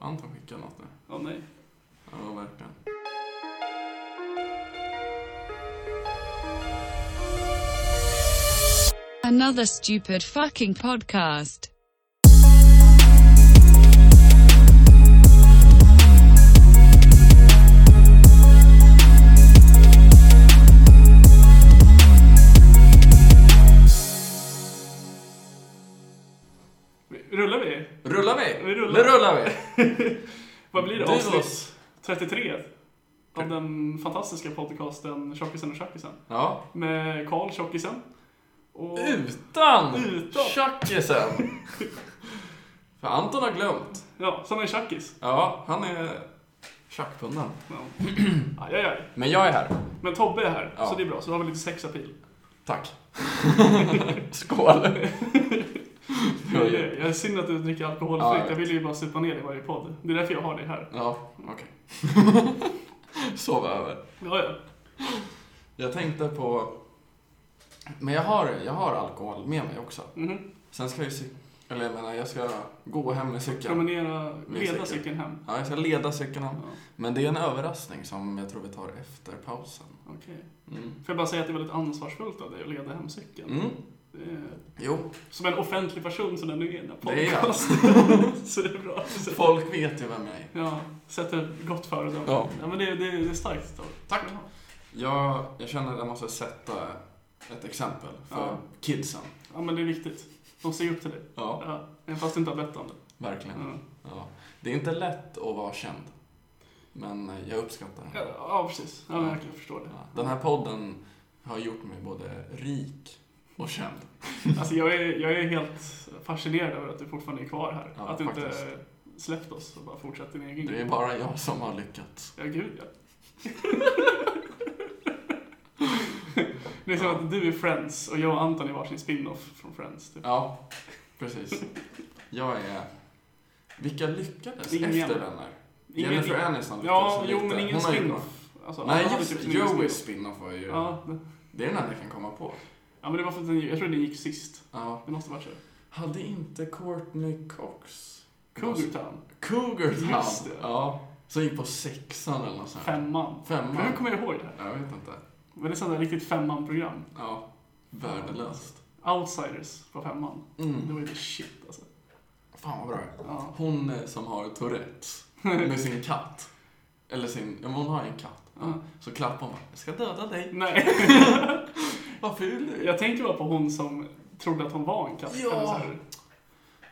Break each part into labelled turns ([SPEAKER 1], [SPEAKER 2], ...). [SPEAKER 1] Anton skickade något nu.
[SPEAKER 2] Ja, nej.
[SPEAKER 1] Ja, det var verkligen.
[SPEAKER 3] Another stupid fucking podcast.
[SPEAKER 2] Rullar vi?
[SPEAKER 1] Rullar vi?
[SPEAKER 2] Vi rullar.
[SPEAKER 1] Nu rullar vi!
[SPEAKER 2] Vad blir det?
[SPEAKER 1] Du
[SPEAKER 2] Avsnitt
[SPEAKER 1] oss.
[SPEAKER 2] 33 av den fantastiska podcasten Tjockisen och Tjackisen.
[SPEAKER 1] Ja.
[SPEAKER 2] Med Karl Tjockisen. Och...
[SPEAKER 1] Uh. Utan,
[SPEAKER 2] Utan.
[SPEAKER 1] tjackisen! För Anton har glömt.
[SPEAKER 2] Ja, som en tjackis.
[SPEAKER 1] Ja, han är tjackpundaren.
[SPEAKER 2] Ja. Aj, aj, aj.
[SPEAKER 1] Men jag är här.
[SPEAKER 2] Men Tobbe är här,
[SPEAKER 1] Ja.
[SPEAKER 2] så det är bra. Så då har vi lite sexapil.
[SPEAKER 1] Tack. Skål! Det var
[SPEAKER 2] Jag
[SPEAKER 1] ju-
[SPEAKER 2] är synd att du dricker
[SPEAKER 1] Ja,
[SPEAKER 2] alkoholfritt.
[SPEAKER 1] jag
[SPEAKER 2] Jag vill ju bara supa ner i varje podd. Det är därför jag har dig här.
[SPEAKER 1] Ja, okej. Sov över.
[SPEAKER 2] Ja, ja.
[SPEAKER 1] Jag tänkte på... Men jag har, jag har alkohol med mig också.
[SPEAKER 2] Mhm.
[SPEAKER 1] Sen ska jag ju cyk- Eller jag menar, jag ska gå hem med cykeln.
[SPEAKER 2] Promenera,
[SPEAKER 1] Med cykeln.
[SPEAKER 2] leda cykeln hem.
[SPEAKER 1] Ja, jag ska leda cykeln
[SPEAKER 2] Ja,
[SPEAKER 1] hem. Men det är en överraskning som jag tror vi tar efter pausen.
[SPEAKER 2] okej.
[SPEAKER 1] Mm.
[SPEAKER 2] Får jag bara säga att det är väldigt ansvarsfullt av dig att leda hem cykeln.
[SPEAKER 1] Mm.
[SPEAKER 2] Det är-
[SPEAKER 1] Jo,
[SPEAKER 2] Som en offentlig person som den du är i den här
[SPEAKER 1] Det är jag.
[SPEAKER 2] podcasten. Så det är bra.
[SPEAKER 1] folk vet ju vem jag är.
[SPEAKER 2] Ja, sätter gott föredöme.
[SPEAKER 1] Ja.
[SPEAKER 2] ja, men det, det, det är starkt. Då.
[SPEAKER 1] Tack. Jag, jag känner att jag måste sätta ett exempel för
[SPEAKER 2] Ja.
[SPEAKER 1] kidsen.
[SPEAKER 2] Ja, men det är viktigt. De ser upp till dig.
[SPEAKER 1] Ja,
[SPEAKER 2] Ja, Mm. även fast du inte har bett om det.
[SPEAKER 1] verkligen.
[SPEAKER 2] Ja,
[SPEAKER 1] Ja. Det är inte lätt att vara känd, men jag uppskattar det.
[SPEAKER 2] ja precis. Ja, men jag kan förstå det.
[SPEAKER 1] Ja. Den här podden har gjort mig både rik och känd.
[SPEAKER 2] Alltså, jag, är, jag är helt fascinerad över att du fortfarande är kvar här.
[SPEAKER 1] Ja,
[SPEAKER 2] att du inte
[SPEAKER 1] faktiskt.
[SPEAKER 2] släppt oss och bara fortsatt din egen
[SPEAKER 1] Det är bara jag som har lyckats.
[SPEAKER 2] Ja, gud ja. det är som att du är Friends och jag och Anton är varsin spin-off från Friends. Typ.
[SPEAKER 1] Ja, precis. Jag är... Vilka lyckades
[SPEAKER 2] Ingen.
[SPEAKER 1] efter den här?
[SPEAKER 2] Ingen-
[SPEAKER 1] Jennifer Aniston
[SPEAKER 2] Ja,
[SPEAKER 1] lyckades
[SPEAKER 2] jo,
[SPEAKER 1] lite.
[SPEAKER 2] men ingen
[SPEAKER 1] Hon har ju
[SPEAKER 2] spin-off. Alltså,
[SPEAKER 1] Nej,
[SPEAKER 2] alla hade
[SPEAKER 1] just
[SPEAKER 2] typ
[SPEAKER 1] det.
[SPEAKER 2] sin egen
[SPEAKER 1] Joeys
[SPEAKER 2] spin-off.
[SPEAKER 1] spin-off var ju...
[SPEAKER 2] Ja, det-
[SPEAKER 1] Det är den enda jag kan komma på.
[SPEAKER 2] ja, men det var för att den, jag tror den gick sist.
[SPEAKER 1] Ja.
[SPEAKER 2] Det måste vara så.
[SPEAKER 1] Hade inte Courtney Cox...
[SPEAKER 2] Cougar Town,
[SPEAKER 1] Cougar Town.
[SPEAKER 2] Just det.
[SPEAKER 1] Ja. Som gick på sexan eller något sånt. här.
[SPEAKER 2] femman. Men hur
[SPEAKER 1] Femman.
[SPEAKER 2] kommer jag ihåg det här?
[SPEAKER 1] Jag vet inte.
[SPEAKER 2] Men det är sånt där riktigt femman-program.
[SPEAKER 1] Ja. Värdelöst.
[SPEAKER 2] Outsiders på femman. Det
[SPEAKER 1] Mm.
[SPEAKER 2] var ju the shit alltså.
[SPEAKER 1] Fan vad bra.
[SPEAKER 2] Ja.
[SPEAKER 1] Hon eh, som har Tourettes med sin katt. Eller sin, ja, men hon har ju en katt.
[SPEAKER 2] Ja.
[SPEAKER 1] Så klappar hon bara, jag ska döda dig.
[SPEAKER 2] Nej.
[SPEAKER 1] Vad ful du är.
[SPEAKER 2] Jag tänker bara på hon som trodde att hon var en katt.
[SPEAKER 1] Ja.
[SPEAKER 2] Eller så här,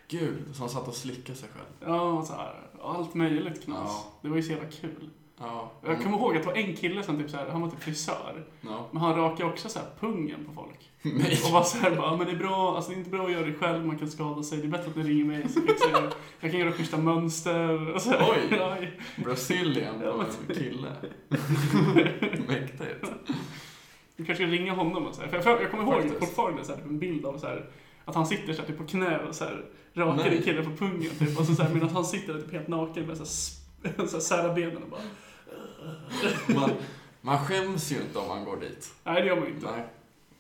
[SPEAKER 1] Gud, som satt och slickade sig själv.
[SPEAKER 2] ja och så här, allt möjligt knas.
[SPEAKER 1] Ja. Mm.
[SPEAKER 2] Det var ju så jävla kul.
[SPEAKER 1] Ja.
[SPEAKER 2] Jag kommer ihåg att det var en kille som typ så här, han var typ frisör.
[SPEAKER 1] Ja.
[SPEAKER 2] Men han rakade också så här pungen på folk.
[SPEAKER 1] Nej.
[SPEAKER 2] Och var så här bara, "Ja, men det är bra, alltså det är inte bra att göra det själv, man kan skada sig. Det är bättre att ni ringer mig så fixar jag det. Jag kan göra schyssta mönster. Och så här,
[SPEAKER 1] Oj.
[SPEAKER 2] Aj.
[SPEAKER 1] Brasilien
[SPEAKER 2] Ja,
[SPEAKER 1] på
[SPEAKER 2] men-
[SPEAKER 1] en kille. Mäktigt.
[SPEAKER 2] Du kanske ska ringa honom och så här. För jag, för jag kommer ihåg
[SPEAKER 1] Faktiskt.
[SPEAKER 2] fortfarande så här, typ en bild av så här, att han sitter så här, typ på knä och så här, rakar
[SPEAKER 1] Nej.
[SPEAKER 2] en kille på pungen. Typ. Och så, så här, medan han sitter där typ helt naken med så här, sp- så här, sära benen och bara
[SPEAKER 1] Man, man skäms ju inte om man går dit.
[SPEAKER 2] Nej, det gör man ju inte.
[SPEAKER 1] Nej.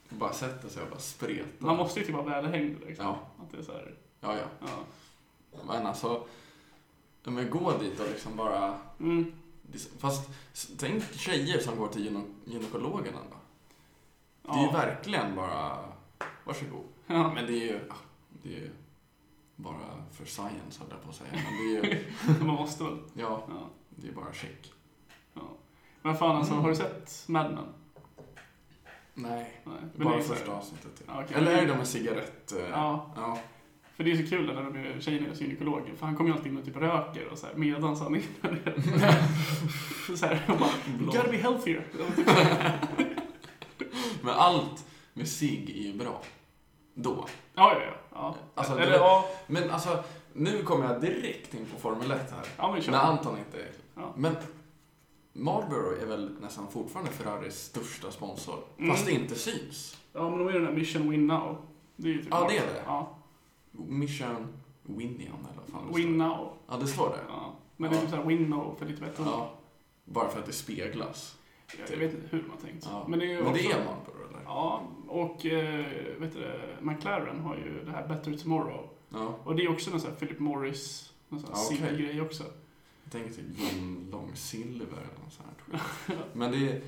[SPEAKER 1] Bara sätter sig och bara spretar.
[SPEAKER 2] Man måste ju typ vara välhängd. Liksom.
[SPEAKER 1] Ja,
[SPEAKER 2] Att det är så här,
[SPEAKER 1] ja, ja.
[SPEAKER 2] ja.
[SPEAKER 1] Men alltså, ja, men gå dit och liksom bara...
[SPEAKER 2] Mm.
[SPEAKER 1] Fast s- tänk tjejer som går till gyne- gynekologen ändå.
[SPEAKER 2] Ja.
[SPEAKER 1] Det är ju verkligen bara, varsågod. Ja,
[SPEAKER 2] Ja,
[SPEAKER 1] men det är ju, ah, det är ju bara för science höll jag på att säga. Men det är ju,
[SPEAKER 2] man måste väl.
[SPEAKER 1] ja,
[SPEAKER 2] Ja.
[SPEAKER 1] det är bara check.
[SPEAKER 2] Men fan alltså,
[SPEAKER 1] Mm.
[SPEAKER 2] har du sett Mad Men?
[SPEAKER 1] Nej,
[SPEAKER 2] Nej. Men det
[SPEAKER 1] bara
[SPEAKER 2] är så här-
[SPEAKER 1] första avsnittet. typ.
[SPEAKER 2] Ja, okej.
[SPEAKER 1] Eller är det med cigarett... eh,
[SPEAKER 2] Mm. Ja,
[SPEAKER 1] ja.
[SPEAKER 2] för det är så kul när de är tjejerna hos gynekologen. För han kommer ju alltid in och typ röker och så här, medans han är så här, och bara,
[SPEAKER 1] Blå.
[SPEAKER 2] gotta be healthier.
[SPEAKER 1] Men allt med cigg är ju bra. Då.
[SPEAKER 2] Ja, ja, ja. ja.
[SPEAKER 1] Alltså,
[SPEAKER 2] Eller,
[SPEAKER 1] det-
[SPEAKER 2] ja.
[SPEAKER 1] Men alltså, nu kommer jag direkt in på Formel 1 här.
[SPEAKER 2] ja, men kör.
[SPEAKER 1] När Anton inte är
[SPEAKER 2] Ja.
[SPEAKER 1] Men Marlboro är väl nästan fortfarande Ferraris största sponsor?
[SPEAKER 2] Mm.
[SPEAKER 1] Fast det inte syns.
[SPEAKER 2] Ja, men då är det den där Mission Win Now. Det är ju typ
[SPEAKER 1] Ja, det är det.
[SPEAKER 2] Ja,
[SPEAKER 1] Mission Winion eller vad fan det står.
[SPEAKER 2] Win Now.
[SPEAKER 1] Ja, det står det.
[SPEAKER 2] Ja. Men det är typ så här Win Now för lite bättre.
[SPEAKER 1] Ja. Bara för att det speglas.
[SPEAKER 2] Jag vet inte hur man har tänkt.
[SPEAKER 1] Ja.
[SPEAKER 2] Men det är ju
[SPEAKER 1] Men det
[SPEAKER 2] också-
[SPEAKER 1] är Marlboro eller?
[SPEAKER 2] Ja, och eh, vet du, det, McLaren har ju det här Better Tomorrow.
[SPEAKER 1] Ja.
[SPEAKER 2] Och det är också någon sån här Philip Morris, någon sån här
[SPEAKER 1] Ja, okej.
[SPEAKER 2] okay. grej också.
[SPEAKER 1] Jag tänker typ gin, lång silver eller något sånt här. tror jag. Men det är,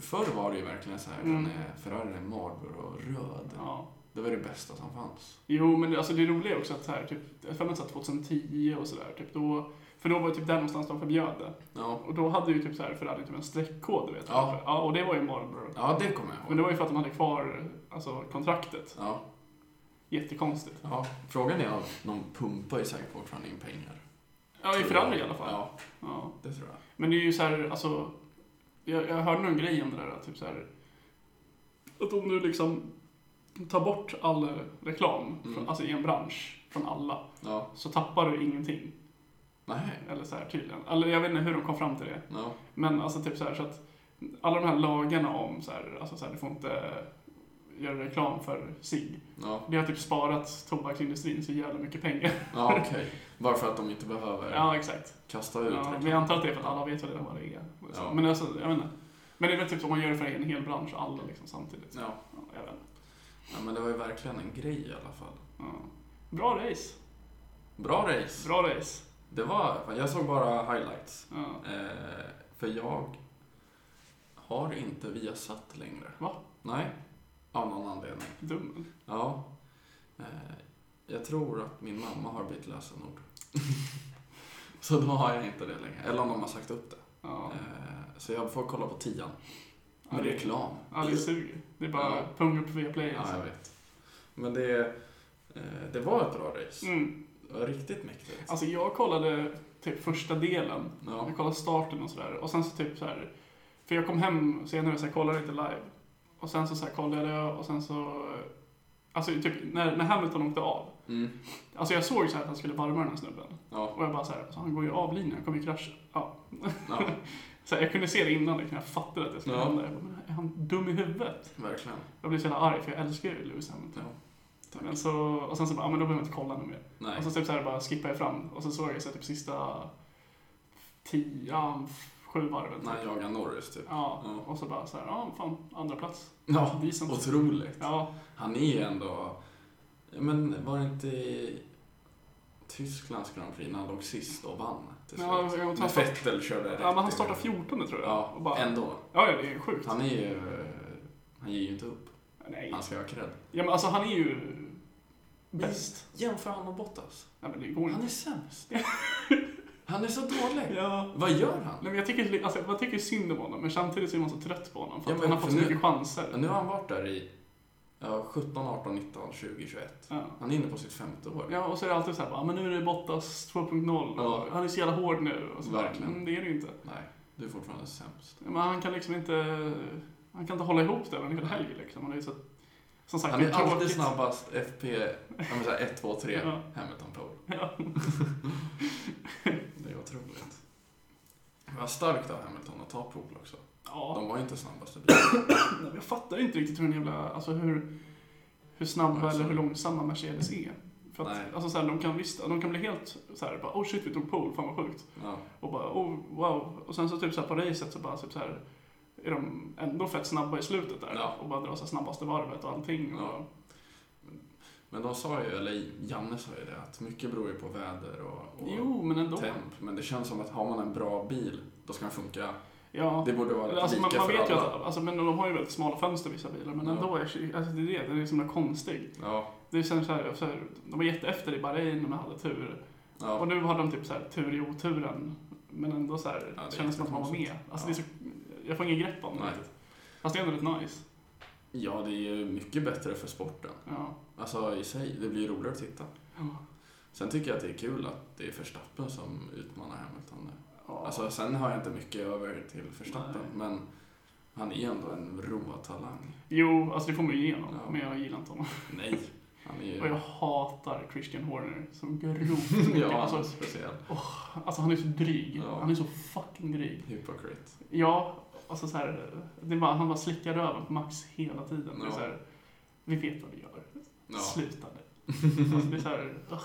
[SPEAKER 1] förr var det ju verkligen så här,
[SPEAKER 2] Mm.
[SPEAKER 1] den är, Ferrarin är Marlboro och röd.
[SPEAKER 2] Ja.
[SPEAKER 1] Det var det bästa som fanns.
[SPEAKER 2] Jo, men det, alltså det roliga är också att så här, typ, jag har att 2010 och sådär, typ då, för då var det typ där någonstans de förbjöd det.
[SPEAKER 1] Ja,
[SPEAKER 2] Och då hade ju typ så här Ferrari typ en streckkod, du vet.
[SPEAKER 1] Ja.
[SPEAKER 2] ja. Och det var ju Marlboro.
[SPEAKER 1] ja det kommer jag
[SPEAKER 2] Men det
[SPEAKER 1] ihåg.
[SPEAKER 2] var ju för att de hade kvar alltså, kontraktet.
[SPEAKER 1] Ja,
[SPEAKER 2] Jättekonstigt.
[SPEAKER 1] ja. Frågan är om de pumpar ju säkert fortfarande in pengar.
[SPEAKER 2] Ja, i Ferrari i alla fall.
[SPEAKER 1] Ja,
[SPEAKER 2] Ja.
[SPEAKER 1] det tror jag.
[SPEAKER 2] Men det är ju så här, alltså... Jag, jag hörde någon grej om det där, typ så här... Att om du liksom tar bort all reklam,
[SPEAKER 1] Mm.
[SPEAKER 2] från, alltså i en bransch, från alla,
[SPEAKER 1] Ja,
[SPEAKER 2] så tappar du ingenting.
[SPEAKER 1] nej.
[SPEAKER 2] Eller så här tydligen. Eller jag vet inte hur de kom fram till det.
[SPEAKER 1] Ja,
[SPEAKER 2] Men alltså typ så här så att alla de här lagarna om så här, alltså så här, du får inte göra reklam för sig.
[SPEAKER 1] ja,
[SPEAKER 2] Det har typ sparat tobaksindustrin så jävla mycket pengar.
[SPEAKER 1] ja okej. Bara för att de inte behöver
[SPEAKER 2] Ja, exakt.
[SPEAKER 1] kasta ut
[SPEAKER 2] Ja,
[SPEAKER 1] reklam.
[SPEAKER 2] men jag antar att det är för att alla vet vad det är. vad det är. Så,
[SPEAKER 1] Ja.
[SPEAKER 2] Men alltså, jag vet inte. Men det är väl typ om man gör det för en hel bransch, alla liksom samtidigt.
[SPEAKER 1] Ja.
[SPEAKER 2] Ja, jag vet inte.
[SPEAKER 1] ja, men det var ju verkligen en grej i alla fall.
[SPEAKER 2] Ja. Bra race.
[SPEAKER 1] Bra race.
[SPEAKER 2] Bra race.
[SPEAKER 1] Det var, fan, jag såg bara highlights.
[SPEAKER 2] Ja.
[SPEAKER 1] Eh, för jag har inte Viasat längre.
[SPEAKER 2] Va?
[SPEAKER 1] Nej, av någon anledning.
[SPEAKER 2] Dum.
[SPEAKER 1] Ja. Eh, jag tror att min mamma har bytt lösenord. så då har jag inte det längre. Eller om de har sagt upp det.
[SPEAKER 2] Ja.
[SPEAKER 1] Eh, så jag får kolla på tian.
[SPEAKER 2] Ja,
[SPEAKER 1] Med
[SPEAKER 2] det-
[SPEAKER 1] reklam.
[SPEAKER 2] Ja, det suger. Det är bara
[SPEAKER 1] Ja.
[SPEAKER 2] pung upp via play.
[SPEAKER 1] Ja,
[SPEAKER 2] Alltså.
[SPEAKER 1] jag vet. Men det, eh, det var ett bra race.
[SPEAKER 2] Mm.
[SPEAKER 1] Det var riktigt mäktigt.
[SPEAKER 2] Alltså jag kollade typ första delen
[SPEAKER 1] ja.
[SPEAKER 2] Jag kollade starten och sådär. Och sen så typ så här. För jag kom hem senare och så här, kollade lite live. Och sen så, så här, kollade jag och sen så... Alltså typ när, när Hamilton åkte av.
[SPEAKER 1] Mm.
[SPEAKER 2] Alltså jag såg så här att han skulle varma den här snubben.
[SPEAKER 1] Ja.
[SPEAKER 2] Och jag bara så här, alltså, han går ju av linjen, han kommer ju krascha. Ja.
[SPEAKER 1] ja,
[SPEAKER 2] Så här, jag kunde se det innan liksom, jag fattade att det skulle
[SPEAKER 1] Ja.
[SPEAKER 2] hända. Jag bara, men är han dum i huvudet?
[SPEAKER 1] verkligen.
[SPEAKER 2] Jag blev så jävla arg för jag älskar ju Lewis Hamilton.
[SPEAKER 1] Ja.
[SPEAKER 2] Men så, och sen så bara, ja men då behöver jag inte kolla något mer.
[SPEAKER 1] Nej.
[SPEAKER 2] Och så typ så här bara skippade jag fram. Och så såg jag så här, typ sista tio, ja, sju varven. typ.
[SPEAKER 1] När jagar Norris typ.
[SPEAKER 2] Ja,
[SPEAKER 1] Ja.
[SPEAKER 2] och så bara så här, ja fan, andra plats.
[SPEAKER 1] Ja,
[SPEAKER 2] Decent.
[SPEAKER 1] otroligt.
[SPEAKER 2] Ja,
[SPEAKER 1] Han är ju ändå... ja, Men var det inte i Tysklands Grand Prix när han låg sist och vann till slut?
[SPEAKER 2] Ja, jag tror han
[SPEAKER 1] när
[SPEAKER 2] start-
[SPEAKER 1] Vettel körde rätt
[SPEAKER 2] ja men
[SPEAKER 1] in.
[SPEAKER 2] han startar 14 tror jag.
[SPEAKER 1] Ja,
[SPEAKER 2] och bara,
[SPEAKER 1] ändå.
[SPEAKER 2] ja, ja, det är sjukt.
[SPEAKER 1] Han är ju... Han ger ju inte upp.
[SPEAKER 2] Nej.
[SPEAKER 1] Han ska ha cred.
[SPEAKER 2] Ja, men alltså han är ju bäst.
[SPEAKER 1] Jämför han med Bottas.
[SPEAKER 2] Nej, men det går
[SPEAKER 1] Han är
[SPEAKER 2] inte.
[SPEAKER 1] sämst. Han är så dålig.
[SPEAKER 2] Ja.
[SPEAKER 1] Vad gör han?
[SPEAKER 2] Nej, men jag tycker, alltså, man tycker synd om honom, men samtidigt så är man så trött på honom. För
[SPEAKER 1] Ja,
[SPEAKER 2] att
[SPEAKER 1] men
[SPEAKER 2] han har fått
[SPEAKER 1] för
[SPEAKER 2] så
[SPEAKER 1] nu-
[SPEAKER 2] mycket chanser.
[SPEAKER 1] Men nu har han varit där i ja, 17, 18, 19, 20, 21.
[SPEAKER 2] Ja.
[SPEAKER 1] Han är inne på sitt femte år.
[SPEAKER 2] ja, och så är det alltid så här, bara, "Ah, men nu är det Bottas 2.0.
[SPEAKER 1] Ja.
[SPEAKER 2] och Han är så jävla hård nu. Och så bara,
[SPEAKER 1] Verkligen.
[SPEAKER 2] mm, det är det ju inte.
[SPEAKER 1] Nej, du är fortfarande sämst.
[SPEAKER 2] Ja, Men han kan liksom inte, han kan inte hålla ihop det över en hel helg liksom. Han är ju så, som sagt,
[SPEAKER 1] Han
[SPEAKER 2] det
[SPEAKER 1] är alltid
[SPEAKER 2] tråkigt.
[SPEAKER 1] snabbast FP, ja men såhär 1, 2, 3,
[SPEAKER 2] Ja.
[SPEAKER 1] Hamilton pole.
[SPEAKER 2] Ja.
[SPEAKER 1] Det är otroligt. Det var starkt av Hamilton att ta pole också.
[SPEAKER 2] Ja.
[SPEAKER 1] De var ju inte snabbast i bilen.
[SPEAKER 2] Nej, men Jag fattar inte riktigt hur, den jävla, alltså hur, hur snabba
[SPEAKER 1] Alltså.
[SPEAKER 2] eller hur långsamma Mercedes är. För
[SPEAKER 1] Nej.
[SPEAKER 2] att, alltså så här, de, kan, visst, de kan bli helt så här, bara, oh shit vi tog pole, fan vad sjukt.
[SPEAKER 1] Ja,
[SPEAKER 2] Och bara, oh wow. Och sen så typ så här, på racet så bara typ så här, är de ändå fett snabba i slutet där.
[SPEAKER 1] Ja.
[SPEAKER 2] Och bara drar så här, snabbaste varvet och allting. Och,
[SPEAKER 1] Ja. men de sa ju, eller Janne sa ju det, att mycket beror ju på väder och, och
[SPEAKER 2] Jo, men ändå.
[SPEAKER 1] temp. Men det känns som att har man en bra bil, då ska den funka.
[SPEAKER 2] Ja.
[SPEAKER 1] Det borde vara
[SPEAKER 2] Alltså, man,
[SPEAKER 1] lika
[SPEAKER 2] man
[SPEAKER 1] för
[SPEAKER 2] vet ju
[SPEAKER 1] alla.
[SPEAKER 2] att alltså, men de har ju väldigt smala fönster vissa bilar, men
[SPEAKER 1] Ja.
[SPEAKER 2] ändå, är, alltså, det är det, den är så himla konstig.
[SPEAKER 1] Ja,
[SPEAKER 2] Det är sen så här, så här, de var jätteefter i Bahrain, men hade tur. Och
[SPEAKER 1] ja.
[SPEAKER 2] nu har de typ så här, tur i oturen, men ändå så här,
[SPEAKER 1] Ja, det är
[SPEAKER 2] kändes som att man var med.
[SPEAKER 1] jättekonstigt.
[SPEAKER 2] Alltså, det är så, jag får ingen grepp om det
[SPEAKER 1] Nej.
[SPEAKER 2] riktigt. Fast det är ändå rätt nice.
[SPEAKER 1] ja, det är ju mycket bättre för sporten.
[SPEAKER 2] Ja.
[SPEAKER 1] Alltså i sig, det blir ju roligare att titta.
[SPEAKER 2] Ja.
[SPEAKER 1] Sen tycker jag att det är kul att det är Verstappen som utmanar Hamilton nu.
[SPEAKER 2] Ja.
[SPEAKER 1] Alltså, sen har jag inte mycket över till Verstappen,
[SPEAKER 2] Nej.
[SPEAKER 1] men han är ändå en råtalang.
[SPEAKER 2] Jo, alltså det får man ju igenom,
[SPEAKER 1] Ja.
[SPEAKER 2] men jag gillar inte honom.
[SPEAKER 1] Nej, han är ju...
[SPEAKER 2] Och jag hatar Christian Horner som grovt
[SPEAKER 1] ja, han är
[SPEAKER 2] alltså,
[SPEAKER 1] speciell.
[SPEAKER 2] alltså han är så dryg.
[SPEAKER 1] Ja.
[SPEAKER 2] Han är så fucking dryg.
[SPEAKER 1] Hypocrite.
[SPEAKER 2] Ja, alltså så här, det är bara, han bara slickar röven på Max hela tiden. Det är
[SPEAKER 1] Ja.
[SPEAKER 2] så här, vi vet vad vi gör.
[SPEAKER 1] Ja.
[SPEAKER 2] Sluta nu. Alltså, det är så här, ugh.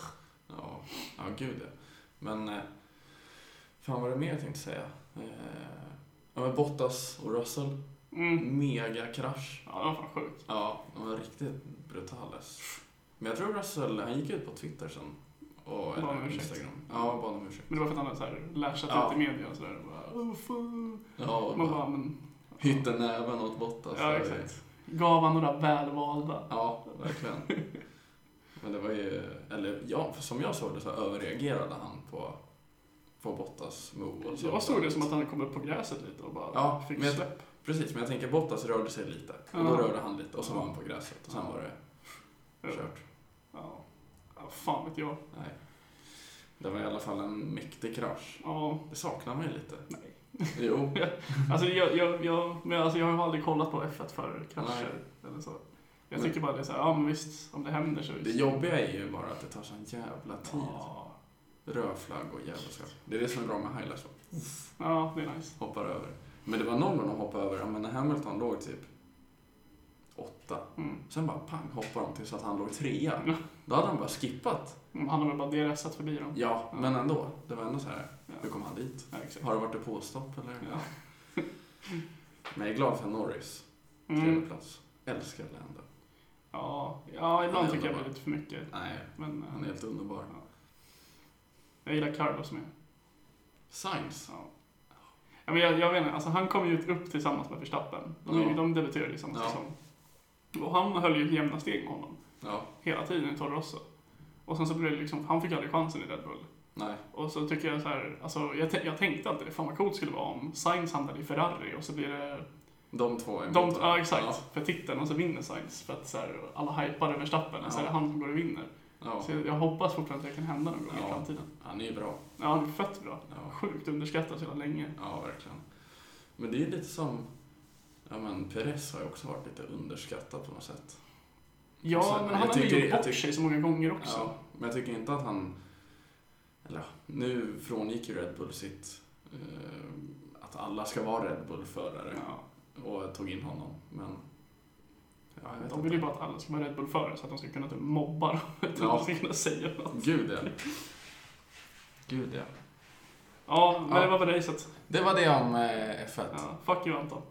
[SPEAKER 1] Ja, ja gud ja. Men... eh, Fan vad det mer jag tänkte säga? Eh, Ja, men Bottas och Russell.
[SPEAKER 2] mm.
[SPEAKER 1] Megakrasch.
[SPEAKER 2] Ja, det var fan sjukt.
[SPEAKER 1] Ja, de var riktigt brutales. Men jag tror Russell, han gick ut på Twitter sen Och
[SPEAKER 2] Bad om
[SPEAKER 1] en
[SPEAKER 2] ursäkt.
[SPEAKER 1] Instagram. Ja, bad om ursäkt.
[SPEAKER 2] Men det var för att han hade så här lashat
[SPEAKER 1] Ja.
[SPEAKER 2] ut i media och sådär. Bara, "Åh, fan."
[SPEAKER 1] Ja, och
[SPEAKER 2] Man
[SPEAKER 1] bara
[SPEAKER 2] bara, men...
[SPEAKER 1] hytte näven åt Bottas.
[SPEAKER 2] Ja,
[SPEAKER 1] Det-
[SPEAKER 2] exakt. Gav han några välvalda?
[SPEAKER 1] Ja, verkligen. Men det var ju, eller ja, för som jag såg det så överreagerade han på, på Bottas move. och så.
[SPEAKER 2] Jag såg det som att han kom upp på gräset lite och bara
[SPEAKER 1] Ja,
[SPEAKER 2] fick
[SPEAKER 1] men jag-
[SPEAKER 2] släpp.
[SPEAKER 1] Precis, men jag tänker Bottas rörde sig lite. Och då
[SPEAKER 2] Ja.
[SPEAKER 1] rörde han lite och så var han på gräset och sen var det
[SPEAKER 2] Ja.
[SPEAKER 1] kört.
[SPEAKER 2] Ja. ja, fan vet jag.
[SPEAKER 1] Nej. Det var i alla fall en mäktig krasch.
[SPEAKER 2] Ja,
[SPEAKER 1] Det saknar man ju lite.
[SPEAKER 2] nej.
[SPEAKER 1] Jo,
[SPEAKER 2] Alltså jag, jag, jag, men alltså jag har ju aldrig kollat på F1 för krascher eller så. Jag
[SPEAKER 1] Men-
[SPEAKER 2] tycker bara det är såhär, ja men visst, om det händer så
[SPEAKER 1] det jobbiga är ju bara att det tar sån jävla tid.
[SPEAKER 2] Ja,
[SPEAKER 1] Rödflagg och jävelskap. Det är det som är bra med highlights. va?
[SPEAKER 2] ja det är nice.
[SPEAKER 1] Hoppar över. Men det var någon gång de hoppade över. Ja, men när Hamilton låg typ åtta.
[SPEAKER 2] Mm.
[SPEAKER 1] Sen bara pang hoppade de tills att han låg trea.
[SPEAKER 2] Ja.
[SPEAKER 1] Då hade han bara skippat.
[SPEAKER 2] Mm, Han har väl bara DRSat förbi dem.
[SPEAKER 1] Ja,
[SPEAKER 2] Ja.
[SPEAKER 1] men ändå. Det var ändå så här.
[SPEAKER 2] Ja.
[SPEAKER 1] Hur kom han dit?
[SPEAKER 2] Ja, exakt.
[SPEAKER 1] Har det varit ett påstopp eller?
[SPEAKER 2] Ja.
[SPEAKER 1] Men jag är glad för Norris. Tredje
[SPEAKER 2] Mm.
[SPEAKER 1] plats. Älskar det ändå.
[SPEAKER 2] Ja, ja, ibland
[SPEAKER 1] är
[SPEAKER 2] tycker jag det
[SPEAKER 1] underbar.
[SPEAKER 2] är lite för mycket.
[SPEAKER 1] Nej,
[SPEAKER 2] Men eh,
[SPEAKER 1] han är helt underbar.
[SPEAKER 2] jag gillar Carlos med.
[SPEAKER 1] Sainz.
[SPEAKER 2] Ja. Ja, men jag, jag vet inte, alltså han kom ju upp tillsammans med Verstappen. De,
[SPEAKER 1] Ja.
[SPEAKER 2] ja. de debuterade ju samma
[SPEAKER 1] Ja.
[SPEAKER 2] säsong. Och han höll ju jämna steg med honom
[SPEAKER 1] Ja,
[SPEAKER 2] hela tiden i Torrosso. Och sen så blev det liksom, han fick aldrig chansen i Red Bull.
[SPEAKER 1] nej.
[SPEAKER 2] Och så tycker jag så här, alltså jag, tän- jag tänkte alltid det, fan vad coolt skulle det vara om Sainz hamnade i Ferrari och så blir det
[SPEAKER 1] De två är
[SPEAKER 2] De,
[SPEAKER 1] emot
[SPEAKER 2] ja,
[SPEAKER 1] varandra.
[SPEAKER 2] exakt.
[SPEAKER 1] Ja,
[SPEAKER 2] För titeln och så vinner Sainz. För att så här, alla hypar över Verstappen och så är det
[SPEAKER 1] Ja.
[SPEAKER 2] han som går och vinner.
[SPEAKER 1] ja.
[SPEAKER 2] Så jag, jag hoppas fortfarande att det kan hända någon gång
[SPEAKER 1] Ja.
[SPEAKER 2] i framtiden.
[SPEAKER 1] Han är ju bra.
[SPEAKER 2] Ja, han är fett bra.
[SPEAKER 1] Ja.
[SPEAKER 2] Sjukt underskattad så jävla länge.
[SPEAKER 1] Ja, verkligen. Men det är ju lite som... Ja, men Perez har ju också varit lite underskattad på något sätt.
[SPEAKER 2] Ja,
[SPEAKER 1] Så,
[SPEAKER 2] men
[SPEAKER 1] jag
[SPEAKER 2] han har ju
[SPEAKER 1] tycker-
[SPEAKER 2] gjort
[SPEAKER 1] jag
[SPEAKER 2] bort
[SPEAKER 1] tycker-
[SPEAKER 2] sig så många gånger också.
[SPEAKER 1] Ja, men jag tycker inte att han... Eller ja, nu frångick ju Red Bull sitt... Eh, att alla ska vara Red Bull-förare
[SPEAKER 2] Ja.
[SPEAKER 1] och tog in honom, men... Ja, jag vet
[SPEAKER 2] De vill ju
[SPEAKER 1] inte.
[SPEAKER 2] bara att alla ska vara Red Bull-förare så att de ska kunna typ mobba dem. Att
[SPEAKER 1] Ja.
[SPEAKER 2] de ska kunna säga något.
[SPEAKER 1] Gud, ja. Gud, ja.
[SPEAKER 2] Ja, men
[SPEAKER 1] Ja.
[SPEAKER 2] det var väl racet.
[SPEAKER 1] Det var det om eh, F1. Ja.
[SPEAKER 2] Ja, fuck you Anton.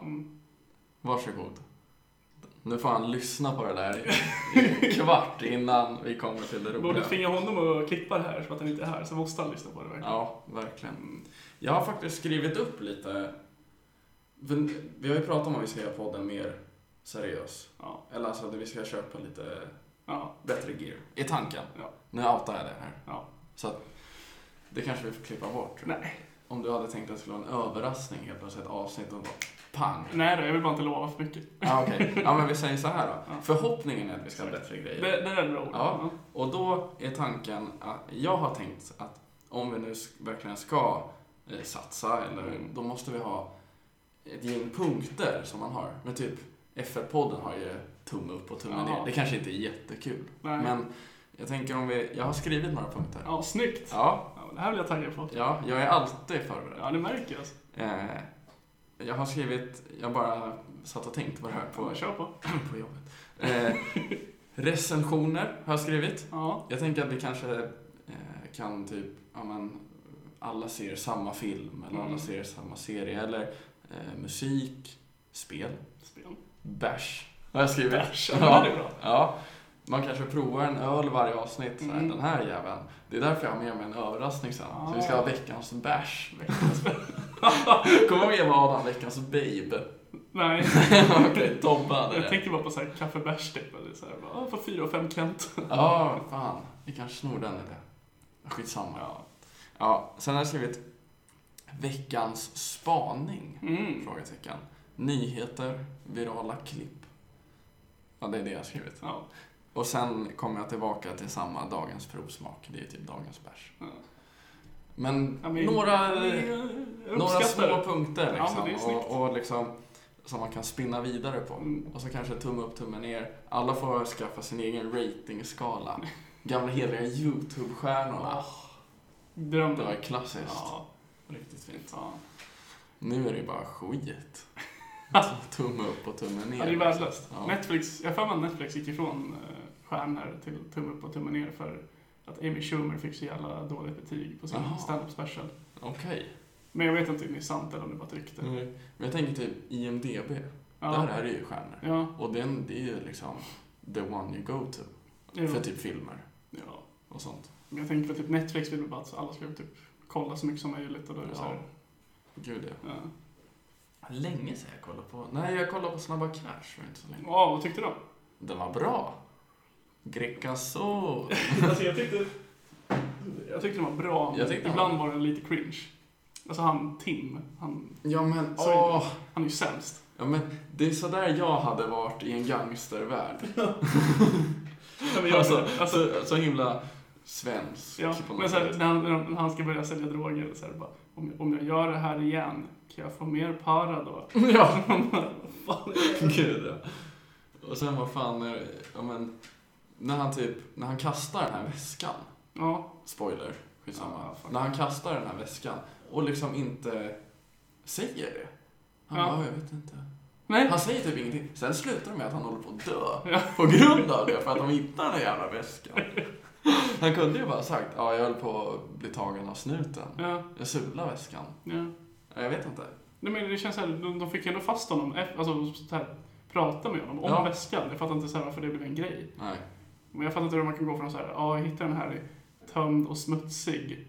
[SPEAKER 2] Mm.
[SPEAKER 1] varsågod. Nu får han lyssna på det där i kvart innan vi kommer till det
[SPEAKER 2] Borde
[SPEAKER 1] roliga.
[SPEAKER 2] tvinga honom att klippa det här så att han inte är här, så måste han lyssna på det verkligen.
[SPEAKER 1] Ja, verkligen. Jag har faktiskt skrivit upp lite. Men Vi har ju pratat om att vi ska göra podden mer seriös.
[SPEAKER 2] Ja.
[SPEAKER 1] Eller alltså att vi ska köpa lite
[SPEAKER 2] Ja.
[SPEAKER 1] bättre gear. I tanken.
[SPEAKER 2] Ja.
[SPEAKER 1] Nu outar jag det här.
[SPEAKER 2] Ja.
[SPEAKER 1] Så att det kanske vi får klippa bort. tror jag.
[SPEAKER 2] Nej.
[SPEAKER 1] Om du hade tänkt att det skulle vara en överraskning helt plötsligt, ett avsnitt och bara pang.
[SPEAKER 2] Nej då, jag vill bara inte lova för mycket.
[SPEAKER 1] Ja, okej. Ja, men vi säger så här då.
[SPEAKER 2] Ja.
[SPEAKER 1] Förhoppningen är att vi ska ha bättre
[SPEAKER 2] Det,
[SPEAKER 1] grejer.
[SPEAKER 2] det är bra ord.
[SPEAKER 1] Ja. Och då är tanken att jag har tänkt att om vi nu sk- verkligen ska eh, satsa, eller,
[SPEAKER 2] Mm.
[SPEAKER 1] då måste vi ha ett gäng punkter som man har. Men typ F1-podden har ju tumme upp och tumme
[SPEAKER 2] Ja.
[SPEAKER 1] ner. Det kanske inte är jättekul.
[SPEAKER 2] Nej.
[SPEAKER 1] Men jag tänker om vi... Jag har skrivit några punkter.
[SPEAKER 2] Ja, snyggt!
[SPEAKER 1] Ja,
[SPEAKER 2] Ja, det här vill jag tacka för.
[SPEAKER 1] ja jag är alltid förberedd.
[SPEAKER 2] Ja, det märker jag. Alltså.
[SPEAKER 1] Eh, jag har skrivit... Jag bara satt och tänkte på det här på,
[SPEAKER 2] Ja, Kör på.
[SPEAKER 1] på jobbet. Eh, recensioner har jag skrivit.
[SPEAKER 2] Ja.
[SPEAKER 1] Jag tänker att vi kanske eh, kan typ, ja men, alla ser samma film eller alla
[SPEAKER 2] Mm.
[SPEAKER 1] ser samma serie eller eh, musik, spel,
[SPEAKER 2] Spel.
[SPEAKER 1] bärs har jag skrivit.
[SPEAKER 2] Bärs. Ja, men det är bra.
[SPEAKER 1] Ja. Man kanske provar en öl varje avsnitt, så här,
[SPEAKER 2] Mm.
[SPEAKER 1] den här jäveln. Det är därför jag har med mig en överraskning sen. Så vi ska ha
[SPEAKER 2] Ah.
[SPEAKER 1] veckans bärs. Kommer du ihåg vad Adam, veckans babe?
[SPEAKER 2] Nej,
[SPEAKER 1] Okej, Tobbe hade
[SPEAKER 2] jag
[SPEAKER 1] det.
[SPEAKER 2] tänkte bara på så här kaffebärs typ. Eller så här, bara, ah, för fyra och fem Kent.
[SPEAKER 1] Ja, fan. Vi kanske snor den idén. Skitsamma.
[SPEAKER 2] Ja.
[SPEAKER 1] Ja, sen har jag skrivit veckans spaning?
[SPEAKER 2] Mm.
[SPEAKER 1] Frågetecken. Nyheter, virala klipp. Ja, det är det jag har skrivit.
[SPEAKER 2] Ja.
[SPEAKER 1] Och sen kommer jag tillbaka till samma dagens provsmak. Det är typ dagens bärs.
[SPEAKER 2] Ja.
[SPEAKER 1] Men
[SPEAKER 2] Ja, men-
[SPEAKER 1] några,
[SPEAKER 2] eh, Jag
[SPEAKER 1] några
[SPEAKER 2] uppskattar
[SPEAKER 1] små
[SPEAKER 2] det.
[SPEAKER 1] punkter
[SPEAKER 2] Ja, men
[SPEAKER 1] liksom.
[SPEAKER 2] det är snyggt.
[SPEAKER 1] och, och liksom som man kan spinna vidare på.
[SPEAKER 2] Mm.
[SPEAKER 1] Och så kanske tumme upp, tumme ner. Alla får skaffa sin egen ratingskala. Gamla heliga YouTube-stjärnorna.
[SPEAKER 2] Ah, Drömmen.
[SPEAKER 1] Det var klassiskt.
[SPEAKER 2] Ja,
[SPEAKER 1] Riktigt fint.
[SPEAKER 2] ja.
[SPEAKER 1] Nu är det bara skit. tumme upp och tumme ner.
[SPEAKER 2] Ja, det är värdelöst.
[SPEAKER 1] Ja.
[SPEAKER 2] Netflix, jag har för mig att Netflix gick ifrån eh, stjärnor till tumme upp och tumme ner för att Amy Schumer fick så jävla dåligt betyg på
[SPEAKER 1] Jaha.
[SPEAKER 2] sin stand-up special.
[SPEAKER 1] Okej.
[SPEAKER 2] Men jag vet inte om det är sant eller om det bara är ett rykte.
[SPEAKER 1] Men jag tänker typ IMDB.
[SPEAKER 2] Ja.
[SPEAKER 1] Där är Mm. det ju stjärnor.
[SPEAKER 2] Ja,
[SPEAKER 1] Och den, det är ju liksom the one you go to.
[SPEAKER 2] jo.
[SPEAKER 1] För typ filmer
[SPEAKER 2] ja.
[SPEAKER 1] och sånt.
[SPEAKER 2] Men jag tänker på typ Netflix vill väl bara att alla ska typ kolla så mycket som möjligt och då är det så här,
[SPEAKER 1] Gud ja.
[SPEAKER 2] ja.
[SPEAKER 1] Länge sedan jag kollade på... Nej, jag kollade på Snabba Cash för inte så länge.
[SPEAKER 2] Ja, vad tyckte du?
[SPEAKER 1] Den var bra. Grecasso.
[SPEAKER 2] alltså jag tyckte... Jag tyckte den var bra, men
[SPEAKER 1] Jag tyckte den
[SPEAKER 2] ibland var den lite cringe. Alltså han Tim, han,
[SPEAKER 1] Ja men
[SPEAKER 2] Så är det.
[SPEAKER 1] åh.
[SPEAKER 2] han är ju sämst.
[SPEAKER 1] Ja men det är sådär jag hade varit i en gangstervärld.
[SPEAKER 2] Nej, men jag,
[SPEAKER 1] alltså,
[SPEAKER 2] alltså,
[SPEAKER 1] så, så himla svensk
[SPEAKER 2] ja,
[SPEAKER 1] på något
[SPEAKER 2] men så här,
[SPEAKER 1] sätt.
[SPEAKER 2] när, han, när han- när han ska börja sälja droger, så här, bara, om, jag, om jag gör det här igen, kan jag få mer para då?
[SPEAKER 1] Ja.
[SPEAKER 2] Fan.
[SPEAKER 1] Gud ja. Och sen vad fan, är det- ja men. När han typ, när han kastar den här väskan.
[SPEAKER 2] ja,
[SPEAKER 1] Spoiler, skitsamma.
[SPEAKER 2] Ah, fuck.
[SPEAKER 1] när han kastar den här väskan och liksom inte säger det. Han
[SPEAKER 2] Ja.
[SPEAKER 1] bara, jag vet inte.
[SPEAKER 2] nej.
[SPEAKER 1] Han säger typ ingenting. Sen slutar det med att han håller på att dö.
[SPEAKER 2] Ja.
[SPEAKER 1] På grund av det, för att de hittar den jävla väskan. Han kunde ju bara sagt, ja jag höll på att bli tagen av snuten.
[SPEAKER 2] Ja,
[SPEAKER 1] Jag sulade väskan.
[SPEAKER 2] ja.
[SPEAKER 1] Ja, Jag vet inte.
[SPEAKER 2] Nej, men det känns så här, de, de fick ju ändå fast honom, eff- alltså så här, prata med honom om
[SPEAKER 1] Ja.
[SPEAKER 2] väskan. Jag fattar inte så här, varför det blev en grej.
[SPEAKER 1] Nej.
[SPEAKER 2] Men jag fattar inte hur man kan gå från så här, ja, jag hittade den här tömd och smutsig.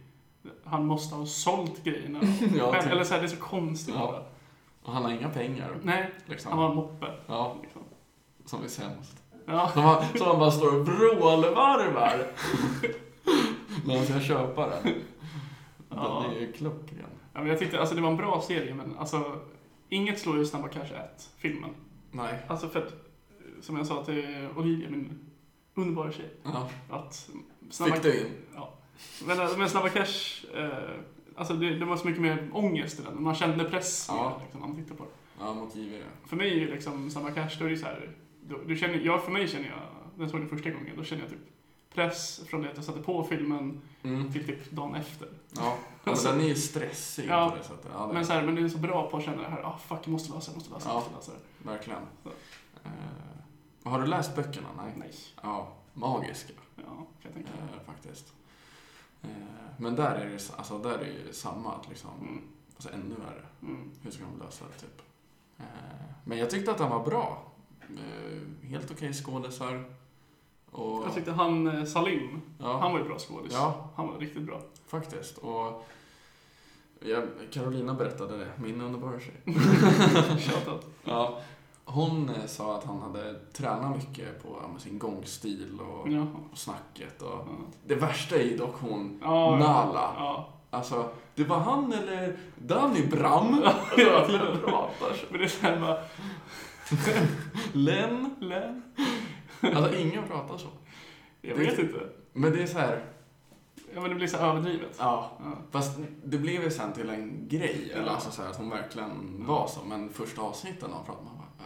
[SPEAKER 2] Han måste ha sålt grejerna.
[SPEAKER 1] Ja,
[SPEAKER 2] Men,
[SPEAKER 1] typ.
[SPEAKER 2] eller så här, det är så konstigt.
[SPEAKER 1] Ja.
[SPEAKER 2] bara.
[SPEAKER 1] Och han har inga pengar.
[SPEAKER 2] Nej, han
[SPEAKER 1] Liksom.
[SPEAKER 2] har en moppe.
[SPEAKER 1] Ja,
[SPEAKER 2] Liksom.
[SPEAKER 1] som är sämst.
[SPEAKER 2] Ja.
[SPEAKER 1] Som han, som han bara står och vrålvarvar. När han ska köpa den. Den
[SPEAKER 2] Ja.
[SPEAKER 1] är ju klockren.
[SPEAKER 2] Ja, men jag tyckte, alltså det var en bra serie, men alltså inget slår ju Snabba Cash 1-filmen.
[SPEAKER 1] Nej.
[SPEAKER 2] Alltså för att, som jag sa till Olivia, min underbara tjej,
[SPEAKER 1] Ja.
[SPEAKER 2] att
[SPEAKER 1] Fick du in?
[SPEAKER 2] Ja. Men, men Snabba Cash, eh, alltså det, det var så mycket mer ångest i den. Man kände press
[SPEAKER 1] Ja.
[SPEAKER 2] mer, liksom, när man tittade på det.
[SPEAKER 1] Ja, mot JW.
[SPEAKER 2] För mig är ju liksom Snabba Cash, då är det ju så här, då, du känner, jag, för mig känner jag, när jag såg den första gången, då känner jag typ press från det att jag satte på filmen
[SPEAKER 1] Mm.
[SPEAKER 2] till typ dagen efter.
[SPEAKER 1] Ja, men den är ju stressig
[SPEAKER 2] Ja.
[SPEAKER 1] på det sättet. Ja, det
[SPEAKER 2] Men, så här, men det är så bra på att känna det här, ah fuck, jag måste lösa det, måste lösa det,
[SPEAKER 1] Ja.
[SPEAKER 2] måste lösa det.
[SPEAKER 1] Verkligen.
[SPEAKER 2] Så.
[SPEAKER 1] Eh, har du läst böckerna? Nej.
[SPEAKER 2] Nej.
[SPEAKER 1] Ja, magiska
[SPEAKER 2] Ja, kan jag tänka.
[SPEAKER 1] eh, faktiskt. Eh, men där är det s- alltså, där är det ju samma, att liksom,
[SPEAKER 2] Mm.
[SPEAKER 1] alltså, ännu värre.
[SPEAKER 2] Mm.
[SPEAKER 1] Hur ska de lösa det typ? Eh, men jag tyckte att den var bra. Eh, helt okej skådisar. Och,
[SPEAKER 2] Jag tyckte han eh, Salim,
[SPEAKER 1] ja,
[SPEAKER 2] han var ju bra skådis.
[SPEAKER 1] Ja.
[SPEAKER 2] Han var riktigt bra.
[SPEAKER 1] faktiskt. Och, jag, Carolina berättade det, min underbara tjej.
[SPEAKER 2] Shoutout.
[SPEAKER 1] Ja, hon eh, sa att han hade tränat mycket på ja, med sin gångstil och,
[SPEAKER 2] Jaha.
[SPEAKER 1] och snacket.
[SPEAKER 2] Ja.
[SPEAKER 1] Och. Det värsta är ju dock hon,
[SPEAKER 2] Ja,
[SPEAKER 1] Nala.
[SPEAKER 2] Ja.
[SPEAKER 1] Alltså, det var han eller Danny Bram.
[SPEAKER 2] hela
[SPEAKER 1] Alltså,
[SPEAKER 2] tiden.
[SPEAKER 1] de pratar så.
[SPEAKER 2] Men det är såhär bara,
[SPEAKER 1] Len.
[SPEAKER 2] lä?
[SPEAKER 1] Alltså, ingen pratar så.
[SPEAKER 2] Jag
[SPEAKER 1] Det-
[SPEAKER 2] vet inte.
[SPEAKER 1] Men det är så här,
[SPEAKER 2] Ja men det blir så överdrivet.
[SPEAKER 1] ja.
[SPEAKER 2] Ja.
[SPEAKER 1] Fast det blev ju sen till en grej, eller alltså så här att hon verkligen var så. Men första avsnitten när hon pratade, man bara, ja.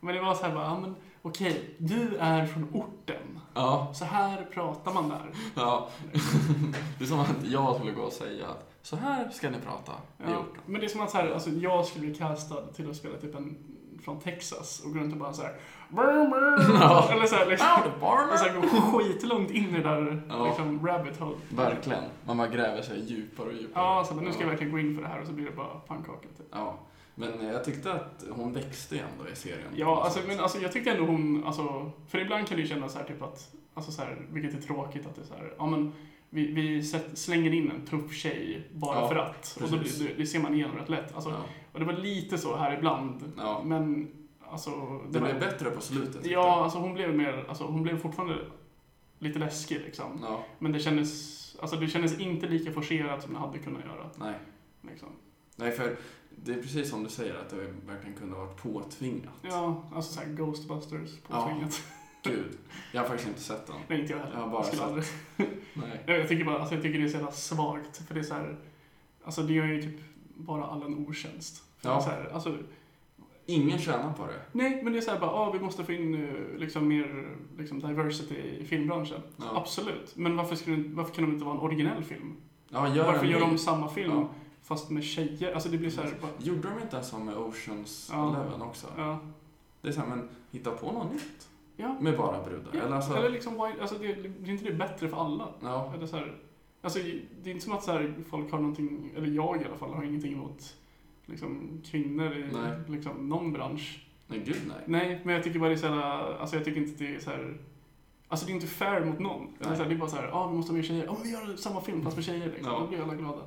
[SPEAKER 2] Men det var så här bara, ja men okej, du är från orten.
[SPEAKER 1] ja.
[SPEAKER 2] Så här pratar man där.
[SPEAKER 1] Ja. Det är som att jag skulle gå och säga att så här ska ni prata i
[SPEAKER 2] Ja.
[SPEAKER 1] orten.
[SPEAKER 2] Men det är som att så här, alltså, jag skulle bli castad till att spela typ en från Texas och gå runt och bara såhär
[SPEAKER 1] Ja.
[SPEAKER 2] Eller såhär liksom.
[SPEAKER 1] Howdy, partner.
[SPEAKER 2] Och så här, gå skitlångt in i det där
[SPEAKER 1] Ja.
[SPEAKER 2] liksom rabbit hole.
[SPEAKER 1] Verkligen. Man bara gräver sig djupare och djupare.
[SPEAKER 2] Ja, så här, men nu ska jag
[SPEAKER 1] ja.
[SPEAKER 2] verkligen gå in för det här och så blir det bara pannkaka typ.
[SPEAKER 1] ja. Men eh, jag tyckte att hon växte ändå i serien.
[SPEAKER 2] Ja, alltså, men alltså, jag tyckte ändå hon, alltså, för ibland kan det ju kännas så här typ att, alltså så här, vilket är tråkigt att det är så här, ja men vi, vi sätt, slänger in en tuff tjej bara
[SPEAKER 1] Ja,
[SPEAKER 2] för att. Och då
[SPEAKER 1] precis.
[SPEAKER 2] blir, det, det ser man igenom rätt lätt. Alltså,
[SPEAKER 1] Ja.
[SPEAKER 2] Och det var lite så här ibland,
[SPEAKER 1] Ja.
[SPEAKER 2] men alltså... det
[SPEAKER 1] Det
[SPEAKER 2] var-
[SPEAKER 1] blev bättre på slutet. tyckte
[SPEAKER 2] Ja, alltså hon blev mer, alltså hon blev fortfarande lite läskig
[SPEAKER 1] jag.
[SPEAKER 2] liksom.
[SPEAKER 1] Ja.
[SPEAKER 2] Men det kändes, alltså det kändes inte lika forcerat som det hade kunnat göra.
[SPEAKER 1] Nej.
[SPEAKER 2] Liksom.
[SPEAKER 1] Nej, för det är precis som du säger att det verkligen kunde ha varit påtvingat.
[SPEAKER 2] Ja, alltså såhär Ghostbusters
[SPEAKER 1] Ja.
[SPEAKER 2] påtvingat.
[SPEAKER 1] Gud. Jag har faktiskt inte sett den.
[SPEAKER 2] Nej, inte jag heller.
[SPEAKER 1] Jag har bara
[SPEAKER 2] jag skulle
[SPEAKER 1] sett-
[SPEAKER 2] aldrig
[SPEAKER 1] Nej.
[SPEAKER 2] Jag, jag, tycker bara, alltså, jag tycker det är så jävla svagt, för det är så här, alltså det gör ju typ bara alla en otjänst. För
[SPEAKER 1] Ja.
[SPEAKER 2] det är så här, alltså,
[SPEAKER 1] Ingen tjänar på det.
[SPEAKER 2] nej, men det är så här bara, ah, vi måste få in eh, liksom, mer liksom, diversity i filmbranschen.
[SPEAKER 1] Ja.
[SPEAKER 2] Absolut, men varför, skulle, det- varför kan de inte vara en originell film?
[SPEAKER 1] Ja, gör
[SPEAKER 2] varför
[SPEAKER 1] en
[SPEAKER 2] gör
[SPEAKER 1] ny.
[SPEAKER 2] de samma film,
[SPEAKER 1] Ja.
[SPEAKER 2] fast med tjejer? Alltså det blir så här, bara,
[SPEAKER 1] Gjorde de inte så med Oceans
[SPEAKER 2] Ja.
[SPEAKER 1] Eleven också?
[SPEAKER 2] ja.
[SPEAKER 1] Det är så här, men hitta på något nytt.
[SPEAKER 2] Ja.
[SPEAKER 1] Med bara brudar.
[SPEAKER 2] Eller,
[SPEAKER 1] Eller alltså,
[SPEAKER 2] liksom, why, alltså, det, det är inte det bättre för alla?
[SPEAKER 1] ja.
[SPEAKER 2] Eller så här, alltså, det är inte som att så här, folk har någonting, eller jag i alla fall, har ingenting emot liksom, kvinnor i
[SPEAKER 1] Nej.
[SPEAKER 2] liksom, någon bransch.
[SPEAKER 1] Nej, gud nej.
[SPEAKER 2] Nej, men jag tycker bara det är så här, alltså jag tycker inte det är så här, Alltså det är inte fair mot någon. Det är,
[SPEAKER 1] Nej.
[SPEAKER 2] så här, det är bara så här, ja ah, vi måste ha mer tjejer. Ja men vi gör samma film fast med tjejer liksom.
[SPEAKER 1] Ja.
[SPEAKER 2] Då blir alla glada.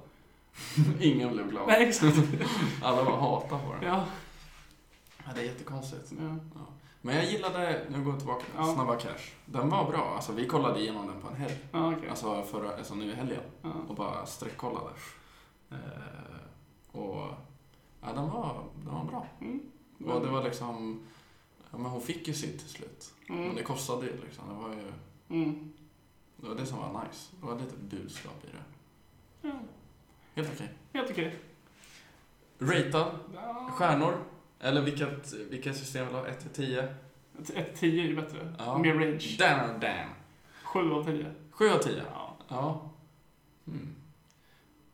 [SPEAKER 1] Ingen blev glad.
[SPEAKER 2] Nej exakt.
[SPEAKER 1] Alla bara hatade på den.
[SPEAKER 2] ja.
[SPEAKER 1] Ja, det är jättekonstigt.
[SPEAKER 2] ja.
[SPEAKER 1] Men jag gillade, nu går jag tillbaka,
[SPEAKER 2] Ja.
[SPEAKER 1] Snabba Cash. Den var bra. Alltså vi kollade igenom den på en helg.
[SPEAKER 2] Ja, okej.
[SPEAKER 1] Alltså, förra, alltså nu i helgen.
[SPEAKER 2] Ja.
[SPEAKER 1] Och bara streckkollade. Eh, och ja, den var, den var bra.
[SPEAKER 2] Mm.
[SPEAKER 1] Och det var liksom, ja, men hon fick ju sitt till slut. Men det
[SPEAKER 2] Mm.
[SPEAKER 1] kostade ju liksom. Det var ju
[SPEAKER 2] Mm.
[SPEAKER 1] det, var det som var nice. Det var lite budskap i det.
[SPEAKER 2] Ja.
[SPEAKER 1] Helt okej.
[SPEAKER 2] Helt okej.
[SPEAKER 1] Ratad,
[SPEAKER 2] Ja.
[SPEAKER 1] stjärnor. Eller vilket, vilket system vill du ha? 1 till 10?
[SPEAKER 2] Ett- Ett 10 är ju bättre.
[SPEAKER 1] Ja.
[SPEAKER 2] Mer range.
[SPEAKER 1] Damn, damn.
[SPEAKER 2] 7 av 10.
[SPEAKER 1] 7 av 10.
[SPEAKER 2] Ja.
[SPEAKER 1] Ja. Mm.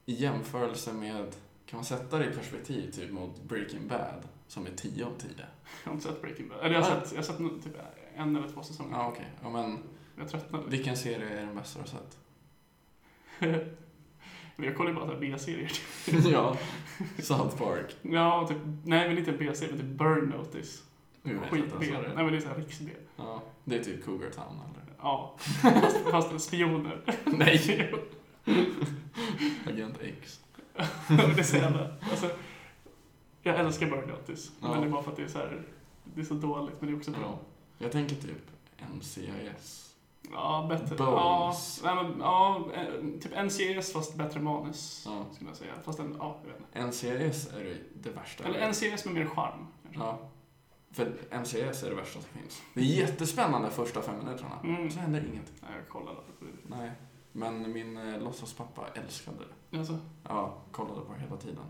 [SPEAKER 1] I jämförelse med, kan man sätta det i perspektiv typ mot Breaking Bad som är 10 av 10?
[SPEAKER 2] Jag har inte sett Breaking Bad. Eller jag har
[SPEAKER 1] Nej.
[SPEAKER 2] sett, jag har sett nu typ en eller två säsonger.
[SPEAKER 1] Ja, okej. Ja, men
[SPEAKER 2] Jag tröttnade.
[SPEAKER 1] vilken serie är den bästa du har sett?
[SPEAKER 2] Men jag kollar ju bara så här B-serier.
[SPEAKER 1] ja, South Park.
[SPEAKER 2] Ja, typ, nej men inte B-serier, men typ Burn Notice.
[SPEAKER 1] Nu vet jag inte ens
[SPEAKER 2] Skit-B.
[SPEAKER 1] vad det
[SPEAKER 2] Nej
[SPEAKER 1] är.
[SPEAKER 2] men det är såhär riks-B.
[SPEAKER 1] Ja, det är typ Cougar Town eller?
[SPEAKER 2] Ja. Fast- Fast spioner.
[SPEAKER 1] Nej. Agent X.
[SPEAKER 2] det är så jävla... Alltså, jag älskar Burn Notice.
[SPEAKER 1] Ja.
[SPEAKER 2] Men det är bara för att det är så här, Det är så dåligt, men det är också bra.
[SPEAKER 1] Ja. Jag tänker typ NCIS.
[SPEAKER 2] Ja, bättre.
[SPEAKER 1] Bones.
[SPEAKER 2] Ja, nej, men, ja, eh, typ NCS fast bättre manus.
[SPEAKER 1] Ja.
[SPEAKER 2] Skulle jag säga. Fast en, ja, jag vet inte.
[SPEAKER 1] NCIS är det- det värsta. jag
[SPEAKER 2] Eller
[SPEAKER 1] vet.
[SPEAKER 2] NCS med mer charm. kanske.
[SPEAKER 1] Ja. För NCIS är det värsta som finns. Det är jättespännande första fem minuterna.
[SPEAKER 2] Mm.
[SPEAKER 1] Så händer ingenting.
[SPEAKER 2] Nej, jag kollar aldrig på det.
[SPEAKER 1] Nej. Men min eh, låtsaspappa älskade det.
[SPEAKER 2] Alltså,
[SPEAKER 1] Ja, kollade på det hela tiden.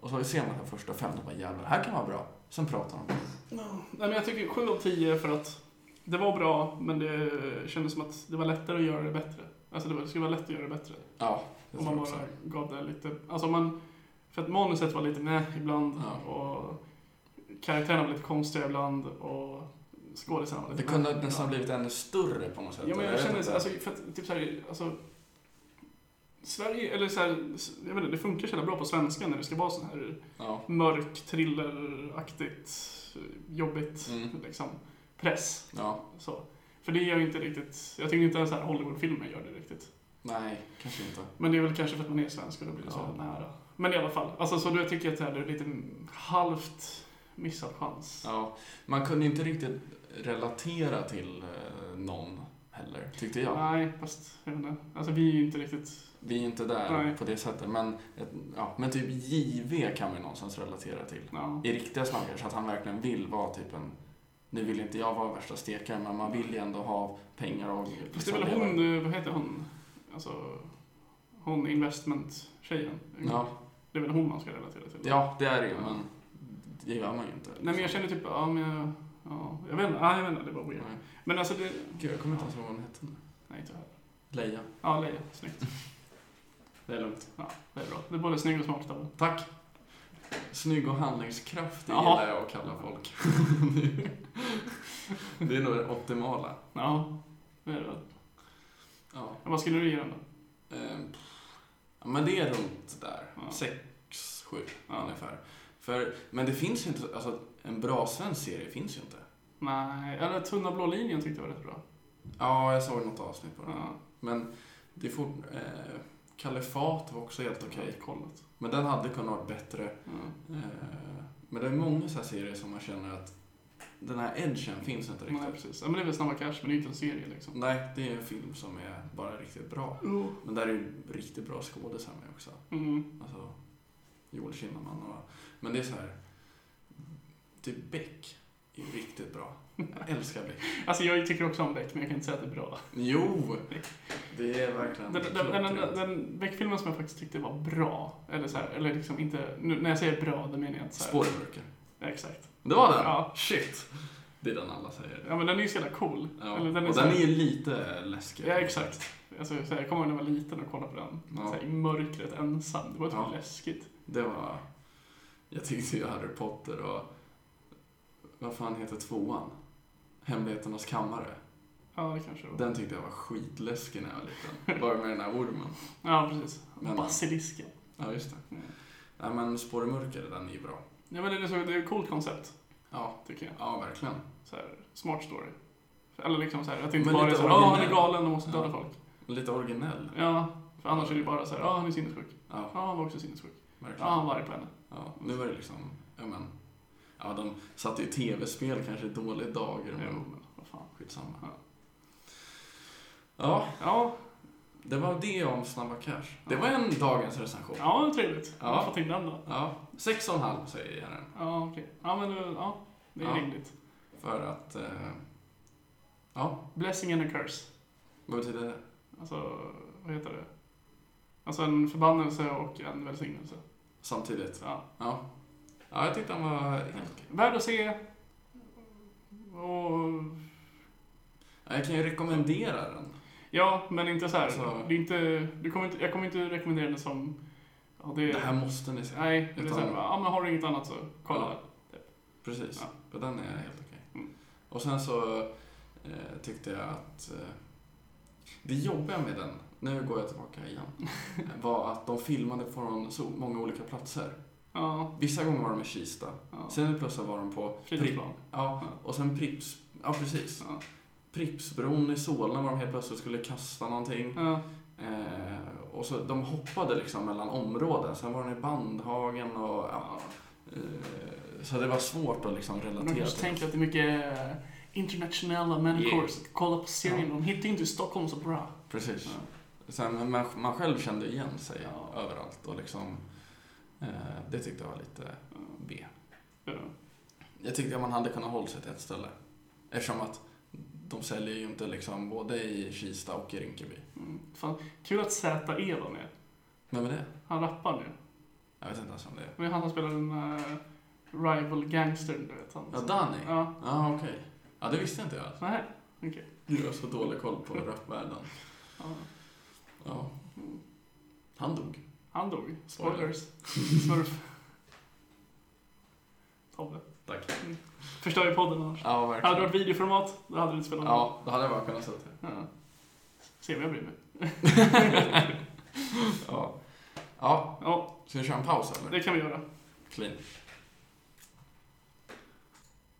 [SPEAKER 1] Och så ser man den första fem, då bara jävlar, det här kan vara bra. Sen pratar de.
[SPEAKER 2] Nej, men jag tycker 7 av 10 för att det var bra, men det kändes som att det var lättare att göra det bättre. Alltså det, var, det skulle vara lätt att göra det bättre.
[SPEAKER 1] Ja, det
[SPEAKER 2] Om
[SPEAKER 1] tror
[SPEAKER 2] man
[SPEAKER 1] jag
[SPEAKER 2] bara
[SPEAKER 1] också.
[SPEAKER 2] gav det lite... Alltså om man... För att manuset var lite med ibland
[SPEAKER 1] Ja.
[SPEAKER 2] och karaktärerna var lite konstiga ibland och skådisarna var lite
[SPEAKER 1] Det kunde
[SPEAKER 2] meh.
[SPEAKER 1] nästan blivit ännu större på något sätt.
[SPEAKER 2] Ja, men jag
[SPEAKER 1] vet
[SPEAKER 2] känner
[SPEAKER 1] inte.
[SPEAKER 2] så, alltså, för att, typ så här, alltså, Sverige, eller så här, s- jag vet inte, det funkar så jävla bra på svenska när det ska vara sån här
[SPEAKER 1] Ja.
[SPEAKER 2] mörk, thrilleraktigt, jobbigt,
[SPEAKER 1] Mm.
[SPEAKER 2] liksom, press.
[SPEAKER 1] ja.
[SPEAKER 2] Så. För det gör ju inte riktigt, jag tycker inte ens så här Hollywoodfilmer gör det riktigt.
[SPEAKER 1] Nej, kanske inte.
[SPEAKER 2] Men det är väl kanske för att man är svensk och då blir det så
[SPEAKER 1] Ja.
[SPEAKER 2] nära. Men i alla fall, alltså så då tycker jag att det här är lite halvt missad chans.
[SPEAKER 1] Ja. Man kunde inte riktigt relatera till eh, någon heller, tyckte jag.
[SPEAKER 2] Nej, fast jag vet inte, alltså vi är ju inte riktigt,
[SPEAKER 1] Vi är inte där
[SPEAKER 2] Nej.
[SPEAKER 1] på det sättet. Men, ett, ja, men typ JV kan vi någonstans relatera till.
[SPEAKER 2] ja.
[SPEAKER 1] I riktiga snackar, så att han verkligen vill vara typ en... Nu vill inte jag vara värsta stekaren, men man vill ju ändå ha pengar och...
[SPEAKER 2] Fast det är väl hon, eh, vad heter hon? Alltså, hon investment-tjejen.
[SPEAKER 1] Ja,
[SPEAKER 2] Det är väl hon man ska relatera till?
[SPEAKER 1] ja, det är det ju, men det gör man ju inte.
[SPEAKER 2] Nej men jag känner typ, ja men jag, ja, jag vet inte, ja, jag vet inte, det var weird.
[SPEAKER 1] Nej.
[SPEAKER 2] Men alltså det...
[SPEAKER 1] Gud, jag kommer inte ens ihåg vad hon hette. nu.
[SPEAKER 2] Nej, inte jag heller.
[SPEAKER 1] Leia.
[SPEAKER 2] Ja, Leia, snyggt.
[SPEAKER 1] Det är lugnt.
[SPEAKER 2] Ja, det är bra. Det är både snygg och smart av
[SPEAKER 1] Tack! Snygg och handlingskraftig
[SPEAKER 2] Jaha.
[SPEAKER 1] gillar jag att kalla folk. det är nog det optimala.
[SPEAKER 2] Ja, det är det väl.
[SPEAKER 1] Ja.
[SPEAKER 2] Men Vad skulle du ge den då?
[SPEAKER 1] Ehm, pff, ja, men det är runt där.
[SPEAKER 2] Ja.
[SPEAKER 1] sex sju
[SPEAKER 2] Ja.
[SPEAKER 1] ungefär. För, men det finns ju inte, alltså en bra svensk serie finns ju inte.
[SPEAKER 2] Nej, eller Tunna blå linjen tyckte jag var rätt bra.
[SPEAKER 1] Ja, jag såg något avsnitt på den.
[SPEAKER 2] Ja,
[SPEAKER 1] Men det är fort, eh, Kalifat var också helt okej.
[SPEAKER 2] jag har kollat.
[SPEAKER 1] Men den hade kunnat vara bättre.
[SPEAKER 2] Ja.
[SPEAKER 1] Eh, men det är många så här serier som man känner att den här edgen finns inte riktigt.
[SPEAKER 2] Nej,
[SPEAKER 1] Nej,
[SPEAKER 2] precis. Ja, men det är väl Snabba Cash, men det är inte en serie liksom.
[SPEAKER 1] det är en film som är bara riktigt bra.
[SPEAKER 2] Jo.
[SPEAKER 1] Men där är ju riktigt bra skådisar med också.
[SPEAKER 2] Mm.
[SPEAKER 1] Alltså, Joel Kinnaman och... Men det är så här... Typ Beck är ju riktigt bra. Jag älskar Beck.
[SPEAKER 2] Alltså jag tycker också om Beck, men jag kan inte säga att det är bra.
[SPEAKER 1] Jo! Det är verkligen...
[SPEAKER 2] Den, den, den, den,
[SPEAKER 1] klockrent.
[SPEAKER 2] den Beck-filmen som jag faktiskt tyckte var bra, eller så här, eller liksom inte, nu, när jag säger bra, då menar jag inte så här.
[SPEAKER 1] Spårburkar.
[SPEAKER 2] Ja, Exakt.
[SPEAKER 1] Det var den?
[SPEAKER 2] Ja.
[SPEAKER 1] Shit! Det är den alla säger.
[SPEAKER 2] Ja men den är ju så jävla cool.
[SPEAKER 1] Ja.
[SPEAKER 2] Eller
[SPEAKER 1] och
[SPEAKER 2] så
[SPEAKER 1] den
[SPEAKER 2] här-
[SPEAKER 1] är ju lite läskig.
[SPEAKER 2] Ja, exakt. Alltså, så här, jag kommer ihåg när jag var liten och kollade på den.
[SPEAKER 1] Ja.
[SPEAKER 2] Så här, I mörkret ensam. Det var typ
[SPEAKER 1] Ja.
[SPEAKER 2] läskigt.
[SPEAKER 1] Det var... Jag tyckte ju Harry Potter och... Vad fan heter tvåan? Hemligheternas kammare.
[SPEAKER 2] Ja, det kanske det var.
[SPEAKER 1] Den tyckte jag var skitläskig när jag var liten. Bara med den här ormen.
[SPEAKER 2] Ja, precis.
[SPEAKER 1] Men-
[SPEAKER 2] Basilisken.
[SPEAKER 1] Ja, just det.
[SPEAKER 2] Ja.
[SPEAKER 1] Mm. Nej, men Spår i mörker, den är ju bra.
[SPEAKER 2] Ja, men det är, så, det är ett coolt koncept,
[SPEAKER 1] Ja,
[SPEAKER 2] tycker jag.
[SPEAKER 1] Ja, verkligen.
[SPEAKER 2] Så här, smart story. Eller liksom så här, att det inte
[SPEAKER 1] Men
[SPEAKER 2] bara är
[SPEAKER 1] lite
[SPEAKER 2] så här, ja han är
[SPEAKER 1] originell.
[SPEAKER 2] galen och måste döda
[SPEAKER 1] Ja.
[SPEAKER 2] folk.
[SPEAKER 1] Lite originell.
[SPEAKER 2] Ja, för annars är det ju bara så här, ja han är sinnessjuk.
[SPEAKER 1] Ja,
[SPEAKER 2] Ja han var också sinnessjuk. Ja
[SPEAKER 1] verkligen.
[SPEAKER 2] han var arg på henne.
[SPEAKER 1] Ja, nu var det liksom, ja men, ja de satte ju tv-spel kanske i dåliga dagar,
[SPEAKER 2] Jo,
[SPEAKER 1] men
[SPEAKER 2] men vad fan. Ja.
[SPEAKER 1] skitsamma. Ja,
[SPEAKER 2] Ja,
[SPEAKER 1] det var det om Snabba Cash. Det var en dagens recension.
[SPEAKER 2] ja det var trevligt.
[SPEAKER 1] Ja.
[SPEAKER 2] Ja. Jag får till den då.
[SPEAKER 1] Ja, sex och en halv säger jag den.
[SPEAKER 2] Ja okej. Ja men eh, ja, det är
[SPEAKER 1] Ja.
[SPEAKER 2] rimligt.
[SPEAKER 1] För att, eh, ja,
[SPEAKER 2] Blessing and a curse.
[SPEAKER 1] vad betyder det?
[SPEAKER 2] Alltså, vad heter det? Alltså en förbannelse och en välsignelse.
[SPEAKER 1] Samtidigt.
[SPEAKER 2] Så, ja.
[SPEAKER 1] Ja. Ja, jag tyckte den var helt okej.
[SPEAKER 2] Värd att se. Och
[SPEAKER 1] Ja, Jag kan ju rekommendera den.
[SPEAKER 2] Ja, men inte så här.
[SPEAKER 1] Så-
[SPEAKER 2] Det är inte, du kommer inte, jag kommer inte rekommendera det som... Ja, det,
[SPEAKER 1] Det här måste ni se.
[SPEAKER 2] Nej, det är
[SPEAKER 1] Utan-
[SPEAKER 2] så här, ja, men har du inget annat så kolla.
[SPEAKER 1] Ja. Precis.
[SPEAKER 2] Ja.
[SPEAKER 1] Och den är helt okej.
[SPEAKER 2] Mm.
[SPEAKER 1] Och sen så eh, tyckte jag att eh, det jobbiga med den, nu går jag tillbaka igen, var att de filmade från så många olika platser.
[SPEAKER 2] Ja,
[SPEAKER 1] Vissa gånger var de i Kista,
[SPEAKER 2] ja.
[SPEAKER 1] sen plötsligt var de på...
[SPEAKER 2] Fridhemsplan.
[SPEAKER 1] Ja, och sen Prips... Ja, precis.
[SPEAKER 2] Ja.
[SPEAKER 1] Pripsbron i Solna var de helt plötsligt skulle kasta någonting.
[SPEAKER 2] Ja.
[SPEAKER 1] Eh, och så de hoppade liksom mellan områden. Sen var de i Bandhagen och... Ja, eh, så det var svårt att liksom
[SPEAKER 2] Men
[SPEAKER 1] relatera
[SPEAKER 2] De kanske tänker att det är mycket eh, internationella människor
[SPEAKER 1] Yeah.
[SPEAKER 2] som kollar på serien. De hittar ju inte Stockholm så bra.
[SPEAKER 1] Precis.
[SPEAKER 2] Ja.
[SPEAKER 1] Sen, man, man själv kände igen sig
[SPEAKER 2] Ja.
[SPEAKER 1] överallt och liksom, eh, det tyckte jag var lite B.
[SPEAKER 2] Ja.
[SPEAKER 1] Jag tyckte att man hade kunnat hålla sig till ett ställe. Eftersom att de säljer ju inte liksom både i Kista och i Rinkeby.
[SPEAKER 2] Mm. Fan. Kul att Z.E. var med.
[SPEAKER 1] Vem är det?
[SPEAKER 2] Han rappar nu.
[SPEAKER 1] Jag vet inte ens om det är.
[SPEAKER 2] Det är han som spelar den uh, rival gangstern, du vet. Han,
[SPEAKER 1] Ja, Danny? Ja,
[SPEAKER 2] Ja.
[SPEAKER 1] ah, okej. Ja, det visste inte jag.
[SPEAKER 2] Så här. Okej.
[SPEAKER 1] Du har så dålig koll på rapvärlden.
[SPEAKER 2] Ja.
[SPEAKER 1] Ja. Han dog.
[SPEAKER 2] Han dog.
[SPEAKER 1] Spoiler.
[SPEAKER 2] Spoilers. Smurf. Tobbe.
[SPEAKER 1] Tack.
[SPEAKER 2] Förstör ju podden annars.
[SPEAKER 1] Ja,
[SPEAKER 2] Hade det
[SPEAKER 1] verkligen.
[SPEAKER 2] varit videoformat, då hade det inte spelat någon
[SPEAKER 1] Ja, då hade jag bara kunnat säga det.
[SPEAKER 2] roll. Ja. Se vad jag bryr mig.
[SPEAKER 1] Ja. ja,
[SPEAKER 2] Ja,
[SPEAKER 1] ska vi köra en paus eller?
[SPEAKER 2] det kan vi göra.
[SPEAKER 1] Clean.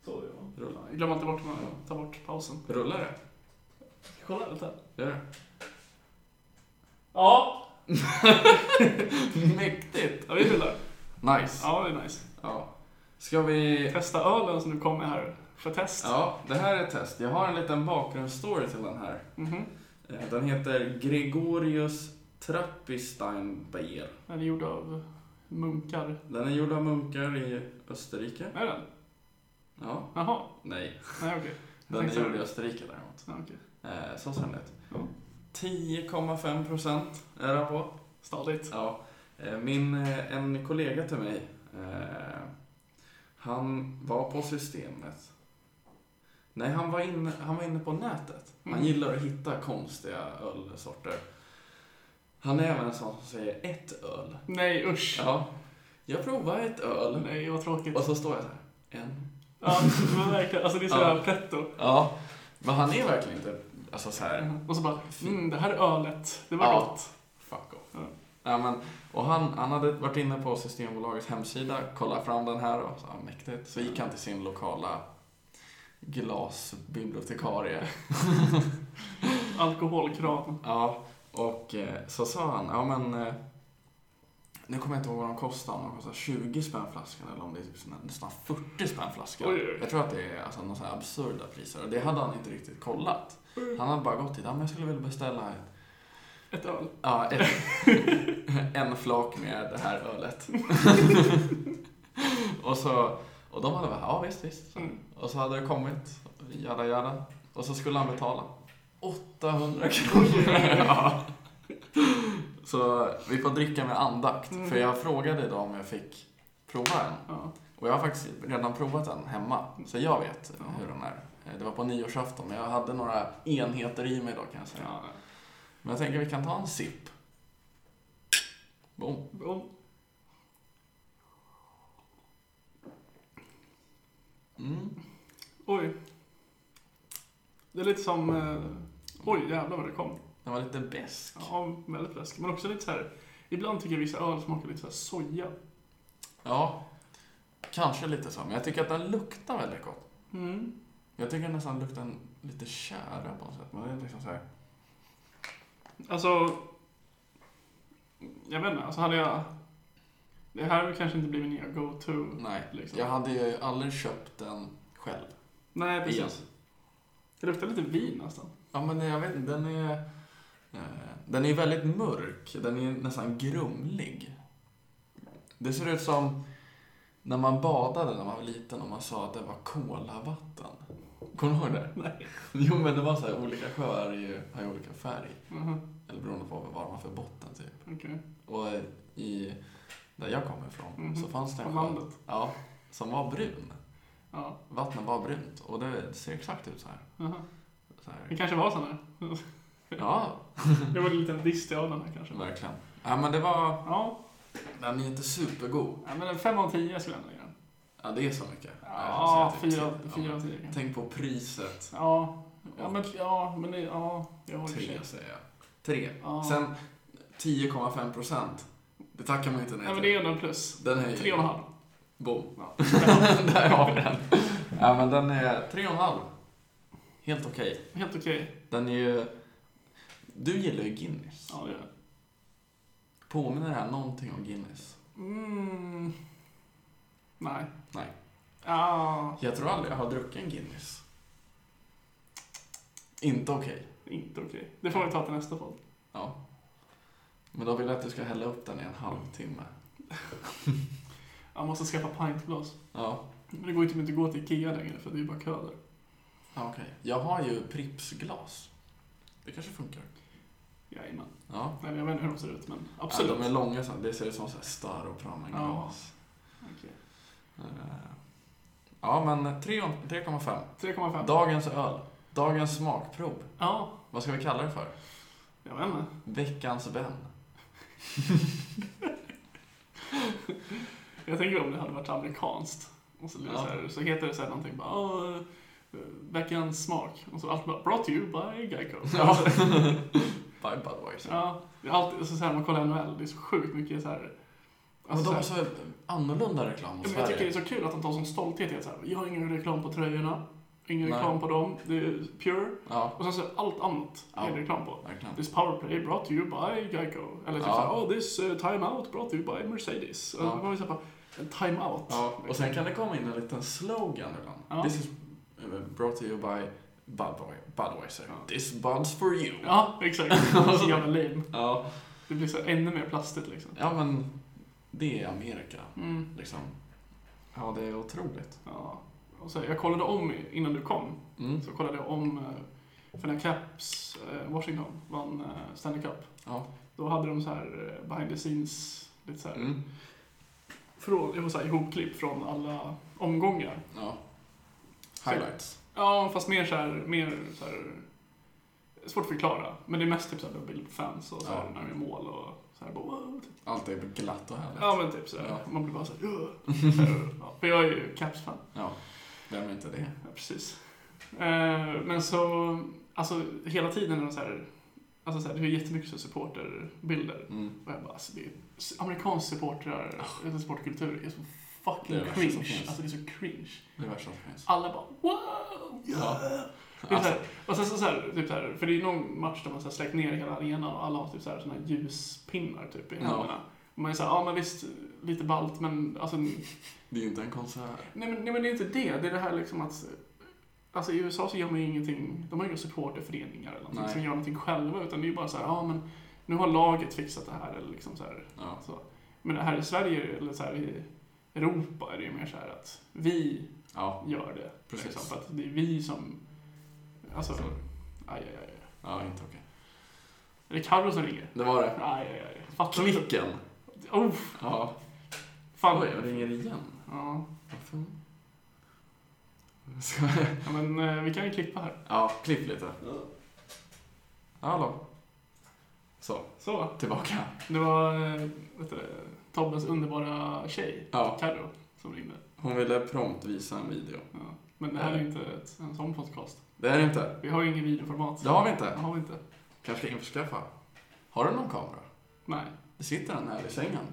[SPEAKER 2] Så, ja.
[SPEAKER 1] Rulla.
[SPEAKER 2] Glöm inte bort att man tar bort pausen.
[SPEAKER 1] Rullar det?
[SPEAKER 2] Kolla lite.
[SPEAKER 1] Gör det?
[SPEAKER 2] Ja,
[SPEAKER 1] Mäktigt!
[SPEAKER 2] ja vi rullar.
[SPEAKER 1] Nice.
[SPEAKER 2] Ja, det är nice.
[SPEAKER 1] Ja. Ska vi...
[SPEAKER 2] Testa ölen som du kom med här för test.
[SPEAKER 1] Ja, det här är ett test. Jag har en liten bakgrundsstory till den här.
[SPEAKER 2] Mhm.
[SPEAKER 1] Eh, Den heter Gregorius Trappisteinbeer.
[SPEAKER 2] Den är gjord av munkar.
[SPEAKER 1] Den är gjord av munkar i Österrike.
[SPEAKER 2] Är den?
[SPEAKER 1] Ja,
[SPEAKER 2] Jaha.
[SPEAKER 1] nej.
[SPEAKER 2] Nej, okej. Jag
[SPEAKER 1] Den är
[SPEAKER 2] tänkte-
[SPEAKER 1] gjord i Österrike däremot.
[SPEAKER 2] Ja, okej.
[SPEAKER 1] Eh, Så ser den ut.
[SPEAKER 2] Ja.
[SPEAKER 1] 10,5 procent är den på.
[SPEAKER 2] Stadigt.
[SPEAKER 1] Ja, eh, min, eh, en kollega till mig, eh, han var på systemet. Nej, han var inne, han var inne på nätet. Han
[SPEAKER 2] Mm.
[SPEAKER 1] gillar att hitta konstiga ölsorter. Han är även en sån som säger ett öl.
[SPEAKER 2] Nej, usch.
[SPEAKER 1] Ja, jag provar ett öl.
[SPEAKER 2] Nej, vad tråkigt.
[SPEAKER 1] Och så står jag så här, en.
[SPEAKER 2] Ja, men verkligen. Alltså det är så
[SPEAKER 1] Ja.
[SPEAKER 2] jävla pretto.
[SPEAKER 1] Ja, men han är verkligen inte, alltså så här,
[SPEAKER 2] Och så bara, mm, det här ölet, det var
[SPEAKER 1] Ja.
[SPEAKER 2] gott.
[SPEAKER 1] Fuck off.
[SPEAKER 2] Ja.
[SPEAKER 1] Ja, men, och han, han hade varit inne på Systembolagets hemsida, kollat fram den här och så, ja, mäktigt. Så gick han till sin lokala glasbibliotekarie.
[SPEAKER 2] Alkoholkran.
[SPEAKER 1] Ja, och eh, så sa han, ja men eh, nu kommer jag inte ihåg vad de kostar, om de kostar 20 spänn flaskan eller om det är typ såna- nästan 40 spänn flaskan.
[SPEAKER 2] Oj, oj, oj.
[SPEAKER 1] Jag tror att det är alltså, några så här absurda priser och det hade han inte riktigt kollat. Han hade bara gått till, ja men jag skulle vilja beställa ett
[SPEAKER 2] Ett öl.
[SPEAKER 1] Ja, ett, en flak med det här ölet. och, så, och de hade bara, ja visst, visst.
[SPEAKER 2] Mm.
[SPEAKER 1] Och så hade det kommit, jada jada. Och så skulle han betala 800 kronor. ja. Så vi får dricka med andakt.
[SPEAKER 2] Mm.
[SPEAKER 1] För jag frågade idag om jag fick prova en.
[SPEAKER 2] Ja.
[SPEAKER 1] Och jag har faktiskt redan provat den hemma, så jag vet
[SPEAKER 2] Ja.
[SPEAKER 1] hur den är. Eh, Det var på nyårsafton, men jag hade några enheter i mig då kan jag säga.
[SPEAKER 2] Ja.
[SPEAKER 1] Men jag tänker vi kan ta en sipp. Boom.
[SPEAKER 2] Och-
[SPEAKER 1] Mm.
[SPEAKER 2] Oj. Det är lite som, eh, oj jävlar vad det kom.
[SPEAKER 1] Den var lite besk.
[SPEAKER 2] Ja, väldigt läsk. Men också lite så här. ibland tycker jag vissa öl smakar lite så här soja.
[SPEAKER 1] Ja, kanske lite så. Men jag tycker att den luktar väldigt gott.
[SPEAKER 2] Mm.
[SPEAKER 1] Jag tycker det nästan luktar en- lite tjära på något sätt. Men det är liksom så här.
[SPEAKER 2] Alltså, jag vet inte, alltså hade jag... Det här kanske inte blir min nya go-to.
[SPEAKER 1] Nej,
[SPEAKER 2] Liksom.
[SPEAKER 1] jag hade ju aldrig köpt den själv.
[SPEAKER 2] Nej, precis.
[SPEAKER 1] Igen.
[SPEAKER 2] Det luktar lite vin nästan.
[SPEAKER 1] Ja, men jag vet inte. Den är... eh, Den är väldigt mörk. Den är nästan grumlig. Det ser ut som när man badade när man var liten och man sa att det var kolavatten. Kommer du ihåg det?
[SPEAKER 2] Nej.
[SPEAKER 1] Jo, men det var så här, olika sjöar är ju- har ju olika färg.
[SPEAKER 2] Mhm,
[SPEAKER 1] Eller beroende på vad man har för botten, typ.
[SPEAKER 2] Okej.
[SPEAKER 1] Och eh, i, där jag kommer ifrån
[SPEAKER 2] Mhm.
[SPEAKER 1] så fanns det
[SPEAKER 2] På
[SPEAKER 1] en sjö
[SPEAKER 2] landet.
[SPEAKER 1] ja, som var brun.
[SPEAKER 2] Ja.
[SPEAKER 1] Vattnet var brunt och det ser exakt ut så här.
[SPEAKER 2] aha.
[SPEAKER 1] Så
[SPEAKER 2] Det
[SPEAKER 1] här.
[SPEAKER 2] kanske var sån här.
[SPEAKER 1] Ja,
[SPEAKER 2] Det var en liten diss till Adam här kanske.
[SPEAKER 1] verkligen. Ja, men det var...
[SPEAKER 2] Ja,
[SPEAKER 1] Den är inte supergod.
[SPEAKER 2] ja, men en 5 av 10 skulle jag ändå ge den.
[SPEAKER 1] Ja, det är så mycket.
[SPEAKER 2] Ja,
[SPEAKER 1] jag skulle säga
[SPEAKER 2] 4
[SPEAKER 1] typ tio.
[SPEAKER 2] av 10
[SPEAKER 1] Ja.
[SPEAKER 2] kanske.
[SPEAKER 1] Tänk på priset.
[SPEAKER 2] Ja, ja men, ja, men det, ja, jag håller i och för sig.
[SPEAKER 1] Tre, säger jag. Tre.
[SPEAKER 2] Ja.
[SPEAKER 1] Sen 10,5 procent. Det tackar man inte
[SPEAKER 2] Nej,
[SPEAKER 1] nej
[SPEAKER 2] men det är ändå en plus.
[SPEAKER 1] Den är ju-
[SPEAKER 2] Tre och en halv.
[SPEAKER 1] Bom.
[SPEAKER 2] Ja.
[SPEAKER 1] Där har vi den. Ja, men den är 3,5. Helt okej.
[SPEAKER 2] Helt okej.
[SPEAKER 1] Den är ju... Du gillar ju Guinness.
[SPEAKER 2] Ja, det är det.
[SPEAKER 1] Påminner det här någonting om Guinness?
[SPEAKER 2] Mm. Nej.
[SPEAKER 1] Nej.
[SPEAKER 2] Ja,
[SPEAKER 1] Jag tror aldrig jag har druckit en Guinness. Inte okej.
[SPEAKER 2] inte okej. Det får vi ta till nästa podd.
[SPEAKER 1] Ja. Men då vill jag att du ska hälla upp den i en halvtimme.
[SPEAKER 2] Jag måste skaffa pintglas.
[SPEAKER 1] Ja,
[SPEAKER 2] Men det går ju typ inte att gå till Ikea längre för det är ju bara kö där. Ah,
[SPEAKER 1] ja, okej. Jag har ju Pripsglas. Det kanske funkar.
[SPEAKER 2] Jajamän.
[SPEAKER 1] Ja.
[SPEAKER 2] Nej, men jag vet inte hur de ser ut, men absolut.
[SPEAKER 1] Ja, de är långa, så det ser ut som så här starr och glas.
[SPEAKER 2] Ah, Okej.
[SPEAKER 1] Ja, men 3 3,5.
[SPEAKER 2] 3,5.
[SPEAKER 1] Dagens öl. Dagens smakprov.
[SPEAKER 2] Ja,
[SPEAKER 1] Vad ska vi kalla det för?
[SPEAKER 2] jag vet inte.
[SPEAKER 1] Veckans vän.
[SPEAKER 2] Jag tänker om det hade varit amerikanskt. Och så, blir det
[SPEAKER 1] Ja.
[SPEAKER 2] så, här, så heter det så här någonting bara "Ah, eh, Veckans smak. Och så allt bara Brought to you by Geico.
[SPEAKER 1] Ja. By Budweiser.
[SPEAKER 2] ja. Det är alltid, alltså, så här, man kollar NHL, det är så sjukt mycket så här.
[SPEAKER 1] men
[SPEAKER 2] Alltså,
[SPEAKER 1] de har
[SPEAKER 2] så
[SPEAKER 1] så annorlunda reklam
[SPEAKER 2] här,
[SPEAKER 1] mot
[SPEAKER 2] ja, men
[SPEAKER 1] Sverige.
[SPEAKER 2] jag tycker det är så kul att de tar som stolthet i att så här, jag har ingen reklam på tröjorna, ingen
[SPEAKER 1] Nej.
[SPEAKER 2] reklam på dem, det är pure.
[SPEAKER 1] Ja,
[SPEAKER 2] Och sen så allt annat
[SPEAKER 1] Ja.
[SPEAKER 2] är det reklam på.
[SPEAKER 1] verkligen.
[SPEAKER 2] This powerplay brought to you by Geico. Eller typ
[SPEAKER 1] Ja.
[SPEAKER 2] såhär, oh this eh, timeout brought to you by Mercedes.
[SPEAKER 1] Ja.
[SPEAKER 2] Ja. Man vill säga bara, en timeout.
[SPEAKER 1] Ja, och sen kan det komma in en liten slogan ibland.
[SPEAKER 2] Ja.
[SPEAKER 1] This is eh, brought to you by Budwe- Budweiser.
[SPEAKER 2] Ja.
[SPEAKER 1] This Bud's for you.
[SPEAKER 2] Ja, exakt. Det är så jävla lame.
[SPEAKER 1] Ja.
[SPEAKER 2] Det blir så här ännu mer plastigt liksom.
[SPEAKER 1] ja, men det är Amerika.
[SPEAKER 2] Mm.
[SPEAKER 1] Liksom. Ja, det är otroligt.
[SPEAKER 2] Ja. Och så här, jag kollade om innan du kom.
[SPEAKER 1] Mm.
[SPEAKER 2] Så kollade jag om, eh, för när Caps eh, Washington vann eh, Stanley Cup.
[SPEAKER 1] Ja.
[SPEAKER 2] Då hade de så här eh, behind the scenes, lite så här,
[SPEAKER 1] Mm.
[SPEAKER 2] från, jag var så här ihopklipp från alla omgångar.
[SPEAKER 1] ja. Highlights.
[SPEAKER 2] Ja, fast mer så här, mer så här svårt att förklara. Men det är mest typ så här bild på fans och så här
[SPEAKER 1] Ja.
[SPEAKER 2] när vi gör mål och så här bara wow, typ.
[SPEAKER 1] Allt är glatt och härligt.
[SPEAKER 2] Ja, men typ så här.
[SPEAKER 1] Ja. Mm.
[SPEAKER 2] Man blir bara så här, "Ugh." så här ja. För jag är ju Caps-fan.
[SPEAKER 1] Ja. Vem är inte det?
[SPEAKER 2] Ja, precis. Eh, Men så, alltså hela tiden är det så här, alltså så här, det är jättemycket så här supporterbilder.
[SPEAKER 1] Mm.
[SPEAKER 2] Och jag bara, alltså det är, amerikansk supportrar, eller supportkultur är så fucking
[SPEAKER 1] Ah. Det är det värsta som
[SPEAKER 2] cringe.
[SPEAKER 1] finns.
[SPEAKER 2] Alltså det är så cringe.
[SPEAKER 1] Det är värsta som finns.
[SPEAKER 2] Alla bara wow!
[SPEAKER 1] Ja.
[SPEAKER 2] Det är så här, och sen så, så här, typ så här, för det är någon match där man så här släckt ner hela arenan och alla har typ så här, såna här ljuspinnar typ i
[SPEAKER 1] Ja.
[SPEAKER 2] händerna. Och man är såhär, ja men visst, lite ballt men alltså, nej
[SPEAKER 1] Det är ju inte en konsert.
[SPEAKER 2] men, nej men det är inte det. Det är det här liksom att, alltså i USA så gör man ju ingenting, de har ju inga supporterföreningar eller någonting
[SPEAKER 1] Nej.
[SPEAKER 2] som gör någonting själva utan det är ju bara så här, ja men nu har laget fixat det här eller liksom så här.
[SPEAKER 1] Ja.
[SPEAKER 2] Så. Men här i Sverige, eller så här i Europa, är det ju mer så här att vi
[SPEAKER 1] Ja.
[SPEAKER 2] gör det.
[SPEAKER 1] Precis.
[SPEAKER 2] Liksom, för att det är vi som... Alltså,
[SPEAKER 1] Sorry.
[SPEAKER 2] aj, aj, aj.
[SPEAKER 1] Ja, inte okej.
[SPEAKER 2] Är det Carro som ringer?
[SPEAKER 1] Det var det.
[SPEAKER 2] Aj, aj, aj. Fattar du?
[SPEAKER 1] Klicken.
[SPEAKER 2] Oh,
[SPEAKER 1] Ja.
[SPEAKER 2] fan.
[SPEAKER 1] Oj, jag ringer igen.
[SPEAKER 2] Ja,
[SPEAKER 1] Varför? Ska jag-
[SPEAKER 2] ja, men eh, vi kan ju klippa här.
[SPEAKER 1] Ja, klipp lite. Hallå. Så,
[SPEAKER 2] Så,
[SPEAKER 1] tillbaka.
[SPEAKER 2] det var eh, vet du, det, Tobbes underbara tjej,
[SPEAKER 1] Ja.
[SPEAKER 2] Carro, som ringde.
[SPEAKER 1] Hon ville prompt visa en video.
[SPEAKER 2] Ja. Men det här är ju inte ett, en sån podcast.
[SPEAKER 1] Det är det inte.
[SPEAKER 2] Vi har ju ingen videoformat.
[SPEAKER 1] Det har vi
[SPEAKER 2] Det
[SPEAKER 1] inte.
[SPEAKER 2] har vi inte.
[SPEAKER 1] Kanske ska införskaffa. Har du någon kamera?
[SPEAKER 2] Nej.
[SPEAKER 1] Det sitter en här i sängen.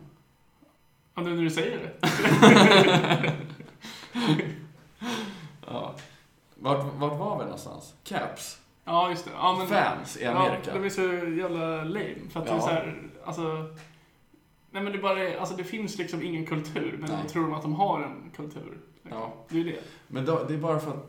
[SPEAKER 2] Ja, nu när du säger det.
[SPEAKER 1] ja. Vad Vart, vart var vi någonstans? Caps?
[SPEAKER 2] Ja, just det. Ja, men,
[SPEAKER 1] Fans i Amerika?
[SPEAKER 2] Ja, de är så jävla lame. För att det är
[SPEAKER 1] Ja.
[SPEAKER 2] så här, alltså... Nej men det bara är, alltså det finns liksom ingen kultur, men
[SPEAKER 1] Nej.
[SPEAKER 2] då tror de att de har en kultur. Liksom.
[SPEAKER 1] Ja.
[SPEAKER 2] Det är ju det.
[SPEAKER 1] Men då, det är bara för att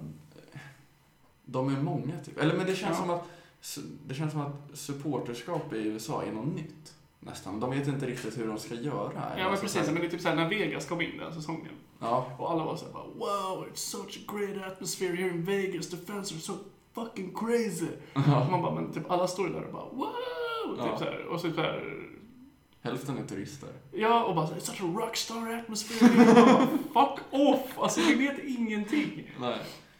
[SPEAKER 1] de är många, typ. Eller men det känns,
[SPEAKER 2] Ja.
[SPEAKER 1] som att, det känns som att supporterskap i USA är något nytt. Nästan. De vet inte riktigt hur de ska göra.
[SPEAKER 2] Ja,
[SPEAKER 1] Eller
[SPEAKER 2] men
[SPEAKER 1] alltså,
[SPEAKER 2] precis,
[SPEAKER 1] så här-
[SPEAKER 2] men det är typ såhär när Vegas kom in den säsongen.
[SPEAKER 1] Ja,
[SPEAKER 2] Och alla var såhär bara Wow, it's such a great atmosphere here in Vegas, the fans are so fucking crazy. Och man bara, men typ alla står ju där och bara Wow! Typ
[SPEAKER 1] Ja.
[SPEAKER 2] så här, och så typ såhär
[SPEAKER 1] hälften är turister.
[SPEAKER 2] Ja, och bara såhär, it's such a rockstar atmosphere. Och bara, Fuck off! Alltså vi vet ingenting.
[SPEAKER 1] Nej.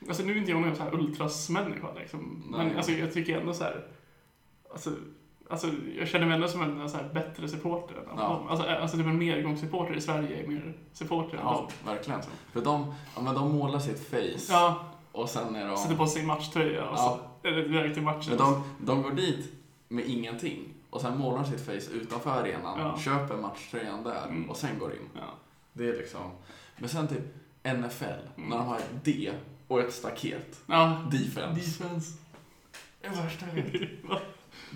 [SPEAKER 2] Alltså nu är inte jag någon så här ultrasmänniska liksom. Men
[SPEAKER 1] Nej.
[SPEAKER 2] alltså jag tycker ändå så här. Alltså, alltså jag känner mig ändå som en så här bättre supporter än
[SPEAKER 1] Ja.
[SPEAKER 2] dem. Alltså, alltså typ en medgångssupporter i Sverige är mer supporter än
[SPEAKER 1] Ja,
[SPEAKER 2] dem.
[SPEAKER 1] verkligen. För de, ja, men de målar sitt face
[SPEAKER 2] Ja,
[SPEAKER 1] och sen är de...
[SPEAKER 2] sätter på sig matchtröja och
[SPEAKER 1] Ja.
[SPEAKER 2] så är det direkt till matchen.
[SPEAKER 1] Men de, de går dit med ingenting och sen målar de sitt face utanför arenan,
[SPEAKER 2] Ja.
[SPEAKER 1] köper matchtröjan där
[SPEAKER 2] Mm.
[SPEAKER 1] och sen går in.
[SPEAKER 2] Ja.
[SPEAKER 1] Det är liksom... Men sen typ NFL,
[SPEAKER 2] Mm.
[SPEAKER 1] när de har ett D och ett staket.
[SPEAKER 2] ja.
[SPEAKER 1] Defense.
[SPEAKER 2] Defense.
[SPEAKER 1] Det är värsta jag vet.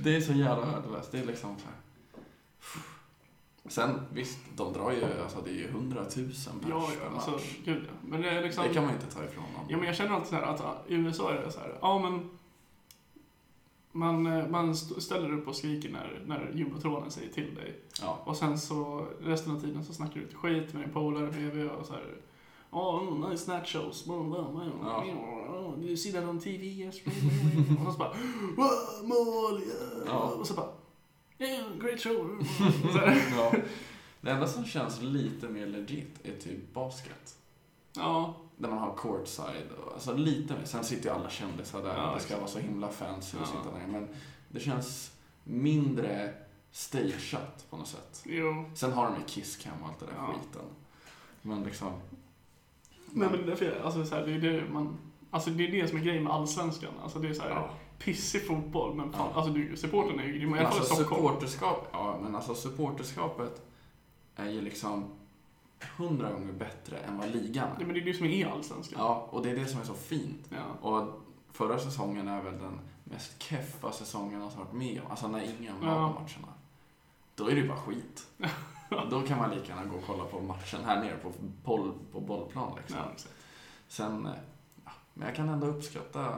[SPEAKER 1] Det är så jävla värdelöst. Det är liksom så här. Sen visst, de drar ju, alltså det är ju hundratusen pers
[SPEAKER 2] Ja,
[SPEAKER 1] per
[SPEAKER 2] ja,
[SPEAKER 1] match.
[SPEAKER 2] alltså gud ja. Men det är liksom...
[SPEAKER 1] Det kan man ju inte ta ifrån dem.
[SPEAKER 2] Ja, men jag känner alltid så här att ja, i USA är det så här, ja men man, eh, man st- ställer upp och skriker när, när jumbotronen säger till dig.
[SPEAKER 1] Ja.
[SPEAKER 2] Och sen så resten av tiden så snackar du lite skit med din polare bredvid och så här. Ja, oh, nice nachos. Blah, blah, blah.
[SPEAKER 1] Ja.
[SPEAKER 2] Oh, do you see that on TV? Yes. blah, blah, blah." och så bara, wow, mål! yeah."
[SPEAKER 1] Ja.
[SPEAKER 2] Och så bara, yeah, great show. Och så här.
[SPEAKER 1] ja. Det enda som känns lite mer legit är typ basket.
[SPEAKER 2] Ja,
[SPEAKER 1] Där man har courtside. och- Alltså lite mer. Sen sitter ju alla kändisar där.
[SPEAKER 2] Ja,
[SPEAKER 1] och det ska
[SPEAKER 2] exakt.
[SPEAKER 1] vara så himla fancy
[SPEAKER 2] Ja.
[SPEAKER 1] att sitta där. Men det känns mindre stageat på något sätt.
[SPEAKER 2] jo.
[SPEAKER 1] Sen har de ju Kisscam och allt det där
[SPEAKER 2] Ja.
[SPEAKER 1] skiten. Men liksom...
[SPEAKER 2] Nej men därför, jag- alltså, så här, det är det man... Alltså det är det som är grejen med Allsvenskan. Alltså det är så här,
[SPEAKER 1] Ja.
[SPEAKER 2] pissig fotboll, men fan,
[SPEAKER 1] Ja.
[SPEAKER 2] alltså du, supporten är ju grym. I
[SPEAKER 1] Men
[SPEAKER 2] alla fall i
[SPEAKER 1] alltså
[SPEAKER 2] Stockholm.
[SPEAKER 1] supporterskap, ja, men alltså supporterskapet är ju liksom hundra gånger bättre än vad ligan
[SPEAKER 2] Ja,
[SPEAKER 1] är.
[SPEAKER 2] men det är ju det som är Allsvenskan.
[SPEAKER 1] Ja, och det är det som är så fint.
[SPEAKER 2] Ja.
[SPEAKER 1] Och förra säsongen är väl den mest keffa säsongen jag har varit med om. Alltså när ingen var
[SPEAKER 2] Ja.
[SPEAKER 1] på matcherna. Då är det ju bara skit. Då kan man lika gärna gå och kolla på matchen här nere på, boll, på bollplan liksom.
[SPEAKER 2] Ja, exakt.
[SPEAKER 1] Sen, eh, ja, men jag kan ändå uppskatta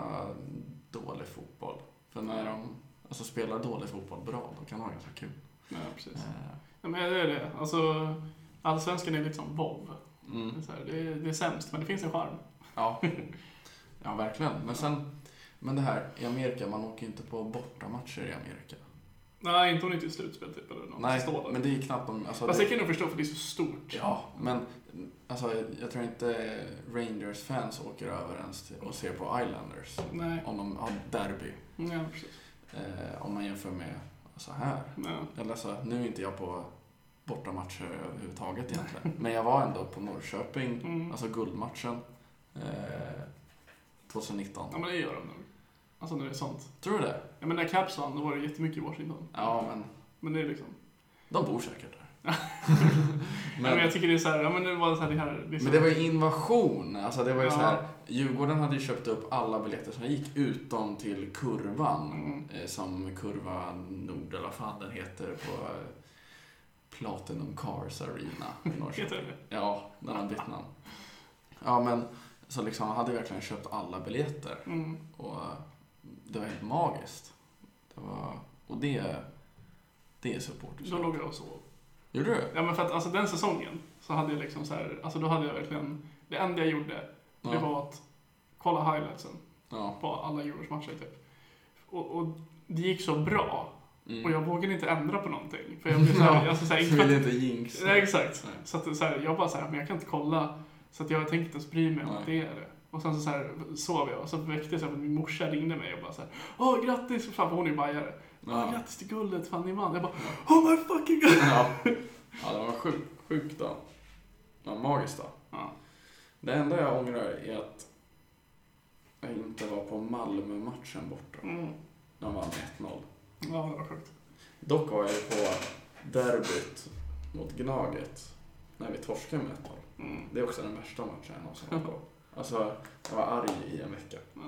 [SPEAKER 1] dålig fotboll. För när de alltså, spelar dålig fotboll bra, då kan de ha ganska kul.
[SPEAKER 2] ja, precis.
[SPEAKER 1] Eh,
[SPEAKER 2] Ja, men det är det. Alltså, Allsvenskan är liksom vov. Det, är
[SPEAKER 1] Mm,
[SPEAKER 2] så här, det, är- det är sämst, men det finns en charm.
[SPEAKER 1] ja. ja, verkligen. Men sen, men det här i Amerika, man åker ju inte på bortamatcher i Amerika.
[SPEAKER 2] Nej, inte om det inte är slutspel typ, eller något.
[SPEAKER 1] Nej,
[SPEAKER 2] som står där.
[SPEAKER 1] men det är ju knappt om... Alltså,
[SPEAKER 2] Fast
[SPEAKER 1] det-
[SPEAKER 2] det kan jag nog förstå, för det är så stort.
[SPEAKER 1] Ja, men alltså, jag tror inte Rangers-fans åker över ens till- och ser på Islanders.
[SPEAKER 2] Nej,
[SPEAKER 1] Om de har derby.
[SPEAKER 2] ja, precis.
[SPEAKER 1] Eh, om man jämför med så här.
[SPEAKER 2] Ja.
[SPEAKER 1] Eller så, nu är inte jag på bortamatcher överhuvudtaget egentligen. Men jag var ändå på Norrköping,
[SPEAKER 2] Mm.
[SPEAKER 1] alltså guldmatchen. Eh, 2019.
[SPEAKER 2] ja, men det gör de nog. Alltså när det är sånt.
[SPEAKER 1] Tror du det?
[SPEAKER 2] Ja, men när Caps vann, då var det jättemycket i Washington.
[SPEAKER 1] Ja, men
[SPEAKER 2] Men det är liksom...
[SPEAKER 1] de bor säkert där.
[SPEAKER 2] Men, men jag tycker det är så här, ja men det var så här det här...
[SPEAKER 1] Men det var ju invasion. Alltså det var ju
[SPEAKER 2] Ja.
[SPEAKER 1] så här, Djurgården hade ju köpt upp alla biljetter som gick utom till Kurvan.
[SPEAKER 2] Mm.
[SPEAKER 1] eh, Som Kurva Nord, eller vad fan den heter, på eh, Platinum Cars Arena i Norrköping.
[SPEAKER 2] Heter det?
[SPEAKER 1] Ja, den har bytt namn. Ja, men så liksom hade verkligen köpt alla biljetter.
[SPEAKER 2] Mm.
[SPEAKER 1] Och eh, det var helt magiskt. Det var, och det, det är support.
[SPEAKER 2] Då låg jag och sov.
[SPEAKER 1] Gjorde du?
[SPEAKER 2] Ja men för att alltså den säsongen så hade jag liksom så här, alltså då hade jag verkligen, det enda jag gjorde, det
[SPEAKER 1] Ja.
[SPEAKER 2] var att kolla highlightsen
[SPEAKER 1] Ja.
[SPEAKER 2] på alla Djurgårdens matcher typ. Och, och det gick så bra,
[SPEAKER 1] Mm.
[SPEAKER 2] och jag vågade inte ändra på någonting. För jag blev så här, alltså så här,
[SPEAKER 1] vill inte jinxa.
[SPEAKER 2] Nej exakt.
[SPEAKER 1] Nej.
[SPEAKER 2] Så att så här, jag bara så här, men jag kan inte kolla. Så att jag tänkte inte ens bry mig om
[SPEAKER 1] Nej.
[SPEAKER 2] att det är det. Och sen så, så här, sov jag och så väcktes jag av att min morsa ringde mig och bara så här, Åh grattis! Fan för hon är ju bajare.
[SPEAKER 1] Ja.
[SPEAKER 2] "Åh, Grattis till guldet, fan ni vann. Jag bara Oh my fucking god!
[SPEAKER 1] Ja, ja det var en sjuk, sjuk dag. Det var en magisk dag.
[SPEAKER 2] Ja.
[SPEAKER 1] Det enda jag ångrar är att jag inte var på Malmö-matchen borta.
[SPEAKER 2] Mm.
[SPEAKER 1] När de vann med 1-0.
[SPEAKER 2] Ja, det var sjukt.
[SPEAKER 1] Dock var jag ju på derbyt mot Gnaget när vi torskade med 1-0.
[SPEAKER 2] Mm.
[SPEAKER 1] Det är också den värsta matchen jag någonsin varit på. Alltså, jag var arg i en vecka.
[SPEAKER 2] Ja.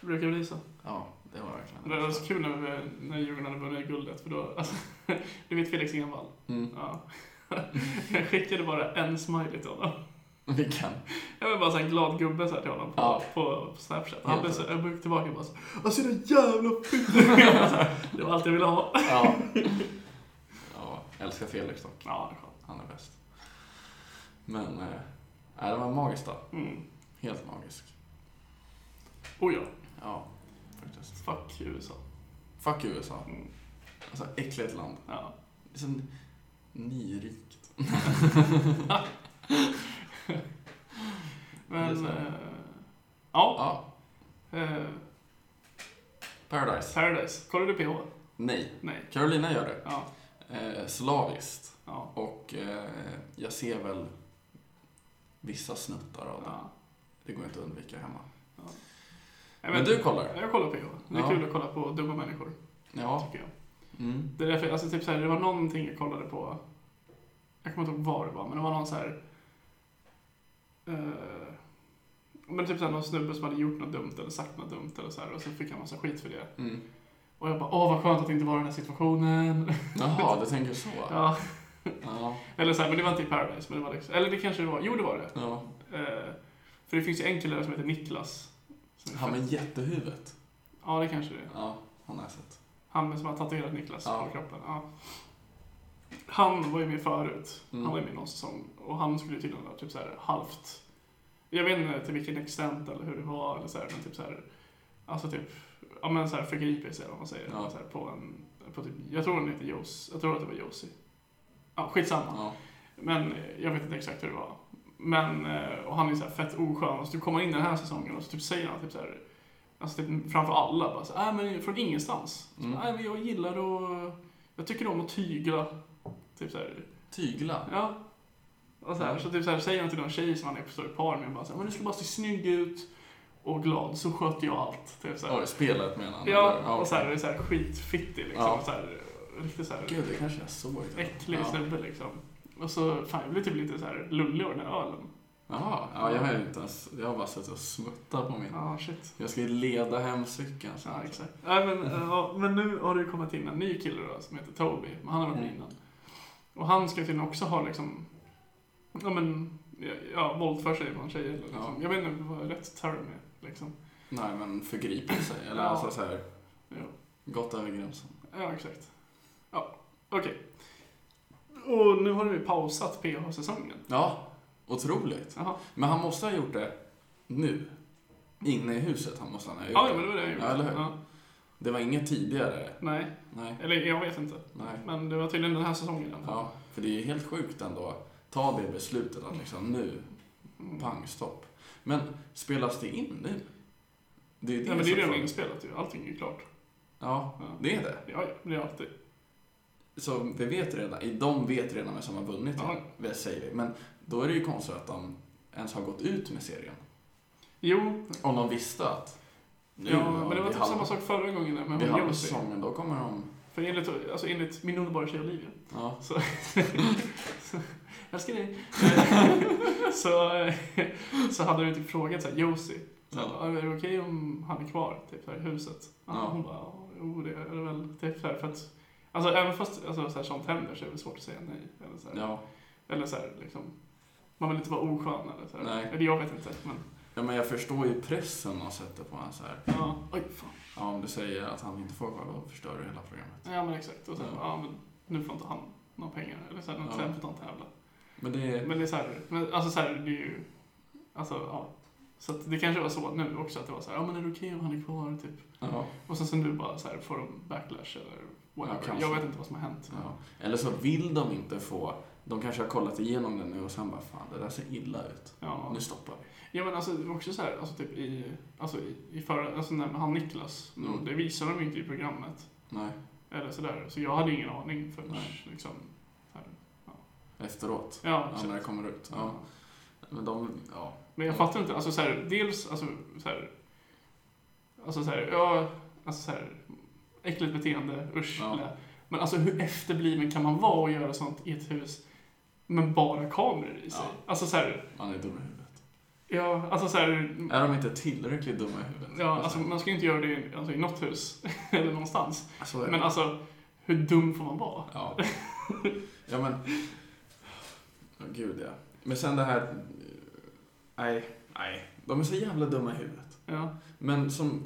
[SPEAKER 2] Det brukar bli så.
[SPEAKER 1] Ja, det var verkligen.
[SPEAKER 2] Det var så kul när, vi, när Djurgården hade vunnit guldet, för då, alltså, du vet Felix Envall?
[SPEAKER 1] Mm.
[SPEAKER 2] Ja. Jag skickade bara en smiley till honom.
[SPEAKER 1] Vilken?
[SPEAKER 2] Jag var bara så här glad gubbe så här till honom på,
[SPEAKER 1] Ja.
[SPEAKER 2] på, på Snapchat. Han
[SPEAKER 1] Helt
[SPEAKER 2] blev så,
[SPEAKER 1] rätt.
[SPEAKER 2] jag gick tillbaka och bara så, Alltså dina jävla fitter! Det var allt jag ville ha.
[SPEAKER 1] Ja. ja, älskar Felix dock.
[SPEAKER 2] Ja, det är skönt.
[SPEAKER 1] Han är bäst. Men, eh, nej, det var magiskt då.
[SPEAKER 2] Mm.
[SPEAKER 1] Helt magisk.
[SPEAKER 2] Oh ja,
[SPEAKER 1] Ja, faktiskt.
[SPEAKER 2] fuck USA.
[SPEAKER 1] Fuck USA.
[SPEAKER 2] Mm.
[SPEAKER 1] Alltså, äckligt land.
[SPEAKER 2] Ja.
[SPEAKER 1] Det är så nyrikt. Det är
[SPEAKER 2] Men,
[SPEAKER 1] så.
[SPEAKER 2] eh, ja.
[SPEAKER 1] Ja,
[SPEAKER 2] Eh,
[SPEAKER 1] Paradise.
[SPEAKER 2] Paradise. Kollar du PH?
[SPEAKER 1] Nej.
[SPEAKER 2] Nej.
[SPEAKER 1] Carolina gör det.
[SPEAKER 2] Ja.
[SPEAKER 1] Eh, slaviskt.
[SPEAKER 2] Ja.
[SPEAKER 1] Och eh, jag ser väl vissa snuttar av det.
[SPEAKER 2] ja.
[SPEAKER 1] Det går inte att undvika hemma.
[SPEAKER 2] Jag
[SPEAKER 1] Men
[SPEAKER 2] vet-
[SPEAKER 1] du kollar?
[SPEAKER 2] Jag kollar PH. Det är
[SPEAKER 1] Ja.
[SPEAKER 2] kul att kolla på dumma människor,
[SPEAKER 1] Ja.
[SPEAKER 2] tycker jag.
[SPEAKER 1] Mm.
[SPEAKER 2] Det är därför, alltså typ såhär, det var någonting jag kollade på. Jag kommer inte ihåg vad det var, men det var någon såhär... Eh, men typ såhär någon snubbe som hade gjort något dumt eller sagt något dumt eller såhär och så fick han massa skit för det.
[SPEAKER 1] Mm.
[SPEAKER 2] Och jag bara, åh vad skönt att det inte var den här situationen.
[SPEAKER 1] Jaha, du tänker så?
[SPEAKER 2] ja.
[SPEAKER 1] Ja.
[SPEAKER 2] Eller såhär, men det var inte i Paradise, men det var liksom, eller det kanske det var, jo det var det.
[SPEAKER 1] ja.
[SPEAKER 2] Eh, för det finns ju en kille där som heter Niklas. Som är
[SPEAKER 1] Han med
[SPEAKER 2] fett-
[SPEAKER 1] jättehuvudet.
[SPEAKER 2] Ja, det kanske det är.
[SPEAKER 1] Ja, han har jag sett.
[SPEAKER 2] Han som har tatuerat Niklas
[SPEAKER 1] Ja.
[SPEAKER 2] på kroppen. Ja. Han var ju med förut.
[SPEAKER 1] Mm.
[SPEAKER 2] Han var ju med någon säsong. Och han skulle ju tydligen vara typ så här halvt... Jag vet inte till vilken extent eller hur det var eller så här, men typ så här... Alltså typ... Ja men så här förgripit sig eller vad man säger.
[SPEAKER 1] Ja.
[SPEAKER 2] Så här, på en... På typ, jag tror hon heter Jos. Jag tror att det var Josie. Ja, skitsamma.
[SPEAKER 1] Ja.
[SPEAKER 2] Men eh, jag vet inte exakt hur det var. Men, eh, och han är så här fett oskön. Och så typ kommer han in den här säsongen och så typ säger han typ så här, alltså typ framför alla bara så här, "Nej, men från ingenstans. Så,
[SPEAKER 1] Mm.
[SPEAKER 2] Nej men jag gillar att, jag tycker om att tygla. Typ så här,
[SPEAKER 1] Tygla.
[SPEAKER 2] ja. Och så, här,
[SPEAKER 1] Mm.
[SPEAKER 2] så typ så här säger han till någon tjej som han är på står i par med bara så här, men du ska bara se snygg ut och glad så sköter jag allt. Typ så här.
[SPEAKER 1] Oj, spelet menar han? eller?
[SPEAKER 2] Ja,
[SPEAKER 1] okej.
[SPEAKER 2] och så här, det är så här skitfittig liksom.
[SPEAKER 1] Ja.
[SPEAKER 2] Så här, riktigt så här,
[SPEAKER 1] Gud, det kanske jag såg.
[SPEAKER 2] äcklig
[SPEAKER 1] ja.
[SPEAKER 2] snubbe liksom. Och så, fan jag blev typ lite så här lullig av den här ölen.
[SPEAKER 1] Jaha, ja, jag har ju inte ens, jag har bara suttit och smuttat på min.
[SPEAKER 2] Ja, shit.
[SPEAKER 1] Jag ska ju leda hem cykeln sen.
[SPEAKER 2] Ja, exakt. Nej, men, eh, ja, men nu har det ju kommit in en ny kille då, som heter Toby, men han har varit med
[SPEAKER 1] Mm.
[SPEAKER 2] innan. Och han ska tydligen också ha liksom, ja men, ja, ja våld för sig bland tjejer. Liksom.
[SPEAKER 1] Ja.
[SPEAKER 2] Jag vet inte vad rätt term är, liksom.
[SPEAKER 1] Nej, men förgriper sig. Eller
[SPEAKER 2] Ja.
[SPEAKER 1] alltså så här,
[SPEAKER 2] Ja,
[SPEAKER 1] gått över gränsen.
[SPEAKER 2] ja exakt. Ja, okej. Och nu har vi pausat PH-säsongen.
[SPEAKER 1] Ja, otroligt.
[SPEAKER 2] Jaha.
[SPEAKER 1] Men han måste ha gjort det nu. Inne i huset han måste han ha gjort
[SPEAKER 2] Ja, ja, men det var det jag gjorde.
[SPEAKER 1] Ja, eller hur?
[SPEAKER 2] Ja.
[SPEAKER 1] Det var inget tidigare.
[SPEAKER 2] Nej,
[SPEAKER 1] Nej,
[SPEAKER 2] eller jag vet inte.
[SPEAKER 1] nej.
[SPEAKER 2] Men det var tydligen den här säsongen. i alla fall.
[SPEAKER 1] Ja, för det är ju helt sjukt ändå. Ta det beslutet att liksom nu,
[SPEAKER 2] Mm.
[SPEAKER 1] pang, stopp. Men spelas det in nu? Det är ju
[SPEAKER 2] Nej, men det är
[SPEAKER 1] som-
[SPEAKER 2] ju redan inspelat ju. Allting är ju klart.
[SPEAKER 1] Ja,
[SPEAKER 2] Ja.
[SPEAKER 1] det är det.
[SPEAKER 2] Ja, ja, det är alltid.
[SPEAKER 1] Så vi vet redan, de vet redan vem som har vunnit
[SPEAKER 2] Ja.
[SPEAKER 1] det, säger vi. Men då är det ju konstigt att de ens har gått ut med serien.
[SPEAKER 2] Jo,
[SPEAKER 1] Om de visste att nu
[SPEAKER 2] ja,
[SPEAKER 1] har
[SPEAKER 2] men det var
[SPEAKER 1] vi
[SPEAKER 2] typ
[SPEAKER 1] halv-
[SPEAKER 2] samma sak förra gången där med
[SPEAKER 1] Vi
[SPEAKER 2] hon
[SPEAKER 1] halva
[SPEAKER 2] Josie.
[SPEAKER 1] säsongen, då kommer de...
[SPEAKER 2] För enligt, alltså enligt min underbara tjej Olivia.
[SPEAKER 1] Ja.
[SPEAKER 2] Så, så, älskar dig. så, eh, så hade du typ frågat såhär, Josie. Så
[SPEAKER 1] Ja.
[SPEAKER 2] här, Är det okej om han är kvar typ, här, i huset? Ja.
[SPEAKER 1] Ja.
[SPEAKER 2] Hon bara, "Ja, jo det är det väl. Typ, så här, för att, alltså även fast alltså, så här, sånt händer så är det väl svårt att säga nej. Eller så här,
[SPEAKER 1] Ja.
[SPEAKER 2] eller så här liksom. Man vill inte vara oskön eller så här.
[SPEAKER 1] Nej.
[SPEAKER 2] Eller jag vet inte. Men,
[SPEAKER 1] ja, men jag förstår ju pressen de sätter på honom så här.
[SPEAKER 2] ja. Oj, fan.
[SPEAKER 1] Ja, om du säger att han inte får vara kvar, då förstör du hela programmet.
[SPEAKER 2] Ja men exakt. Och sen,
[SPEAKER 1] Ja.
[SPEAKER 2] ja. men nu får inte han några pengar. Eller så här,
[SPEAKER 1] Ja.
[SPEAKER 2] ja. sen får inte han tävla.
[SPEAKER 1] Men det är...
[SPEAKER 2] Men det är så här, men, alltså så här, det är ju, alltså ja. Så att det kanske var så nu också, att det var så här, ja men är det okej om han är kvar, typ.
[SPEAKER 1] Ja,
[SPEAKER 2] Och sen så nu bara så här, får de backlash eller whatever.
[SPEAKER 1] kanske.
[SPEAKER 2] jag vet inte vad som har hänt. men-
[SPEAKER 1] ja. Eller så vill de inte få... De kanske har kollat igenom det nu och sen bara, fan, det där ser illa ut.
[SPEAKER 2] Ja.
[SPEAKER 1] Nu stoppar vi.
[SPEAKER 2] ja men alltså det var också så här, alltså typ i, alltså i, i förra, alltså när han Niklas, då,
[SPEAKER 1] Mm.
[SPEAKER 2] det visade de ju inte i programmet.
[SPEAKER 1] Nej,
[SPEAKER 2] Eller sådär, så jag hade ju ingen aning förrän
[SPEAKER 1] Nej.
[SPEAKER 2] liksom, så här.
[SPEAKER 1] efteråt.
[SPEAKER 2] ja,
[SPEAKER 1] Ja, när det
[SPEAKER 2] exakt.
[SPEAKER 1] kommer ut. Ja. Men de... Ja.
[SPEAKER 2] Men jag fattar inte, alltså så här, dels alltså så här, alltså så här, ja, alltså så här, äckligt beteende, usch.
[SPEAKER 1] Ja.
[SPEAKER 2] lä. Men alltså hur efterbliven kan man vara och göra sånt i ett hus med bara kameror i sig?
[SPEAKER 1] Ja.
[SPEAKER 2] Alltså så här,
[SPEAKER 1] Man är dum i huvudet.
[SPEAKER 2] Ja, alltså så här,
[SPEAKER 1] Är de inte tillräckligt dumma i huvudet?
[SPEAKER 2] ja, alltså, man ska ju inte göra det i- alltså, i något hus eller någonstans.
[SPEAKER 1] så är det.
[SPEAKER 2] Men alltså, hur dum får man vara?
[SPEAKER 1] Ja. ja, men... Ja, gud ja. Men sen det här... Nej, nej. De är så jävla dumma i huvudet.
[SPEAKER 2] Ja,
[SPEAKER 1] Men som...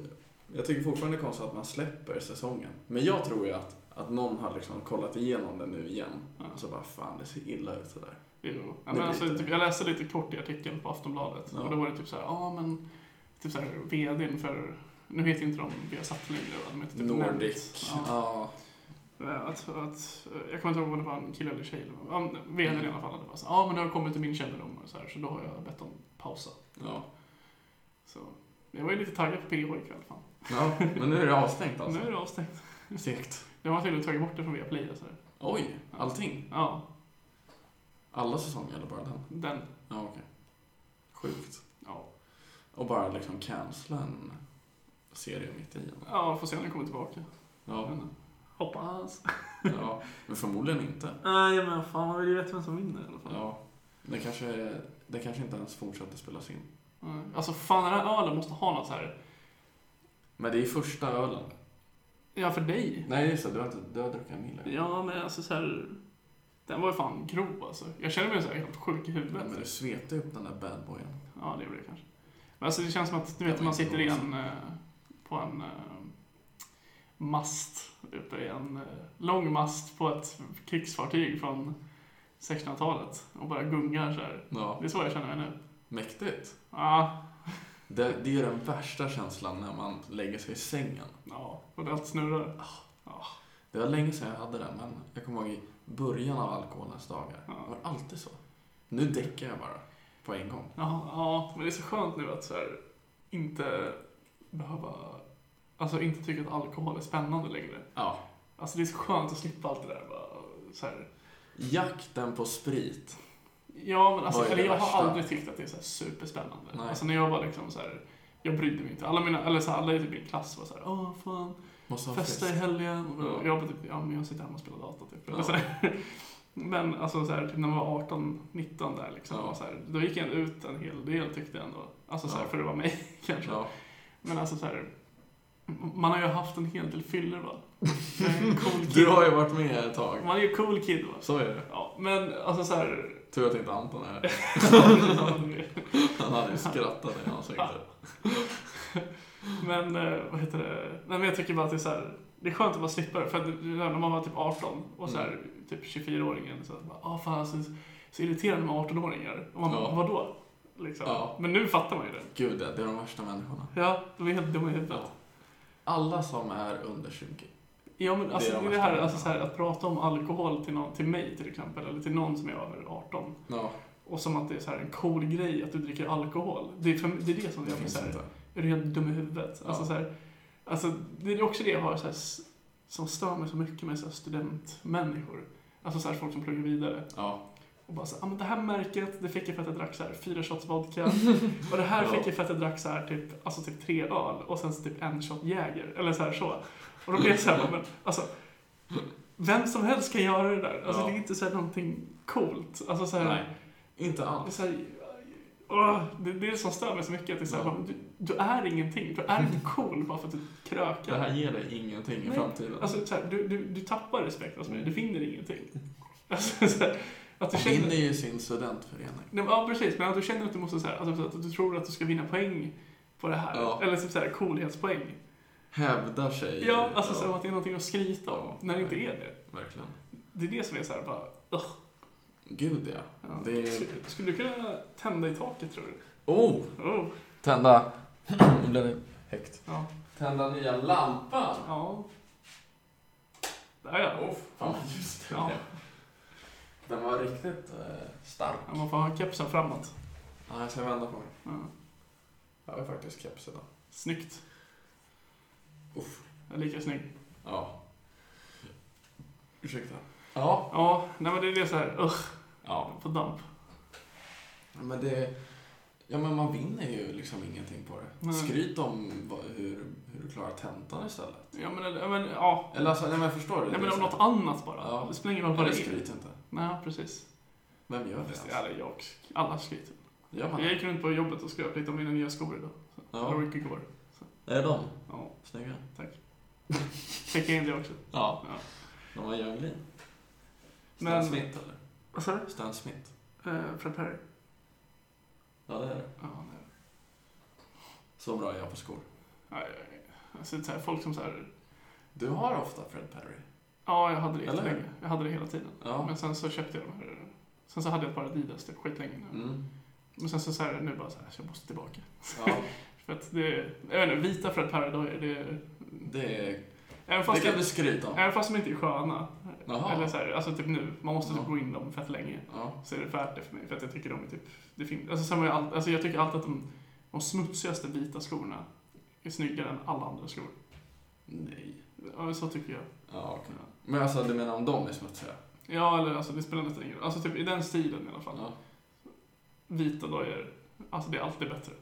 [SPEAKER 1] Jag tycker fortfarande det är konstigt att man släpper säsongen. Men jag tror ju att, att någon har liksom kollat igenom den nu igen.
[SPEAKER 2] Ja.
[SPEAKER 1] Och så bara, fan det ser illa ut sådär.
[SPEAKER 2] jo. Ja,
[SPEAKER 1] Det
[SPEAKER 2] men
[SPEAKER 1] blir
[SPEAKER 2] alltså,
[SPEAKER 1] det.
[SPEAKER 2] typ, jag läste lite kort i artikeln på Aftonbladet
[SPEAKER 1] Ja.
[SPEAKER 2] och då var det typ så här, ja men, typ så här, vdn för, nu heter inte de Viasat längre, va? de heter typ
[SPEAKER 1] Nordic.
[SPEAKER 2] Nent. Ja.
[SPEAKER 1] Ja.
[SPEAKER 2] Att, att, eh, jag kommer inte ihåg om det var en kille eller tjej. eller vad. Ja, men VD i alla fall. Det var så, här, ja men det har kommit till min kännedom och så, här, så då har jag bett dem pausa.
[SPEAKER 1] Ja.
[SPEAKER 2] Så jag var ju lite taggad på PH ikväll. Fan.
[SPEAKER 1] ja. Men nu är det avstängt alltså.
[SPEAKER 2] Nu är det avstängt.
[SPEAKER 1] Segt.
[SPEAKER 2] De har tydligen tagit bort det från Viaplay. och Så här.
[SPEAKER 1] Oj, allting?
[SPEAKER 2] Ja,
[SPEAKER 1] Alla säsonger eller bara den?
[SPEAKER 2] den.
[SPEAKER 1] Ja, okej. Sjukt.
[SPEAKER 2] Ja.
[SPEAKER 1] Och bara liksom cancella en serie mitt i. eller?
[SPEAKER 2] ja, får se när den kommer tillbaka.
[SPEAKER 1] Ja,
[SPEAKER 2] Men, hoppas.
[SPEAKER 1] ja, men förmodligen inte.
[SPEAKER 2] Nej men fan, man vill ju veta vem som vinner i alla fall.
[SPEAKER 1] Ja, det kanske, det kanske inte ens fortsätter spelas in.
[SPEAKER 2] Nej. Alltså fan, den här ölen måste ha något så här.
[SPEAKER 1] Men det är första ölen.
[SPEAKER 2] Ja, för dig.
[SPEAKER 1] Nej, just det. Du har, inte, du har druckit en mille.
[SPEAKER 2] Ja, men alltså så här. Den var ju fan grov alltså. Jag känner mig så här helt sjuk i huvudet.
[SPEAKER 1] Nej, men du svepte upp den där badboyen.
[SPEAKER 2] Ja, det gjorde det kanske. Men alltså det känns som att, du vet,
[SPEAKER 1] Ja,
[SPEAKER 2] man
[SPEAKER 1] men
[SPEAKER 2] sitter i
[SPEAKER 1] också.
[SPEAKER 2] en, eh, på en eh, mast, uppe i en eh, lång mast på ett krigsfartyg från 1600-talet och bara gungar så här.
[SPEAKER 1] Ja,
[SPEAKER 2] Det är så jag känner mig nu. Ah,
[SPEAKER 1] mäktigt.
[SPEAKER 2] Ja,
[SPEAKER 1] Det, det är den värsta känslan när man lägger sig i sängen.
[SPEAKER 2] ja, och allt snurrar.
[SPEAKER 1] Det var länge sedan jag hade den, men jag kommer ihåg i början av alkoholens dagar.
[SPEAKER 2] Ja.
[SPEAKER 1] Det var alltid så. Nu däckar jag bara. På en gång.
[SPEAKER 2] Ja, ja, men det är så skönt nu att så här, inte behöva, alltså inte tycka att alkohol är spännande längre.
[SPEAKER 1] Ja.
[SPEAKER 2] Alltså det är så skönt att slippa allt det där bara, så här,
[SPEAKER 1] Jakten på sprit.
[SPEAKER 2] Ja, men alltså,
[SPEAKER 1] Vad är
[SPEAKER 2] eller
[SPEAKER 1] det
[SPEAKER 2] jag
[SPEAKER 1] värsta?
[SPEAKER 2] har aldrig tyckt att det är så här superspännande.
[SPEAKER 1] Nej.
[SPEAKER 2] Alltså när jag var liksom så här, jag brydde mig inte. Alla, mina, eller så här, alla i typ min klass var så här, åh fan,
[SPEAKER 1] Måste ha fest.
[SPEAKER 2] festa i helgen.
[SPEAKER 1] Ja.
[SPEAKER 2] Och jag bara typ, ja men jag sitter hemma och spelar data typ.
[SPEAKER 1] Ja.
[SPEAKER 2] Eller så här. Men alltså så här, typ när man var 18, 19 där liksom,
[SPEAKER 1] Ja.
[SPEAKER 2] och så här, då gick jag ut en hel del tyckte jag ändå. Alltså så här,
[SPEAKER 1] Ja.
[SPEAKER 2] för det var mig kanske.
[SPEAKER 1] Ja.
[SPEAKER 2] Men alltså så här, man har ju haft en hel del fyller va. Jag är en cool kid.
[SPEAKER 1] Mm. Du har ju varit med ett tag.
[SPEAKER 2] Man är ju cool kid va.
[SPEAKER 1] Så är det.
[SPEAKER 2] Ja, men alltså så här,
[SPEAKER 1] Tur att inte Anton är här. Han hade ju skrattat i ansiktet.
[SPEAKER 2] Men eh, vad heter det? Nej, men jag tycker bara att det är så här, det är skönt att bara slippa det. För att det- det där när man var typ 18 och så här,
[SPEAKER 1] Mm.
[SPEAKER 2] typ 24-åringen så bara, ah fan alltså, så irriterande med 18-åringar. Och man
[SPEAKER 1] Ja.
[SPEAKER 2] bara, vadå? Liksom.
[SPEAKER 1] Ja.
[SPEAKER 2] Men nu fattar man ju det.
[SPEAKER 1] Gud, det är de värsta människorna.
[SPEAKER 2] Ja, de är helt dumma i huvudet.
[SPEAKER 1] Ja. Alla som är under 20.
[SPEAKER 2] Ja men alltså
[SPEAKER 1] Det
[SPEAKER 2] det,
[SPEAKER 1] är de
[SPEAKER 2] är det här,
[SPEAKER 1] värsta.
[SPEAKER 2] alltså, så här, att prata om alkohol till, någon, till mig till exempel, eller till någon som är över 18.
[SPEAKER 1] Ja,
[SPEAKER 2] Och som att det är så här en cool grej att du dricker alkohol. Det är, för, det, är det som
[SPEAKER 1] det
[SPEAKER 2] jag blir
[SPEAKER 1] finns
[SPEAKER 2] så här,
[SPEAKER 1] inte.
[SPEAKER 2] Är du helt dum i huvudet?
[SPEAKER 1] Ja.
[SPEAKER 2] Alltså, så här, alltså, det är också det jag har så här, s- som stör mig så mycket med så här, studentmänniskor. Alltså så här, folk som pluggar vidare.
[SPEAKER 1] Ja,
[SPEAKER 2] Och bara så här, ah, men det här märket, det fick jag för att jag drack så här, fyra shots vodka. och det här
[SPEAKER 1] Ja.
[SPEAKER 2] fick jag för att jag drack så här, typ, alltså, typ tre öl och sen så typ en shot Jäger. Eller så här så. Och då blir jag så här, men alltså. Vem som helst kan göra det där. Alltså
[SPEAKER 1] Ja.
[SPEAKER 2] det är inte så här någonting coolt. Alltså så här,
[SPEAKER 1] nej. Inte
[SPEAKER 2] det är,
[SPEAKER 1] alls.
[SPEAKER 2] så här, åh, det, det är det som stör mig så mycket. Att det är så här,
[SPEAKER 1] Ja.
[SPEAKER 2] bara, du, du är ingenting. Du är inte cool bara för att du krökar.
[SPEAKER 1] Det här ger dig ingenting i
[SPEAKER 2] Nej,
[SPEAKER 1] framtiden.
[SPEAKER 2] Alltså, så här, du, du, du tappar respekt hos mig.
[SPEAKER 1] Mm.
[SPEAKER 2] Du vinner ingenting. Alltså, så här, att du känner...
[SPEAKER 1] Vinner ju sin studentförening.
[SPEAKER 2] Nej, men, ja, precis. Men att du känner att du måste så här, alltså, så att du tror att du ska vinna poäng på det här.
[SPEAKER 1] Ja.
[SPEAKER 2] Eller typ så här, coolhetspoäng.
[SPEAKER 1] Hävdar sig.
[SPEAKER 2] Ja, alltså så här, att det är någonting att skryta om.
[SPEAKER 1] Ja,
[SPEAKER 2] när det inte
[SPEAKER 1] nej.
[SPEAKER 2] är det.
[SPEAKER 1] Verkligen.
[SPEAKER 2] Det är det som är så här, bara... ugh.
[SPEAKER 1] Gud ja.
[SPEAKER 2] Ja.
[SPEAKER 1] Det är...
[SPEAKER 2] Sk- Skulle du kunna tända i taket, tror du?
[SPEAKER 1] Oh!
[SPEAKER 2] Oh,
[SPEAKER 1] Tända... Nu blev det högt.
[SPEAKER 2] ja.
[SPEAKER 1] Tända nya lampan!
[SPEAKER 2] Ja. Där ja.
[SPEAKER 1] Oh, fan, just det.
[SPEAKER 2] Ja.
[SPEAKER 1] Den var riktigt eh, stark.
[SPEAKER 2] Ja, Man får ha kepsen framåt.
[SPEAKER 1] Ja, jag ska vända på mig.
[SPEAKER 2] Ja.
[SPEAKER 1] Jag har faktiskt keps idag.
[SPEAKER 2] Snyggt.
[SPEAKER 1] Uff.
[SPEAKER 2] Jag är lika snygg.
[SPEAKER 1] Ja. Ursäkta. Ja.
[SPEAKER 2] Ja, nej men det är det så här. Ugh,
[SPEAKER 1] Ja.
[SPEAKER 2] på damp.
[SPEAKER 1] Men det... Ja, men man vinner ju liksom ingenting på det.
[SPEAKER 2] Nej.
[SPEAKER 1] Skryt om vad, hur, hur du klarar tentan istället.
[SPEAKER 2] Ja men, eller- ja, men ja.
[SPEAKER 1] Eller alltså, nej men förstår du?
[SPEAKER 2] Nej men
[SPEAKER 1] Det är
[SPEAKER 2] om
[SPEAKER 1] så-
[SPEAKER 2] något annat bara.
[SPEAKER 1] Ja.
[SPEAKER 2] Det spelar ingen roll
[SPEAKER 1] Ja,
[SPEAKER 2] vad
[SPEAKER 1] det
[SPEAKER 2] det är.
[SPEAKER 1] skryt inte.
[SPEAKER 2] Nej, precis.
[SPEAKER 1] Vem gör det?
[SPEAKER 2] Eller jag. Alla skryter.
[SPEAKER 1] Gör man
[SPEAKER 2] Jag
[SPEAKER 1] det?
[SPEAKER 2] gick runt på jobbet och skröp lite om mina nya skor idag.
[SPEAKER 1] Ja.
[SPEAKER 2] Eller gick igår.
[SPEAKER 1] Är de
[SPEAKER 2] Ja,
[SPEAKER 1] snygga?
[SPEAKER 2] fick jag in det också.
[SPEAKER 1] Ja.
[SPEAKER 2] Ja.
[SPEAKER 1] De var Younglin. Stan
[SPEAKER 2] Men-
[SPEAKER 1] Smith eller?
[SPEAKER 2] Vad sa du? Eh,
[SPEAKER 1] Stan Smith.
[SPEAKER 2] Fred Perry?
[SPEAKER 1] Ja, det är det.
[SPEAKER 2] Ja, nej.
[SPEAKER 1] Så bra är jag på skor.
[SPEAKER 2] Nej, nej. Alltså, det är så här, folk som så här...
[SPEAKER 1] Du har ofta Fred Perry.
[SPEAKER 2] Ja, jag hade det
[SPEAKER 1] Eller hur?
[SPEAKER 2] jättelänge. Jag hade det hela tiden.
[SPEAKER 1] Ja.
[SPEAKER 2] Men sen så köpte jag de här... Sen så hade jag ett par Adidas typ skitlänge nu.
[SPEAKER 1] Mm.
[SPEAKER 2] Men sen så, så här, nu bara så här, jag måste tillbaka.
[SPEAKER 1] Ja,
[SPEAKER 2] För att det... Jag vet inte, vita Fred Perry-dojor, det... är-
[SPEAKER 1] det, är-
[SPEAKER 2] Även
[SPEAKER 1] det
[SPEAKER 2] fast
[SPEAKER 1] kan
[SPEAKER 2] det
[SPEAKER 1] du skryta om.
[SPEAKER 2] Även fast de inte är sköna.
[SPEAKER 1] Jaha.
[SPEAKER 2] Eller så här, alltså typ nu. Man måste typ
[SPEAKER 1] Ja.
[SPEAKER 2] gå in dem fett länge.
[SPEAKER 1] Ja.
[SPEAKER 2] Så är det värt det för mig. För att jag tycker de är typ... Det fin- alltså, sen var jag, all- alltså, jag tycker alltid att de, de smutsigaste vita skorna är snyggare än alla andra skor.
[SPEAKER 1] Nej.
[SPEAKER 2] Ja, så tycker jag.
[SPEAKER 1] Ja, okej. Men alltså, du menar om de är smutsiga?
[SPEAKER 2] Ja, eller alltså det spelar nästan ingen roll. Alltså typ i den stilen i alla fall.
[SPEAKER 1] Ja.
[SPEAKER 2] Vita dojor. Alltså det är alltid bättre.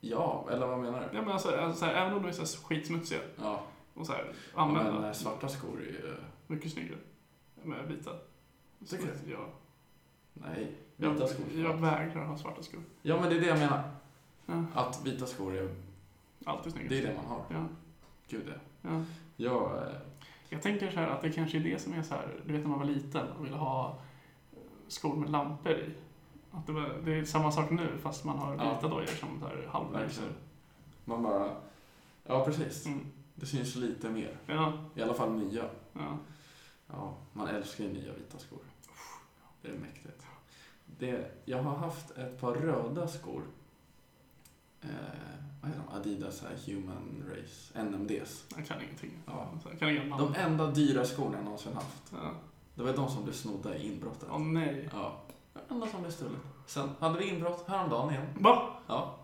[SPEAKER 1] Ja, eller vad menar du?
[SPEAKER 2] Ja, men alltså, alltså så här, även om de är så här skitsmutsiga
[SPEAKER 1] Ja,
[SPEAKER 2] och så här, använda.
[SPEAKER 1] men eh, svarta skor är ju... eh,
[SPEAKER 2] Mycket snyggare. Med vita.
[SPEAKER 1] Tycker du?
[SPEAKER 2] Så att jag,
[SPEAKER 1] Nej, vita
[SPEAKER 2] jag,
[SPEAKER 1] skor.
[SPEAKER 2] jag vägrar ha svarta skor.
[SPEAKER 1] Ja, men det är det jag menar.
[SPEAKER 2] Ja.
[SPEAKER 1] Att vita skor är...
[SPEAKER 2] Alltid snyggare.
[SPEAKER 1] Det är det man har.
[SPEAKER 2] Ja,
[SPEAKER 1] Gud, det.
[SPEAKER 2] ja.
[SPEAKER 1] Jag... eh,
[SPEAKER 2] Jag tänker så här att det kanske är det som är så här, du vet när man var liten och ville ha eh, skor med lampor i. Att det, var, det är samma sak nu fast man har
[SPEAKER 1] Ja.
[SPEAKER 2] vita dojor som så här halvlyser.
[SPEAKER 1] Verkligen. Man bara... Ja, precis.
[SPEAKER 2] Mm.
[SPEAKER 1] Det syns lite mer.
[SPEAKER 2] Ja,
[SPEAKER 1] I alla fall nya.
[SPEAKER 2] ja.
[SPEAKER 1] Ja, man älskar ju nya vita skor. Det är mäktigt. Det, jag har haft ett par röda skor. Eh, vad heter de? Adidas här, Human Race, NMDs.
[SPEAKER 2] Jag kan ingenting.
[SPEAKER 1] Ja.
[SPEAKER 2] Så jag kan ingen namn.
[SPEAKER 1] De enda dyra skorna jag någonsin haft.
[SPEAKER 2] Ja.
[SPEAKER 1] Det var de som blev snodda i inbrottet.
[SPEAKER 2] Åh nej.
[SPEAKER 1] Ja. Det var de enda som blev stulet. Sen hade vi inbrott häromdagen igen.
[SPEAKER 2] Va?
[SPEAKER 1] Ja.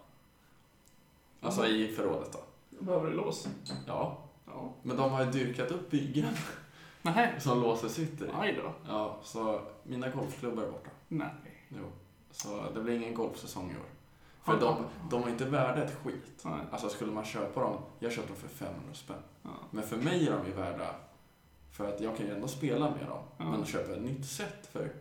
[SPEAKER 1] Alltså i förrådet då.
[SPEAKER 2] Behöver du lås?
[SPEAKER 1] Ja.
[SPEAKER 2] Ja.
[SPEAKER 1] Men de har ju dyrkat upp byggen
[SPEAKER 2] Nej.
[SPEAKER 1] som låset sitter i.
[SPEAKER 2] Aj då.
[SPEAKER 1] Ja, så mina golfklubbor är borta.
[SPEAKER 2] Nej.
[SPEAKER 1] Jo. Så det blir ingen golfsäsong i år. För
[SPEAKER 2] Har-
[SPEAKER 1] de, de är inte värda ett skit.
[SPEAKER 2] Nej.
[SPEAKER 1] Alltså skulle man köpa dem, jag köpte dem för 500 spänn.
[SPEAKER 2] Ja.
[SPEAKER 1] Men för mig är de ju värda, för att jag kan ju ändå spela med dem.
[SPEAKER 2] Ja.
[SPEAKER 1] Men köpa ett nytt set för,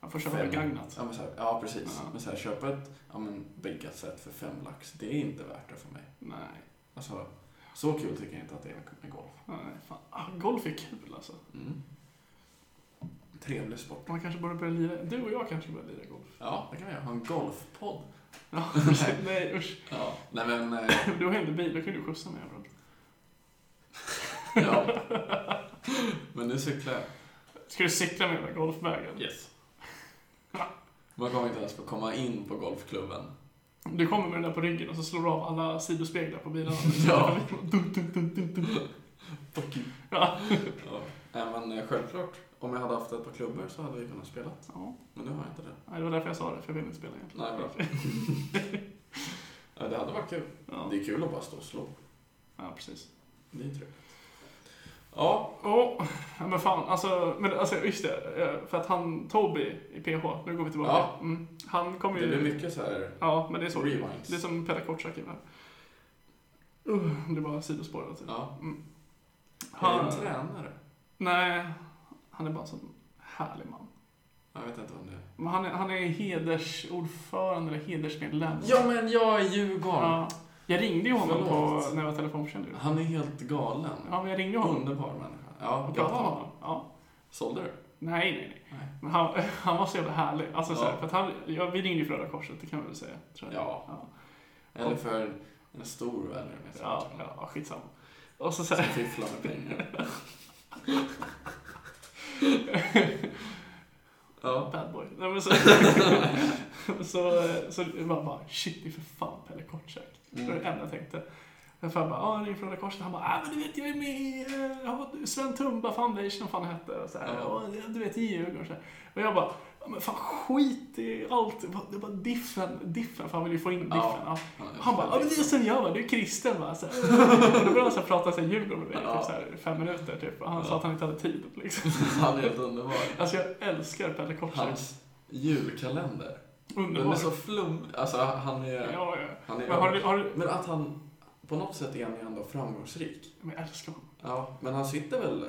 [SPEAKER 2] Jag får köpa
[SPEAKER 1] Fem.
[SPEAKER 2] begagnat.
[SPEAKER 1] ja men så här, ja precis.
[SPEAKER 2] Ja.
[SPEAKER 1] Men så här, köpa ett, ja men bäggat set för fem lax, det är inte värt det för mig.
[SPEAKER 2] Nej.
[SPEAKER 1] Alltså, så kul tycker jag inte att det är med golf.
[SPEAKER 2] Nej. Fan. Ah, golf är kul alltså.
[SPEAKER 1] Mm. Trevlig sport.
[SPEAKER 2] Man kanske borde börja lira. Du och jag kanske börjar lira golf.
[SPEAKER 1] Ja, det kan vi göra. Ha en golfpodd.
[SPEAKER 2] Ja.
[SPEAKER 1] Nej.
[SPEAKER 2] nej usch.
[SPEAKER 1] Ja. Nej men, eh,
[SPEAKER 2] Du har ju inte bil, då kan du skjutsa mig överallt.
[SPEAKER 1] ja. Men nu cyklar jag.
[SPEAKER 2] Ska du cykla med hela golfvägen?
[SPEAKER 1] Yes. Man kommer inte ens få komma in på golfklubben.
[SPEAKER 2] Du kommer med den där på ryggen och så slår du av alla sidospeglar på bilarna.
[SPEAKER 1] Ja.
[SPEAKER 2] Dunk, dunk, dunk, dunk, dunk.
[SPEAKER 1] Fuck you.
[SPEAKER 2] Ja.
[SPEAKER 1] Ja. Nej, Men eh, självklart, om jag hade haft ett par klubbor så hade vi kunnat spela.
[SPEAKER 2] ja.
[SPEAKER 1] Men nu har jag inte det.
[SPEAKER 2] Nej, Det var därför jag sa det, för jag ville inte spela egentligen.
[SPEAKER 1] Nej, bra. Ja, det hade varit kul.
[SPEAKER 2] Ja.
[SPEAKER 1] Det är kul att bara stå och slå.
[SPEAKER 2] ja, precis.
[SPEAKER 1] Det är trevligt. Ja,
[SPEAKER 2] Åh, ja, men fan. Alltså, men alltså, just det. eh, För att han, Toby i PH, nu går vi tillbaka.
[SPEAKER 1] Ja.
[SPEAKER 2] Mm, han
[SPEAKER 1] det
[SPEAKER 2] kommer ju...
[SPEAKER 1] blir mycket så här
[SPEAKER 2] Ja, men det är så. Det är
[SPEAKER 1] rewinds.
[SPEAKER 2] som Peter Kortsak i den här. Uh, det var sidospår hela tiden.
[SPEAKER 1] Ja.
[SPEAKER 2] Mm.
[SPEAKER 1] Är det en
[SPEAKER 2] Han,
[SPEAKER 1] tränare?
[SPEAKER 2] nej, han är bara en sån härlig man.
[SPEAKER 1] Jag vet inte om det är.
[SPEAKER 2] Men han är, han är hedersordförande eller hedersmedlem.
[SPEAKER 1] Ja, men jag är Djurgården.
[SPEAKER 2] Ja. Jag ringde ju honom på,
[SPEAKER 1] Förlåt.
[SPEAKER 2] när jag var telefonförsäljare.
[SPEAKER 1] Han är helt galen.
[SPEAKER 2] Ja, men jag ringde honom.
[SPEAKER 1] Underbar människa. Ja,
[SPEAKER 2] och
[SPEAKER 1] jag
[SPEAKER 2] pratade med
[SPEAKER 1] tar.
[SPEAKER 2] honom. Ja.
[SPEAKER 1] Sålde du?
[SPEAKER 2] Nej, nej, nej.
[SPEAKER 1] Nej.
[SPEAKER 2] Men han, han var så jävla härlig. Alltså, så här,
[SPEAKER 1] Ja.
[SPEAKER 2] för att han, ja, vi ringde ju för Röda Korset, det kan man väl säga. Tror jag.
[SPEAKER 1] Ja.
[SPEAKER 2] Ja,
[SPEAKER 1] Eller för en stor välgörenhet.
[SPEAKER 2] ja, ja skitsamma. Och så, så
[SPEAKER 1] Som
[SPEAKER 2] här,
[SPEAKER 1] fifflar med pengar. Ja.
[SPEAKER 2] bad boy. Nej, men så, så, eh, så man bara, shit, det är för fan Pelle Kortsäck. Det
[SPEAKER 1] Mm.
[SPEAKER 2] var det enda jag tänkte. Jag bara, ja, ring från Röda Korset. Han bara, ah, men du vet, jag är med i eh, ja, Sven Tumba Foundation, vad fan det hette. Och så här,
[SPEAKER 1] Ja.
[SPEAKER 2] och, du vet, i Djurgården. och så här. Och jag bara, ja, men fan skit i allt. Det var diffen, diffen, för han vill ju få in diffen.
[SPEAKER 1] Ja.
[SPEAKER 2] Ja.
[SPEAKER 1] är
[SPEAKER 2] Han bara, ja men det är som jag va, du är kristen va. Så här. Och då började han så här prata så här Djurgården med mig
[SPEAKER 1] Ja.
[SPEAKER 2] typ så här, fem minuter typ. Och han sa
[SPEAKER 1] Ja.
[SPEAKER 2] att han inte hade tid. Liksom.
[SPEAKER 1] Han är helt underbar.
[SPEAKER 2] Alltså jag älskar Pelle Kortsäck.
[SPEAKER 1] Hans julkalender. Den är
[SPEAKER 2] Underbar.
[SPEAKER 1] så flum... Alltså han är...
[SPEAKER 2] Ja, ja.
[SPEAKER 1] Han är
[SPEAKER 2] Men har du, har du...
[SPEAKER 1] Men att han... På något sätt är han ju ändå framgångsrik.
[SPEAKER 2] Men jag älskar honom.
[SPEAKER 1] Ja, men han sitter väl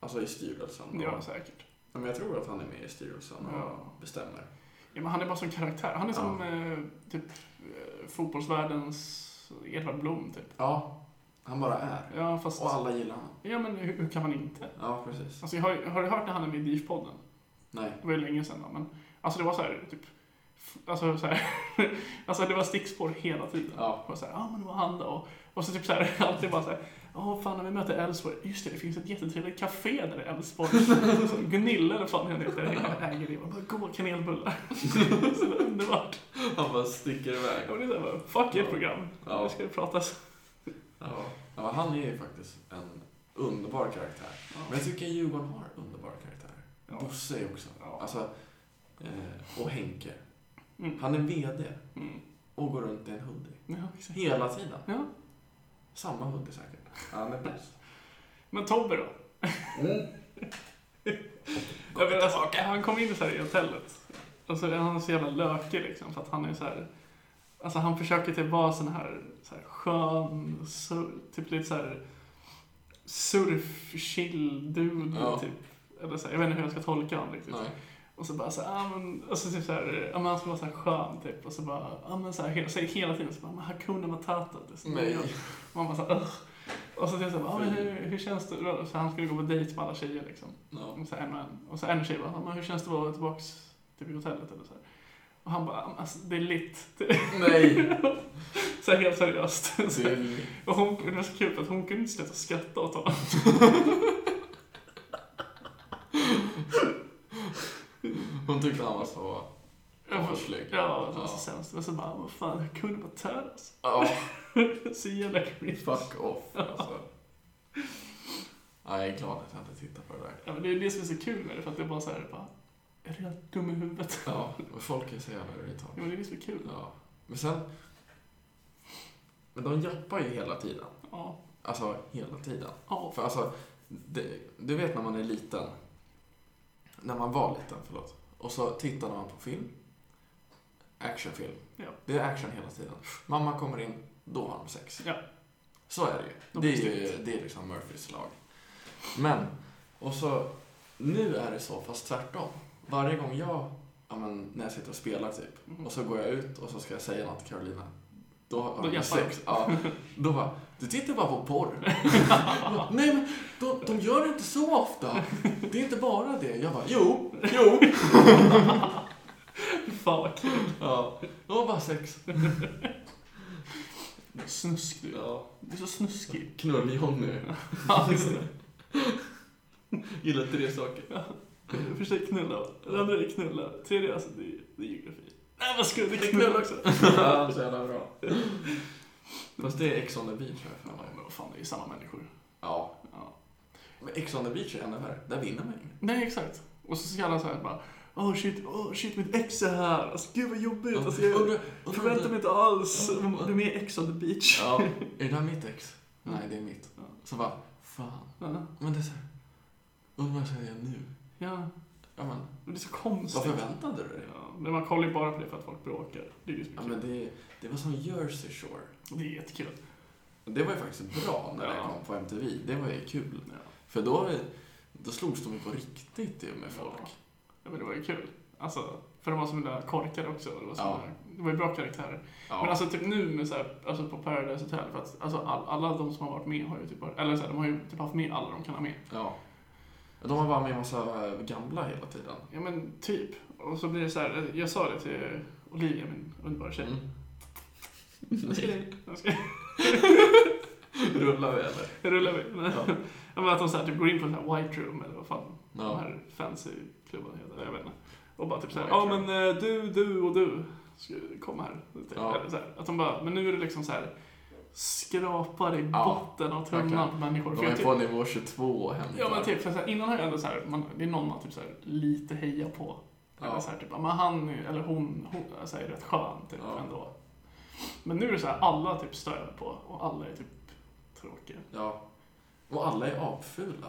[SPEAKER 1] alltså, i styrelsen? och-
[SPEAKER 2] Ja, säkert.
[SPEAKER 1] Ja, men jag tror att han är med i styrelsen och
[SPEAKER 2] Ja.
[SPEAKER 1] bestämmer.
[SPEAKER 2] Ja, men han är bara som karaktär. Han är som eh, typ eh, fotbollsvärldens Edvard Blom, typ.
[SPEAKER 1] Ja, han bara är.
[SPEAKER 2] Ja, fast...
[SPEAKER 1] Och alla gillar honom.
[SPEAKER 2] Ja, men hur, hur kan man inte?
[SPEAKER 1] Ja, precis.
[SPEAKER 2] Alltså, jag har, har du hört när han är med i DIF-podden?
[SPEAKER 1] Nej.
[SPEAKER 2] Det var ju länge sedan då, men... Alltså, det var så här, typ... f- Alltså, så här, alltså det var stickspår hela tiden.
[SPEAKER 1] Ja.
[SPEAKER 2] Och så här, ja ah, men det var han då. Och, och så typ så här, alltid bara så här, ja fan när vi möter Elfsborg, just det, det finns ett jättetrevligt café där i Elfsborg. Så Gunilla eller fan hon heter, äger det. Och bara, goda kanelbullar. så det var underbart.
[SPEAKER 1] Han bara sticker iväg.
[SPEAKER 2] Ja, men det är så här, bara, fuck ert program.
[SPEAKER 1] Ja.
[SPEAKER 2] Nu ska det pratas.
[SPEAKER 1] Ja. ja, men han är ju faktiskt en underbar karaktär. Men jag tycker Djurgården har underbara karaktärer.
[SPEAKER 2] Ja.
[SPEAKER 1] Bosse är också.
[SPEAKER 2] Ja.
[SPEAKER 1] Alltså, eh, och Henke.
[SPEAKER 2] Mm.
[SPEAKER 1] Han är VD
[SPEAKER 2] Mm.
[SPEAKER 1] och går runt i en hoodie.
[SPEAKER 2] Ja, exakt.
[SPEAKER 1] Hela tiden.
[SPEAKER 2] Ja.
[SPEAKER 1] Samma hoodie säkert. Ja, Han är bäst.
[SPEAKER 2] Men Tobbe då? Jag vet, alltså, han kom in så här i hotellet. Och så är han så jävla lökig liksom, för att han är så här... Alltså han försöker typ vara sån här, så här skön, sur, typ lite så här surf chill dude
[SPEAKER 1] Ja.
[SPEAKER 2] typ. Eller så här, jag vet inte hur jag ska tolka honom riktigt.
[SPEAKER 1] Nej.
[SPEAKER 2] Och så bara så här, ah, men, och så typ så här, ja men han ska vara så här skön typ. Och så bara, ja men så här, hela, så här, hela tiden så bara, men Hakuna Matata. Det är så
[SPEAKER 1] Nej.
[SPEAKER 2] jävla- Man bara så här, "Ugh." Och så typ så här, ah, men hur, hur känns det? då?" Så han skulle gå på dejt med alla tjejer liksom.
[SPEAKER 1] Ja.
[SPEAKER 2] Och så en och en. Och så en tjej bara, men hur känns det att vara tillbaks typ i hotellet eller så här. Och han bara, alltså det är litt.
[SPEAKER 1] Nej!
[SPEAKER 2] Så här helt seriöst.
[SPEAKER 1] Det är...
[SPEAKER 2] Och hon, det var så kul för att hon kunde inte sluta skratta åt honom.
[SPEAKER 1] Hon tyckte han var så avslig.
[SPEAKER 2] Ja, det var
[SPEAKER 1] Ja.
[SPEAKER 2] så sämst. Men så bara, vad fan, jag kunde bara töras.
[SPEAKER 1] Ja,
[SPEAKER 2] Så jävla creepy.
[SPEAKER 1] fuck off alltså. Nej, jag är glad att jag inte tittar på det där.
[SPEAKER 2] Ja, men det är det som är så kul med det, för att det är bara så här, bara, är du helt dum i huvudet?
[SPEAKER 1] Ja, men folk är så jävla
[SPEAKER 2] Ja,
[SPEAKER 1] retard.
[SPEAKER 2] men det är det som är kul.
[SPEAKER 1] Ja. Men sen... Men de jappar ju hela tiden.
[SPEAKER 2] Ja.
[SPEAKER 1] Alltså, hela tiden.
[SPEAKER 2] Ja.
[SPEAKER 1] För alltså, det, du vet när man är liten. När man var liten, förlåt. Och så tittade man på film. Actionfilm.
[SPEAKER 2] Ja.
[SPEAKER 1] Det är action hela tiden. Mamma kommer in, då har de sex.
[SPEAKER 2] Ja.
[SPEAKER 1] Så är det ju.
[SPEAKER 2] De
[SPEAKER 1] Det är, ju,
[SPEAKER 2] bestämmer.
[SPEAKER 1] det är liksom Murphys lag. Men, och så, nu är det så, fast tvärtom. Varje gång jag, ja, men, när jag sitter och spelar typ,
[SPEAKER 2] Mhm.
[SPEAKER 1] och så går jag ut och så ska jag säga något till Carolina. Då har
[SPEAKER 2] Då
[SPEAKER 1] hon
[SPEAKER 2] jappar de.
[SPEAKER 1] sex. Ja, då bara, du tittar bara på porr. Nej men, de, de gör det inte så ofta. Det är inte bara det. Jag bara, jo, jo.
[SPEAKER 2] Fan vad kul.
[SPEAKER 1] Ja, det var bara sex.
[SPEAKER 2] Snusk du.
[SPEAKER 1] Ja.
[SPEAKER 2] Du är så snuskig.
[SPEAKER 1] Knull-Johnny.
[SPEAKER 2] Ja, just det.
[SPEAKER 1] Gillar tre saker.
[SPEAKER 2] För sig knulla, det andra är knulla, tredje alltså det är, det är geografi. Nej vad skumt, det är knulla också!
[SPEAKER 1] Ja, så jävla bra. Fast det är Ex on the beach här för
[SPEAKER 2] Ja,
[SPEAKER 1] mig.
[SPEAKER 2] men vad fan, det är ju samma människor.
[SPEAKER 1] Ja.
[SPEAKER 2] Ja.
[SPEAKER 1] Men Ex on the beach är ännu värre. Där vinner man ju.
[SPEAKER 2] Nej exakt. Och så ska alla såhär bara Åh shit, åh shit mitt ex är här, alltså gud vad jobbigt, alltså, jag
[SPEAKER 1] Undra- undra-
[SPEAKER 2] förväntar mig inte alls, du är med i Ex on the beach.
[SPEAKER 1] Ja. Är det där mitt ex?
[SPEAKER 2] Mm.
[SPEAKER 1] Nej, det är mitt.
[SPEAKER 2] Ja.
[SPEAKER 1] Så bara, fan.
[SPEAKER 2] Ja,
[SPEAKER 1] Men det är så här. Undrar vad jag säger nu?
[SPEAKER 2] ja.
[SPEAKER 1] Ja, men,
[SPEAKER 2] Men det är så konstigt.
[SPEAKER 1] vad förväntade du dig?
[SPEAKER 2] Ja, men man kollar ju bara på det för att folk bråkar. Det är ju så
[SPEAKER 1] Ja,
[SPEAKER 2] kul.
[SPEAKER 1] men det, det var som Jersey Shore.
[SPEAKER 2] Det är jättekul.
[SPEAKER 1] Och Det var ju faktiskt bra när det
[SPEAKER 2] Ja.
[SPEAKER 1] kom på MTV. Det var ju kul.
[SPEAKER 2] Ja.
[SPEAKER 1] För då, då slogs de ju på riktigt ju med folk.
[SPEAKER 2] Ja. ja, men det var ju kul. Alltså, för de var så himla korkade också. Det var, så
[SPEAKER 1] Ja.
[SPEAKER 2] himla- det var ju bra karaktärer.
[SPEAKER 1] Ja.
[SPEAKER 2] Men alltså typ nu med så här, alltså på Paradise Hotel, för att alltså all, alla de som har varit med har ju typ varit, eller så här, de har ju typ haft med alla de kan ha med.
[SPEAKER 1] ja. De har bara med en massa gamla hela tiden.
[SPEAKER 2] Ja men typ. Och så blir det så här, jag sa det till Olivia, min underbara tjej.
[SPEAKER 1] Mm.
[SPEAKER 2] Jag ska- jag ska-
[SPEAKER 1] Rullar vi eller?
[SPEAKER 2] Rullar vi? Men,
[SPEAKER 1] Ja.
[SPEAKER 2] ja. men att de så här, typ går in på en sån här white room eller vad fan de
[SPEAKER 1] Ja.
[SPEAKER 2] här fancy klubbarna heter, jag vet inte. Och bara typ så här,
[SPEAKER 1] White
[SPEAKER 2] ja
[SPEAKER 1] room.
[SPEAKER 2] men eh, du, du och du ska komma här. Typ.
[SPEAKER 1] Ja.
[SPEAKER 2] Eller så här. Att de bara, men nu är det liksom så här skrapar i
[SPEAKER 1] Ja,
[SPEAKER 2] botten av tunnan på människor. För
[SPEAKER 1] De
[SPEAKER 2] jag
[SPEAKER 1] är
[SPEAKER 2] typ-
[SPEAKER 1] på nivå 22 och hämtar.
[SPEAKER 2] Ja men typ, för så här, innan har jag ändå så här, man, det är någon man typ så här, lite hejar på. Eller
[SPEAKER 1] Ja.
[SPEAKER 2] så här, typ, ja, men han är- eller hon, hon är så här, rätt skön typ
[SPEAKER 1] Ja.
[SPEAKER 2] ändå. Men nu är det så här, alla typ stör jag på och alla är typ tråkiga.
[SPEAKER 1] Ja. Och alla är apfula.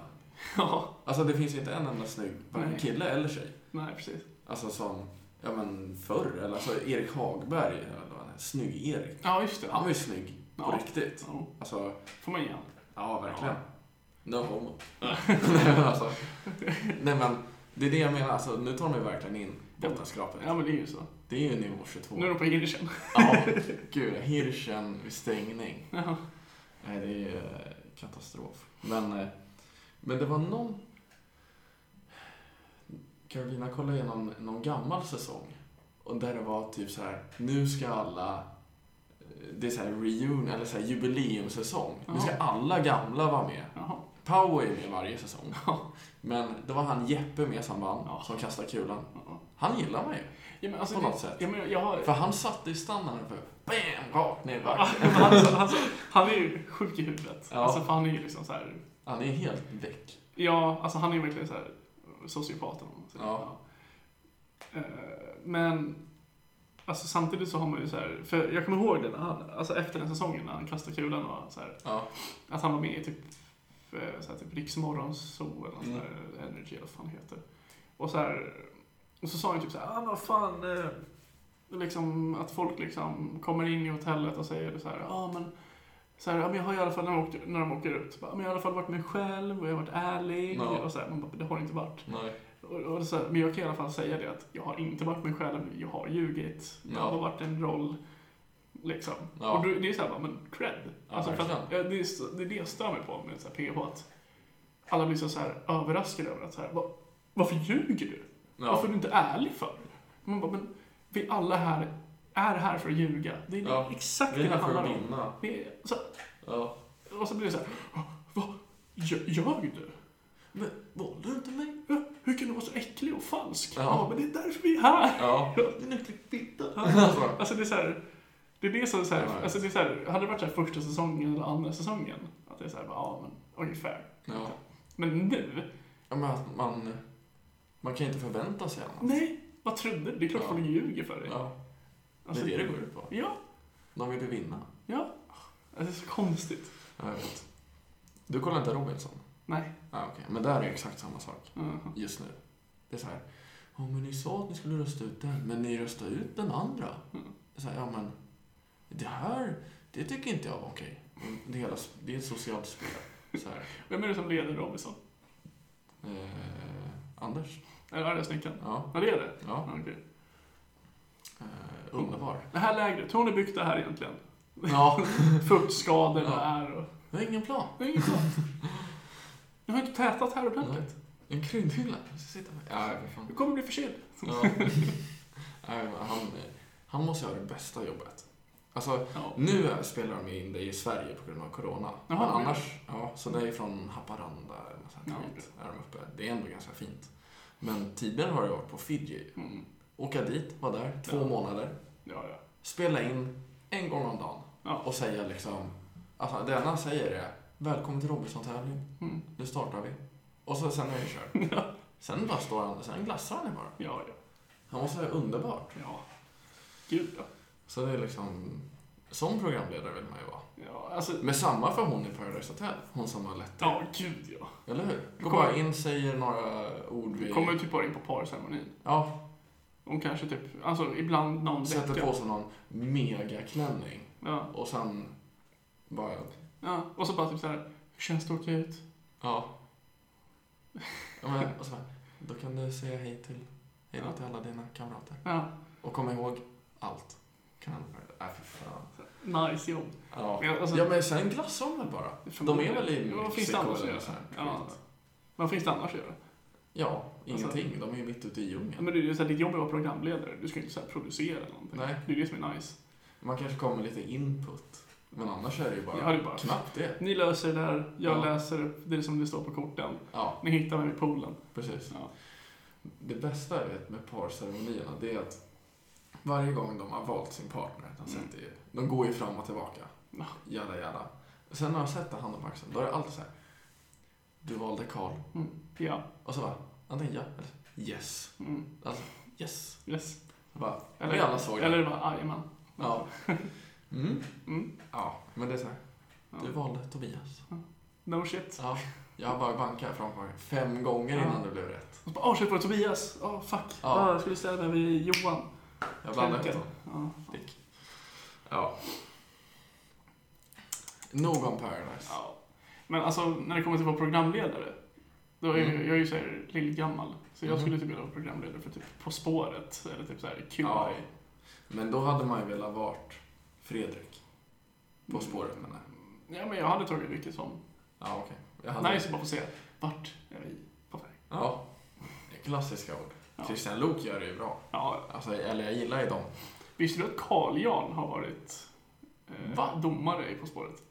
[SPEAKER 2] Ja,
[SPEAKER 1] Alltså det finns ju inte en enda snygg, varken
[SPEAKER 2] Nej.
[SPEAKER 1] kille eller tjej.
[SPEAKER 2] nej precis.
[SPEAKER 1] Alltså som, ja men förr, eller alltså Erik Hagberg, eller vad han är, Snygg-Erik.
[SPEAKER 2] Ja, just det.
[SPEAKER 1] Han
[SPEAKER 2] Ja,
[SPEAKER 1] var ju snygg, på
[SPEAKER 2] Ja.
[SPEAKER 1] riktigt. Alltså,
[SPEAKER 2] får man ge honom.
[SPEAKER 1] ja verkligen.
[SPEAKER 2] Ja.
[SPEAKER 1] No homo. Nej men alltså, nej men, det är det jag menar, alltså nu tar de ju verkligen in Bottenskrapet.
[SPEAKER 2] Ja, men det är ju så.
[SPEAKER 1] Det är ju nivå 22.
[SPEAKER 2] Nu är de på Hirschen.
[SPEAKER 1] Ja, gud. Hirschen vid stängning.
[SPEAKER 2] Ja.
[SPEAKER 1] Nej, det är eh, katastrof. Men, eh, men det var någon... Carolina kollade igenom någon gammal säsong. Och där det var typ så här, nu ska alla... eh, Det är så här reunion, eller så här jubileumsäsong. Nu ska
[SPEAKER 2] Ja.
[SPEAKER 1] alla gamla vara med.
[SPEAKER 2] Jaha.
[SPEAKER 1] Pau är med varje säsong. Men då var han Jeppe med som vann,
[SPEAKER 2] Ja.
[SPEAKER 1] som kastade kulan.
[SPEAKER 2] Ja.
[SPEAKER 1] Han gillar mig
[SPEAKER 2] Ja, men alltså,
[SPEAKER 1] på
[SPEAKER 2] det-
[SPEAKER 1] något sätt.
[SPEAKER 2] Ja, men jag har...
[SPEAKER 1] För han satte ju standarden för BAM! Rakt ner i backen.
[SPEAKER 2] Ja, men han, han, han är ju sjuk i huvudet.
[SPEAKER 1] Ja.
[SPEAKER 2] Alltså, för han är ju liksom så här...
[SPEAKER 1] Han är helt väck.
[SPEAKER 2] Ja, alltså han är ju verkligen så här sociopaten. om man säger.
[SPEAKER 1] Ja.
[SPEAKER 2] Ja. Eh, Men alltså samtidigt så har man ju så här, för jag kommer ihåg det när han, alltså efter den säsongen när han kastade kulan och så här,
[SPEAKER 1] Ja.
[SPEAKER 2] att han var med i typ, eh, så här, typ Riksmorgonzoo eller något
[SPEAKER 1] Mm.
[SPEAKER 2] sånt där, Energy eller vad fan det heter. Och så här, och så sa han typ så här, ah, vad fan, eh, liksom att folk liksom kommer in i hotellet och säger så här, ja ah, men så här, ja, men jag har i alla fall, när de åker, när de åker ut, så bara, men jag har i alla fall varit mig själv och jag har varit ärlig.
[SPEAKER 1] Ja.
[SPEAKER 2] Och så här, man bara, det har du inte varit.
[SPEAKER 1] Nej.
[SPEAKER 2] Och, och så här, men jag kan i alla fall säga det att jag har inte varit mig själv, jag har ljugit,
[SPEAKER 1] Ja.
[SPEAKER 2] jag har varit en roll. Liksom.
[SPEAKER 1] Ja.
[SPEAKER 2] Och då- det är så här, bara, men cred.
[SPEAKER 1] Ja,
[SPEAKER 2] alltså, för att, ja,
[SPEAKER 1] verkligen.
[SPEAKER 2] det, är, så- det är det jag stör mig på med så här, PH, att alla blir så, så här överraskade över att så här, "Va- varför ljuger du?
[SPEAKER 1] Ja.
[SPEAKER 2] Varför är du inte ärlig för? Man bara, men vi alla här är här för att ljuga. Det är
[SPEAKER 1] Ja.
[SPEAKER 2] exakt
[SPEAKER 1] Vi
[SPEAKER 2] det
[SPEAKER 1] är
[SPEAKER 2] det
[SPEAKER 1] här för
[SPEAKER 2] handlar
[SPEAKER 1] att
[SPEAKER 2] om.
[SPEAKER 1] vinna.
[SPEAKER 2] Det är, så,
[SPEAKER 1] Ja.
[SPEAKER 2] och så blir det så här, "Ah, vad Gö- ljög du?
[SPEAKER 1] Men valde du inte mig?
[SPEAKER 2] Ja, Hur kan du vara så äcklig och falsk?
[SPEAKER 1] Ja.
[SPEAKER 2] Ja, men det är därför vi är här!
[SPEAKER 1] Ja.
[SPEAKER 2] Din äcklig fitta! Alltså det är så här, det är det som är så här,
[SPEAKER 1] Ja, ja.
[SPEAKER 2] alltså det är så här, hade det varit så här första säsongen eller andra säsongen, att det är så här, bara, ja men ungefär.
[SPEAKER 1] Ja.
[SPEAKER 2] Men nu,
[SPEAKER 1] ja men att man, man kan ju inte förvänta sig annat.
[SPEAKER 2] nej, vad trodde du? Det är klart
[SPEAKER 1] Ja.
[SPEAKER 2] folk ljuger för dig.
[SPEAKER 1] Ja. Det
[SPEAKER 2] Alltså,
[SPEAKER 1] är det det går ut på.
[SPEAKER 2] Ja,
[SPEAKER 1] De vill ju vinna.
[SPEAKER 2] ja. Alltså, det är så konstigt.
[SPEAKER 1] Ja, jag vet. Du kollar inte Robinson?
[SPEAKER 2] Nej.
[SPEAKER 1] Ja, okej. Men där är det exakt samma sak
[SPEAKER 2] Mhm.
[SPEAKER 1] just nu. Det är så här. Ja, men ni sa att ni skulle rösta ut den, men ni röstade ut den andra.
[SPEAKER 2] Mm.
[SPEAKER 1] Det är Så här, ja, men det här, det tycker inte jag var okej. Det, hela, det är ett socialt spel. Så här.
[SPEAKER 2] Vem är det som leder Robinson?
[SPEAKER 1] Eh, Anders?
[SPEAKER 2] Eller är det snickaren?
[SPEAKER 1] Ja.
[SPEAKER 2] Ja, det är det.
[SPEAKER 1] ja.
[SPEAKER 2] Ja, okej.
[SPEAKER 1] Eh, underbar.
[SPEAKER 2] Det här lägret, hur har ni byggt det här egentligen?
[SPEAKER 1] Ja.
[SPEAKER 2] Fuktskador
[SPEAKER 1] Ja.
[SPEAKER 2] är och...
[SPEAKER 1] Jag har ingen plan.
[SPEAKER 2] Det är inget klart. Ni har inte tätat här ordentligt.
[SPEAKER 1] En kryddhylla. Jag ska sitta med. Ja, för fan.
[SPEAKER 2] Du kommer bli förkyld.
[SPEAKER 1] Ja. Nej, men han, eh, han måste ju ha det bästa jobbet. Alltså,
[SPEAKER 2] Ja.
[SPEAKER 1] nu är- spelar de in det i Sverige på grund av Corona. Men
[SPEAKER 2] Jaha, det
[SPEAKER 1] annars, ja, så det är från Haparanda eller något sånt här
[SPEAKER 2] Ja,
[SPEAKER 1] skit är de uppe. Det är ändå ganska fint. Men tidigare har jag varit på Fiji.
[SPEAKER 2] Mm.
[SPEAKER 1] Åka dit, vara där, två
[SPEAKER 2] Ja.
[SPEAKER 1] månader.
[SPEAKER 2] Ja, ja.
[SPEAKER 1] Spela in en gång om dagen.
[SPEAKER 2] Ja.
[SPEAKER 1] Och säga liksom, alltså det enda han säger är Välkommen till Robinson-tävling.
[SPEAKER 2] Mm.
[SPEAKER 1] Nu startar vi. Och så sen är det kört. Sen bara står han, sen glassar han ju bara.
[SPEAKER 2] Ja, ja.
[SPEAKER 1] Han måste vara underbart.
[SPEAKER 2] Ja. Gud, ja.
[SPEAKER 1] Så det är liksom, sån programledare vill man ju vara.
[SPEAKER 2] Ja, alltså...
[SPEAKER 1] Men samma för hon i Paradise Hotel, hon som har lett
[SPEAKER 2] Ja, gud ja.
[SPEAKER 1] Eller hur? Går
[SPEAKER 2] Kommer-
[SPEAKER 1] bara in, säger några ord
[SPEAKER 2] Vi
[SPEAKER 1] vid...
[SPEAKER 2] kommer ju typ bara in på parceremonin.
[SPEAKER 1] Ja,
[SPEAKER 2] Hon kanske typ, alltså ibland någon
[SPEAKER 1] sätter
[SPEAKER 2] vecka.
[SPEAKER 1] på sig någon megaklänning.
[SPEAKER 2] Ja.
[SPEAKER 1] Och sen bara,
[SPEAKER 2] ja. Och så bara typ så här, hur känns det att åka ut?
[SPEAKER 1] ja. ja men, och så bara, då kan du säga hej till, hej då
[SPEAKER 2] Ja.
[SPEAKER 1] till alla dina kamrater.
[SPEAKER 2] Ja.
[SPEAKER 1] Och kom ihåg allt. Kan han Nej, för fan.
[SPEAKER 2] Nice jobb.
[SPEAKER 1] Ja.
[SPEAKER 2] Men alltså-
[SPEAKER 1] ja, men sen glassar de väl bara? De är väl i
[SPEAKER 2] Ja, Vad finns det annars att
[SPEAKER 1] eller
[SPEAKER 2] göra?
[SPEAKER 1] så här.
[SPEAKER 2] Ja. Vad finns det annars att göra?
[SPEAKER 1] Ja,
[SPEAKER 2] Alltså-
[SPEAKER 1] ingenting. de är ju mitt ute i
[SPEAKER 2] Ja,
[SPEAKER 1] djungeln.
[SPEAKER 2] Men det är ju så här, ditt jobb är att vara programledare. Du ska ju inte så här producera eller någonting.
[SPEAKER 1] Nej.
[SPEAKER 2] Det är ju det som är nice.
[SPEAKER 1] Man kanske kommer med lite input. Men annars är det ju bara,
[SPEAKER 2] Ja, det är bara-
[SPEAKER 1] knappt det.
[SPEAKER 2] Ni löser det där, jag
[SPEAKER 1] Ja.
[SPEAKER 2] läser upp det som det står på korten.
[SPEAKER 1] Ja,
[SPEAKER 2] Ni hittar mig i poolen.
[SPEAKER 1] precis.
[SPEAKER 2] Ja.
[SPEAKER 1] Det bästa jag vet med parceremonierna, det är att varje gång de har valt sin partner, de,
[SPEAKER 2] Mm.
[SPEAKER 1] sätter ju, de går ju fram och tillbaka.
[SPEAKER 2] Ja.
[SPEAKER 1] Jada, jada. Sen när jag sätter handen på axeln, då är det alltid så här. Du valde Karl.
[SPEAKER 2] Mm. Ja.
[SPEAKER 1] Och så bara, antingen ja eller yes.
[SPEAKER 2] Mm.
[SPEAKER 1] Alltså, yes.
[SPEAKER 2] Yes.
[SPEAKER 1] Så bara,
[SPEAKER 2] Eller-
[SPEAKER 1] vi alla såg det.
[SPEAKER 2] Eller det var Ajman.
[SPEAKER 1] Ja. Mm.
[SPEAKER 2] Mm.
[SPEAKER 1] Ja, men det är så här.
[SPEAKER 2] Ja.
[SPEAKER 1] Du valde Tobias.
[SPEAKER 2] No shit.
[SPEAKER 1] Ja, jag bara bankade framför fem gånger
[SPEAKER 2] Ja.
[SPEAKER 1] innan det blev rätt.
[SPEAKER 2] Och så bara, åh shit var det Tobias? Åh fuck.
[SPEAKER 1] Ja.
[SPEAKER 2] Ah, jag skulle ställa mig vid Johan.
[SPEAKER 1] Jag blandade ihop
[SPEAKER 2] Tänker.
[SPEAKER 1] dem.
[SPEAKER 2] Ja.
[SPEAKER 1] Dick. Ja. Nog om Paradise.
[SPEAKER 2] Ja. Men alltså, när det kommer till att vara programledare. Det var ju,
[SPEAKER 1] Mm.
[SPEAKER 2] Jag är ju såhär lillgammal. Så jag
[SPEAKER 1] Mhm.
[SPEAKER 2] skulle typ vilja vara programledare för typ På spåret. Eller typ såhär QI.
[SPEAKER 1] Ja. Men då hade man ju velat vart Fredrik. På
[SPEAKER 2] Mm.
[SPEAKER 1] spåret menar jag.
[SPEAKER 2] Ja, men jag hade tagit vilket som.
[SPEAKER 1] Ja, okej. Jag hade-
[SPEAKER 2] Nej, så bara får se. Vart är vi på väg?
[SPEAKER 1] Ja. Klassiska ord.
[SPEAKER 2] Ja.
[SPEAKER 1] Christian Lok gör det ju bra.
[SPEAKER 2] Ja,
[SPEAKER 1] Alltså, eller jag gillar ju dem.
[SPEAKER 2] visste du att Carl-Jan har varit eh,
[SPEAKER 1] Va?
[SPEAKER 2] domare i På spåret?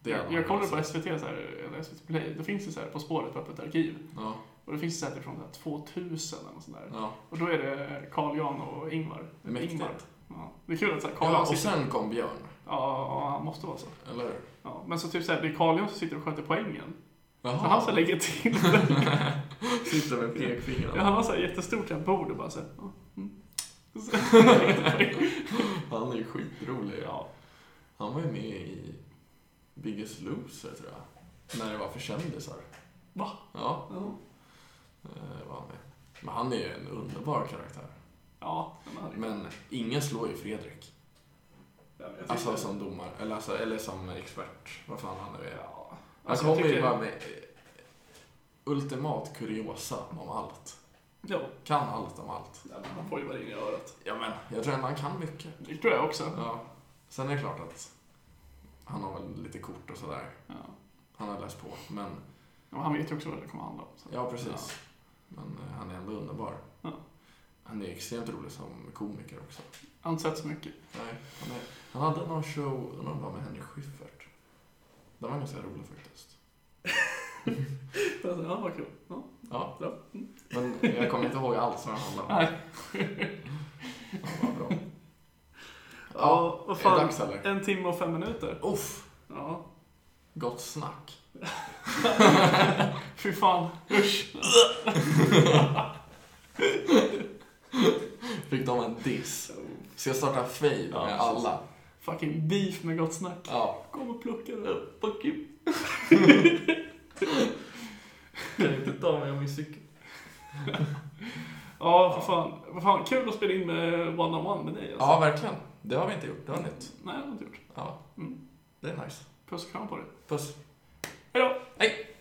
[SPEAKER 1] Det alltså.
[SPEAKER 2] jag jag kollade på
[SPEAKER 1] det.
[SPEAKER 2] SVT, så här, eller SVT Play, då finns det så här På spåret på öppet arkiv.
[SPEAKER 1] Ja,
[SPEAKER 2] Och det finns säkert från så här 2000 eller något sånt där.
[SPEAKER 1] ja.
[SPEAKER 2] Och då är det Carl-Jan och Ingvar.
[SPEAKER 1] Mäktigt.
[SPEAKER 2] Ingvar. Ja. Det är kul att så här, Carl-Jan
[SPEAKER 1] ja, och
[SPEAKER 2] sitter...
[SPEAKER 1] sen kom Björn.
[SPEAKER 2] Ja, ja, han måste vara så.
[SPEAKER 1] Eller hur?
[SPEAKER 2] Ja, men så typ såhär, det är Carl-Jan som sitter och sköter poängen.
[SPEAKER 1] Jaha.
[SPEAKER 2] Så han så här lägger till den.
[SPEAKER 1] Sitter med
[SPEAKER 2] Ja,
[SPEAKER 1] pekfingrarna.
[SPEAKER 2] han har såhär jättestort så här bord och bara såhär... ja, mm. Så-
[SPEAKER 1] Han är ju skitrolig.
[SPEAKER 2] ja.
[SPEAKER 1] Han var ju med i Biggest Loser, tror jag. När det var för kändisar.
[SPEAKER 2] Va?
[SPEAKER 1] Ja,
[SPEAKER 2] Ja.
[SPEAKER 1] eh, var han med. Men han är ju en underbar karaktär.
[SPEAKER 2] Ja, men han är-
[SPEAKER 1] Men ingen slår ju Fredrik.
[SPEAKER 2] Ja, men jag
[SPEAKER 1] Alltså
[SPEAKER 2] tycker-
[SPEAKER 1] som domare, eller, alltså, eller som expert. Vad fan han nu är.
[SPEAKER 2] Ja.
[SPEAKER 1] Han
[SPEAKER 2] Alltså, jag
[SPEAKER 1] kommer ju
[SPEAKER 2] tycker...
[SPEAKER 1] bara med eh, ultimat kuriosa om allt.
[SPEAKER 2] Jo,
[SPEAKER 1] Kan allt om allt.
[SPEAKER 2] ja, men han får ju bara in i örat.
[SPEAKER 1] Ja men, jag tror ändå han kan mycket.
[SPEAKER 2] Det tror jag också.
[SPEAKER 1] Ja. Sen är det klart att han har väl lite kort och sådär.
[SPEAKER 2] Ja.
[SPEAKER 1] Han har läst på. Men,
[SPEAKER 2] Ja, men han vet ju också vad det kommer handla om. Så.
[SPEAKER 1] ja precis. Men eh, han är ändå underbar.
[SPEAKER 2] Ja.
[SPEAKER 1] Han är extremt rolig som komiker också.
[SPEAKER 2] Han har inte sett så mycket.
[SPEAKER 1] Nej, han, är, han hade någon show, undrar om det var med Henrik Schyffert. Den var ganska rolig faktiskt.
[SPEAKER 2] Alltså, ja, vad kul. Ja.
[SPEAKER 1] Ja.
[SPEAKER 2] Ja.
[SPEAKER 1] Men jag kommer inte ihåg alls vad den handlade om.
[SPEAKER 2] Nej.
[SPEAKER 1] Ja, vad bra.
[SPEAKER 2] Ja, vad
[SPEAKER 1] Är det
[SPEAKER 2] fan.
[SPEAKER 1] dags eller?
[SPEAKER 2] En timme och fem minuter.
[SPEAKER 1] Uff,
[SPEAKER 2] Ja.
[SPEAKER 1] gott snack.
[SPEAKER 2] Fy fan, usch.
[SPEAKER 1] Fick de en diss. Ska jag starta fade
[SPEAKER 2] Ja,
[SPEAKER 1] med
[SPEAKER 2] precis.
[SPEAKER 1] alla?
[SPEAKER 2] Fucking beef med gott snack.
[SPEAKER 1] Ja.
[SPEAKER 2] Kom och plocka det. Fuck you.
[SPEAKER 1] Kan inte ta mig av min cykel?
[SPEAKER 2] Ja, för fan. Vad fan, kul att spela in med one-on-one med dig. Alltså.
[SPEAKER 1] Ja, verkligen. Det har vi inte gjort. Det var nytt.
[SPEAKER 2] Nej, det har jag inte gjort.
[SPEAKER 1] Ja,
[SPEAKER 2] Mm.
[SPEAKER 1] det är nice.
[SPEAKER 2] Puss och kram på dig.
[SPEAKER 1] Puss.
[SPEAKER 2] Hejdå!
[SPEAKER 1] Hej!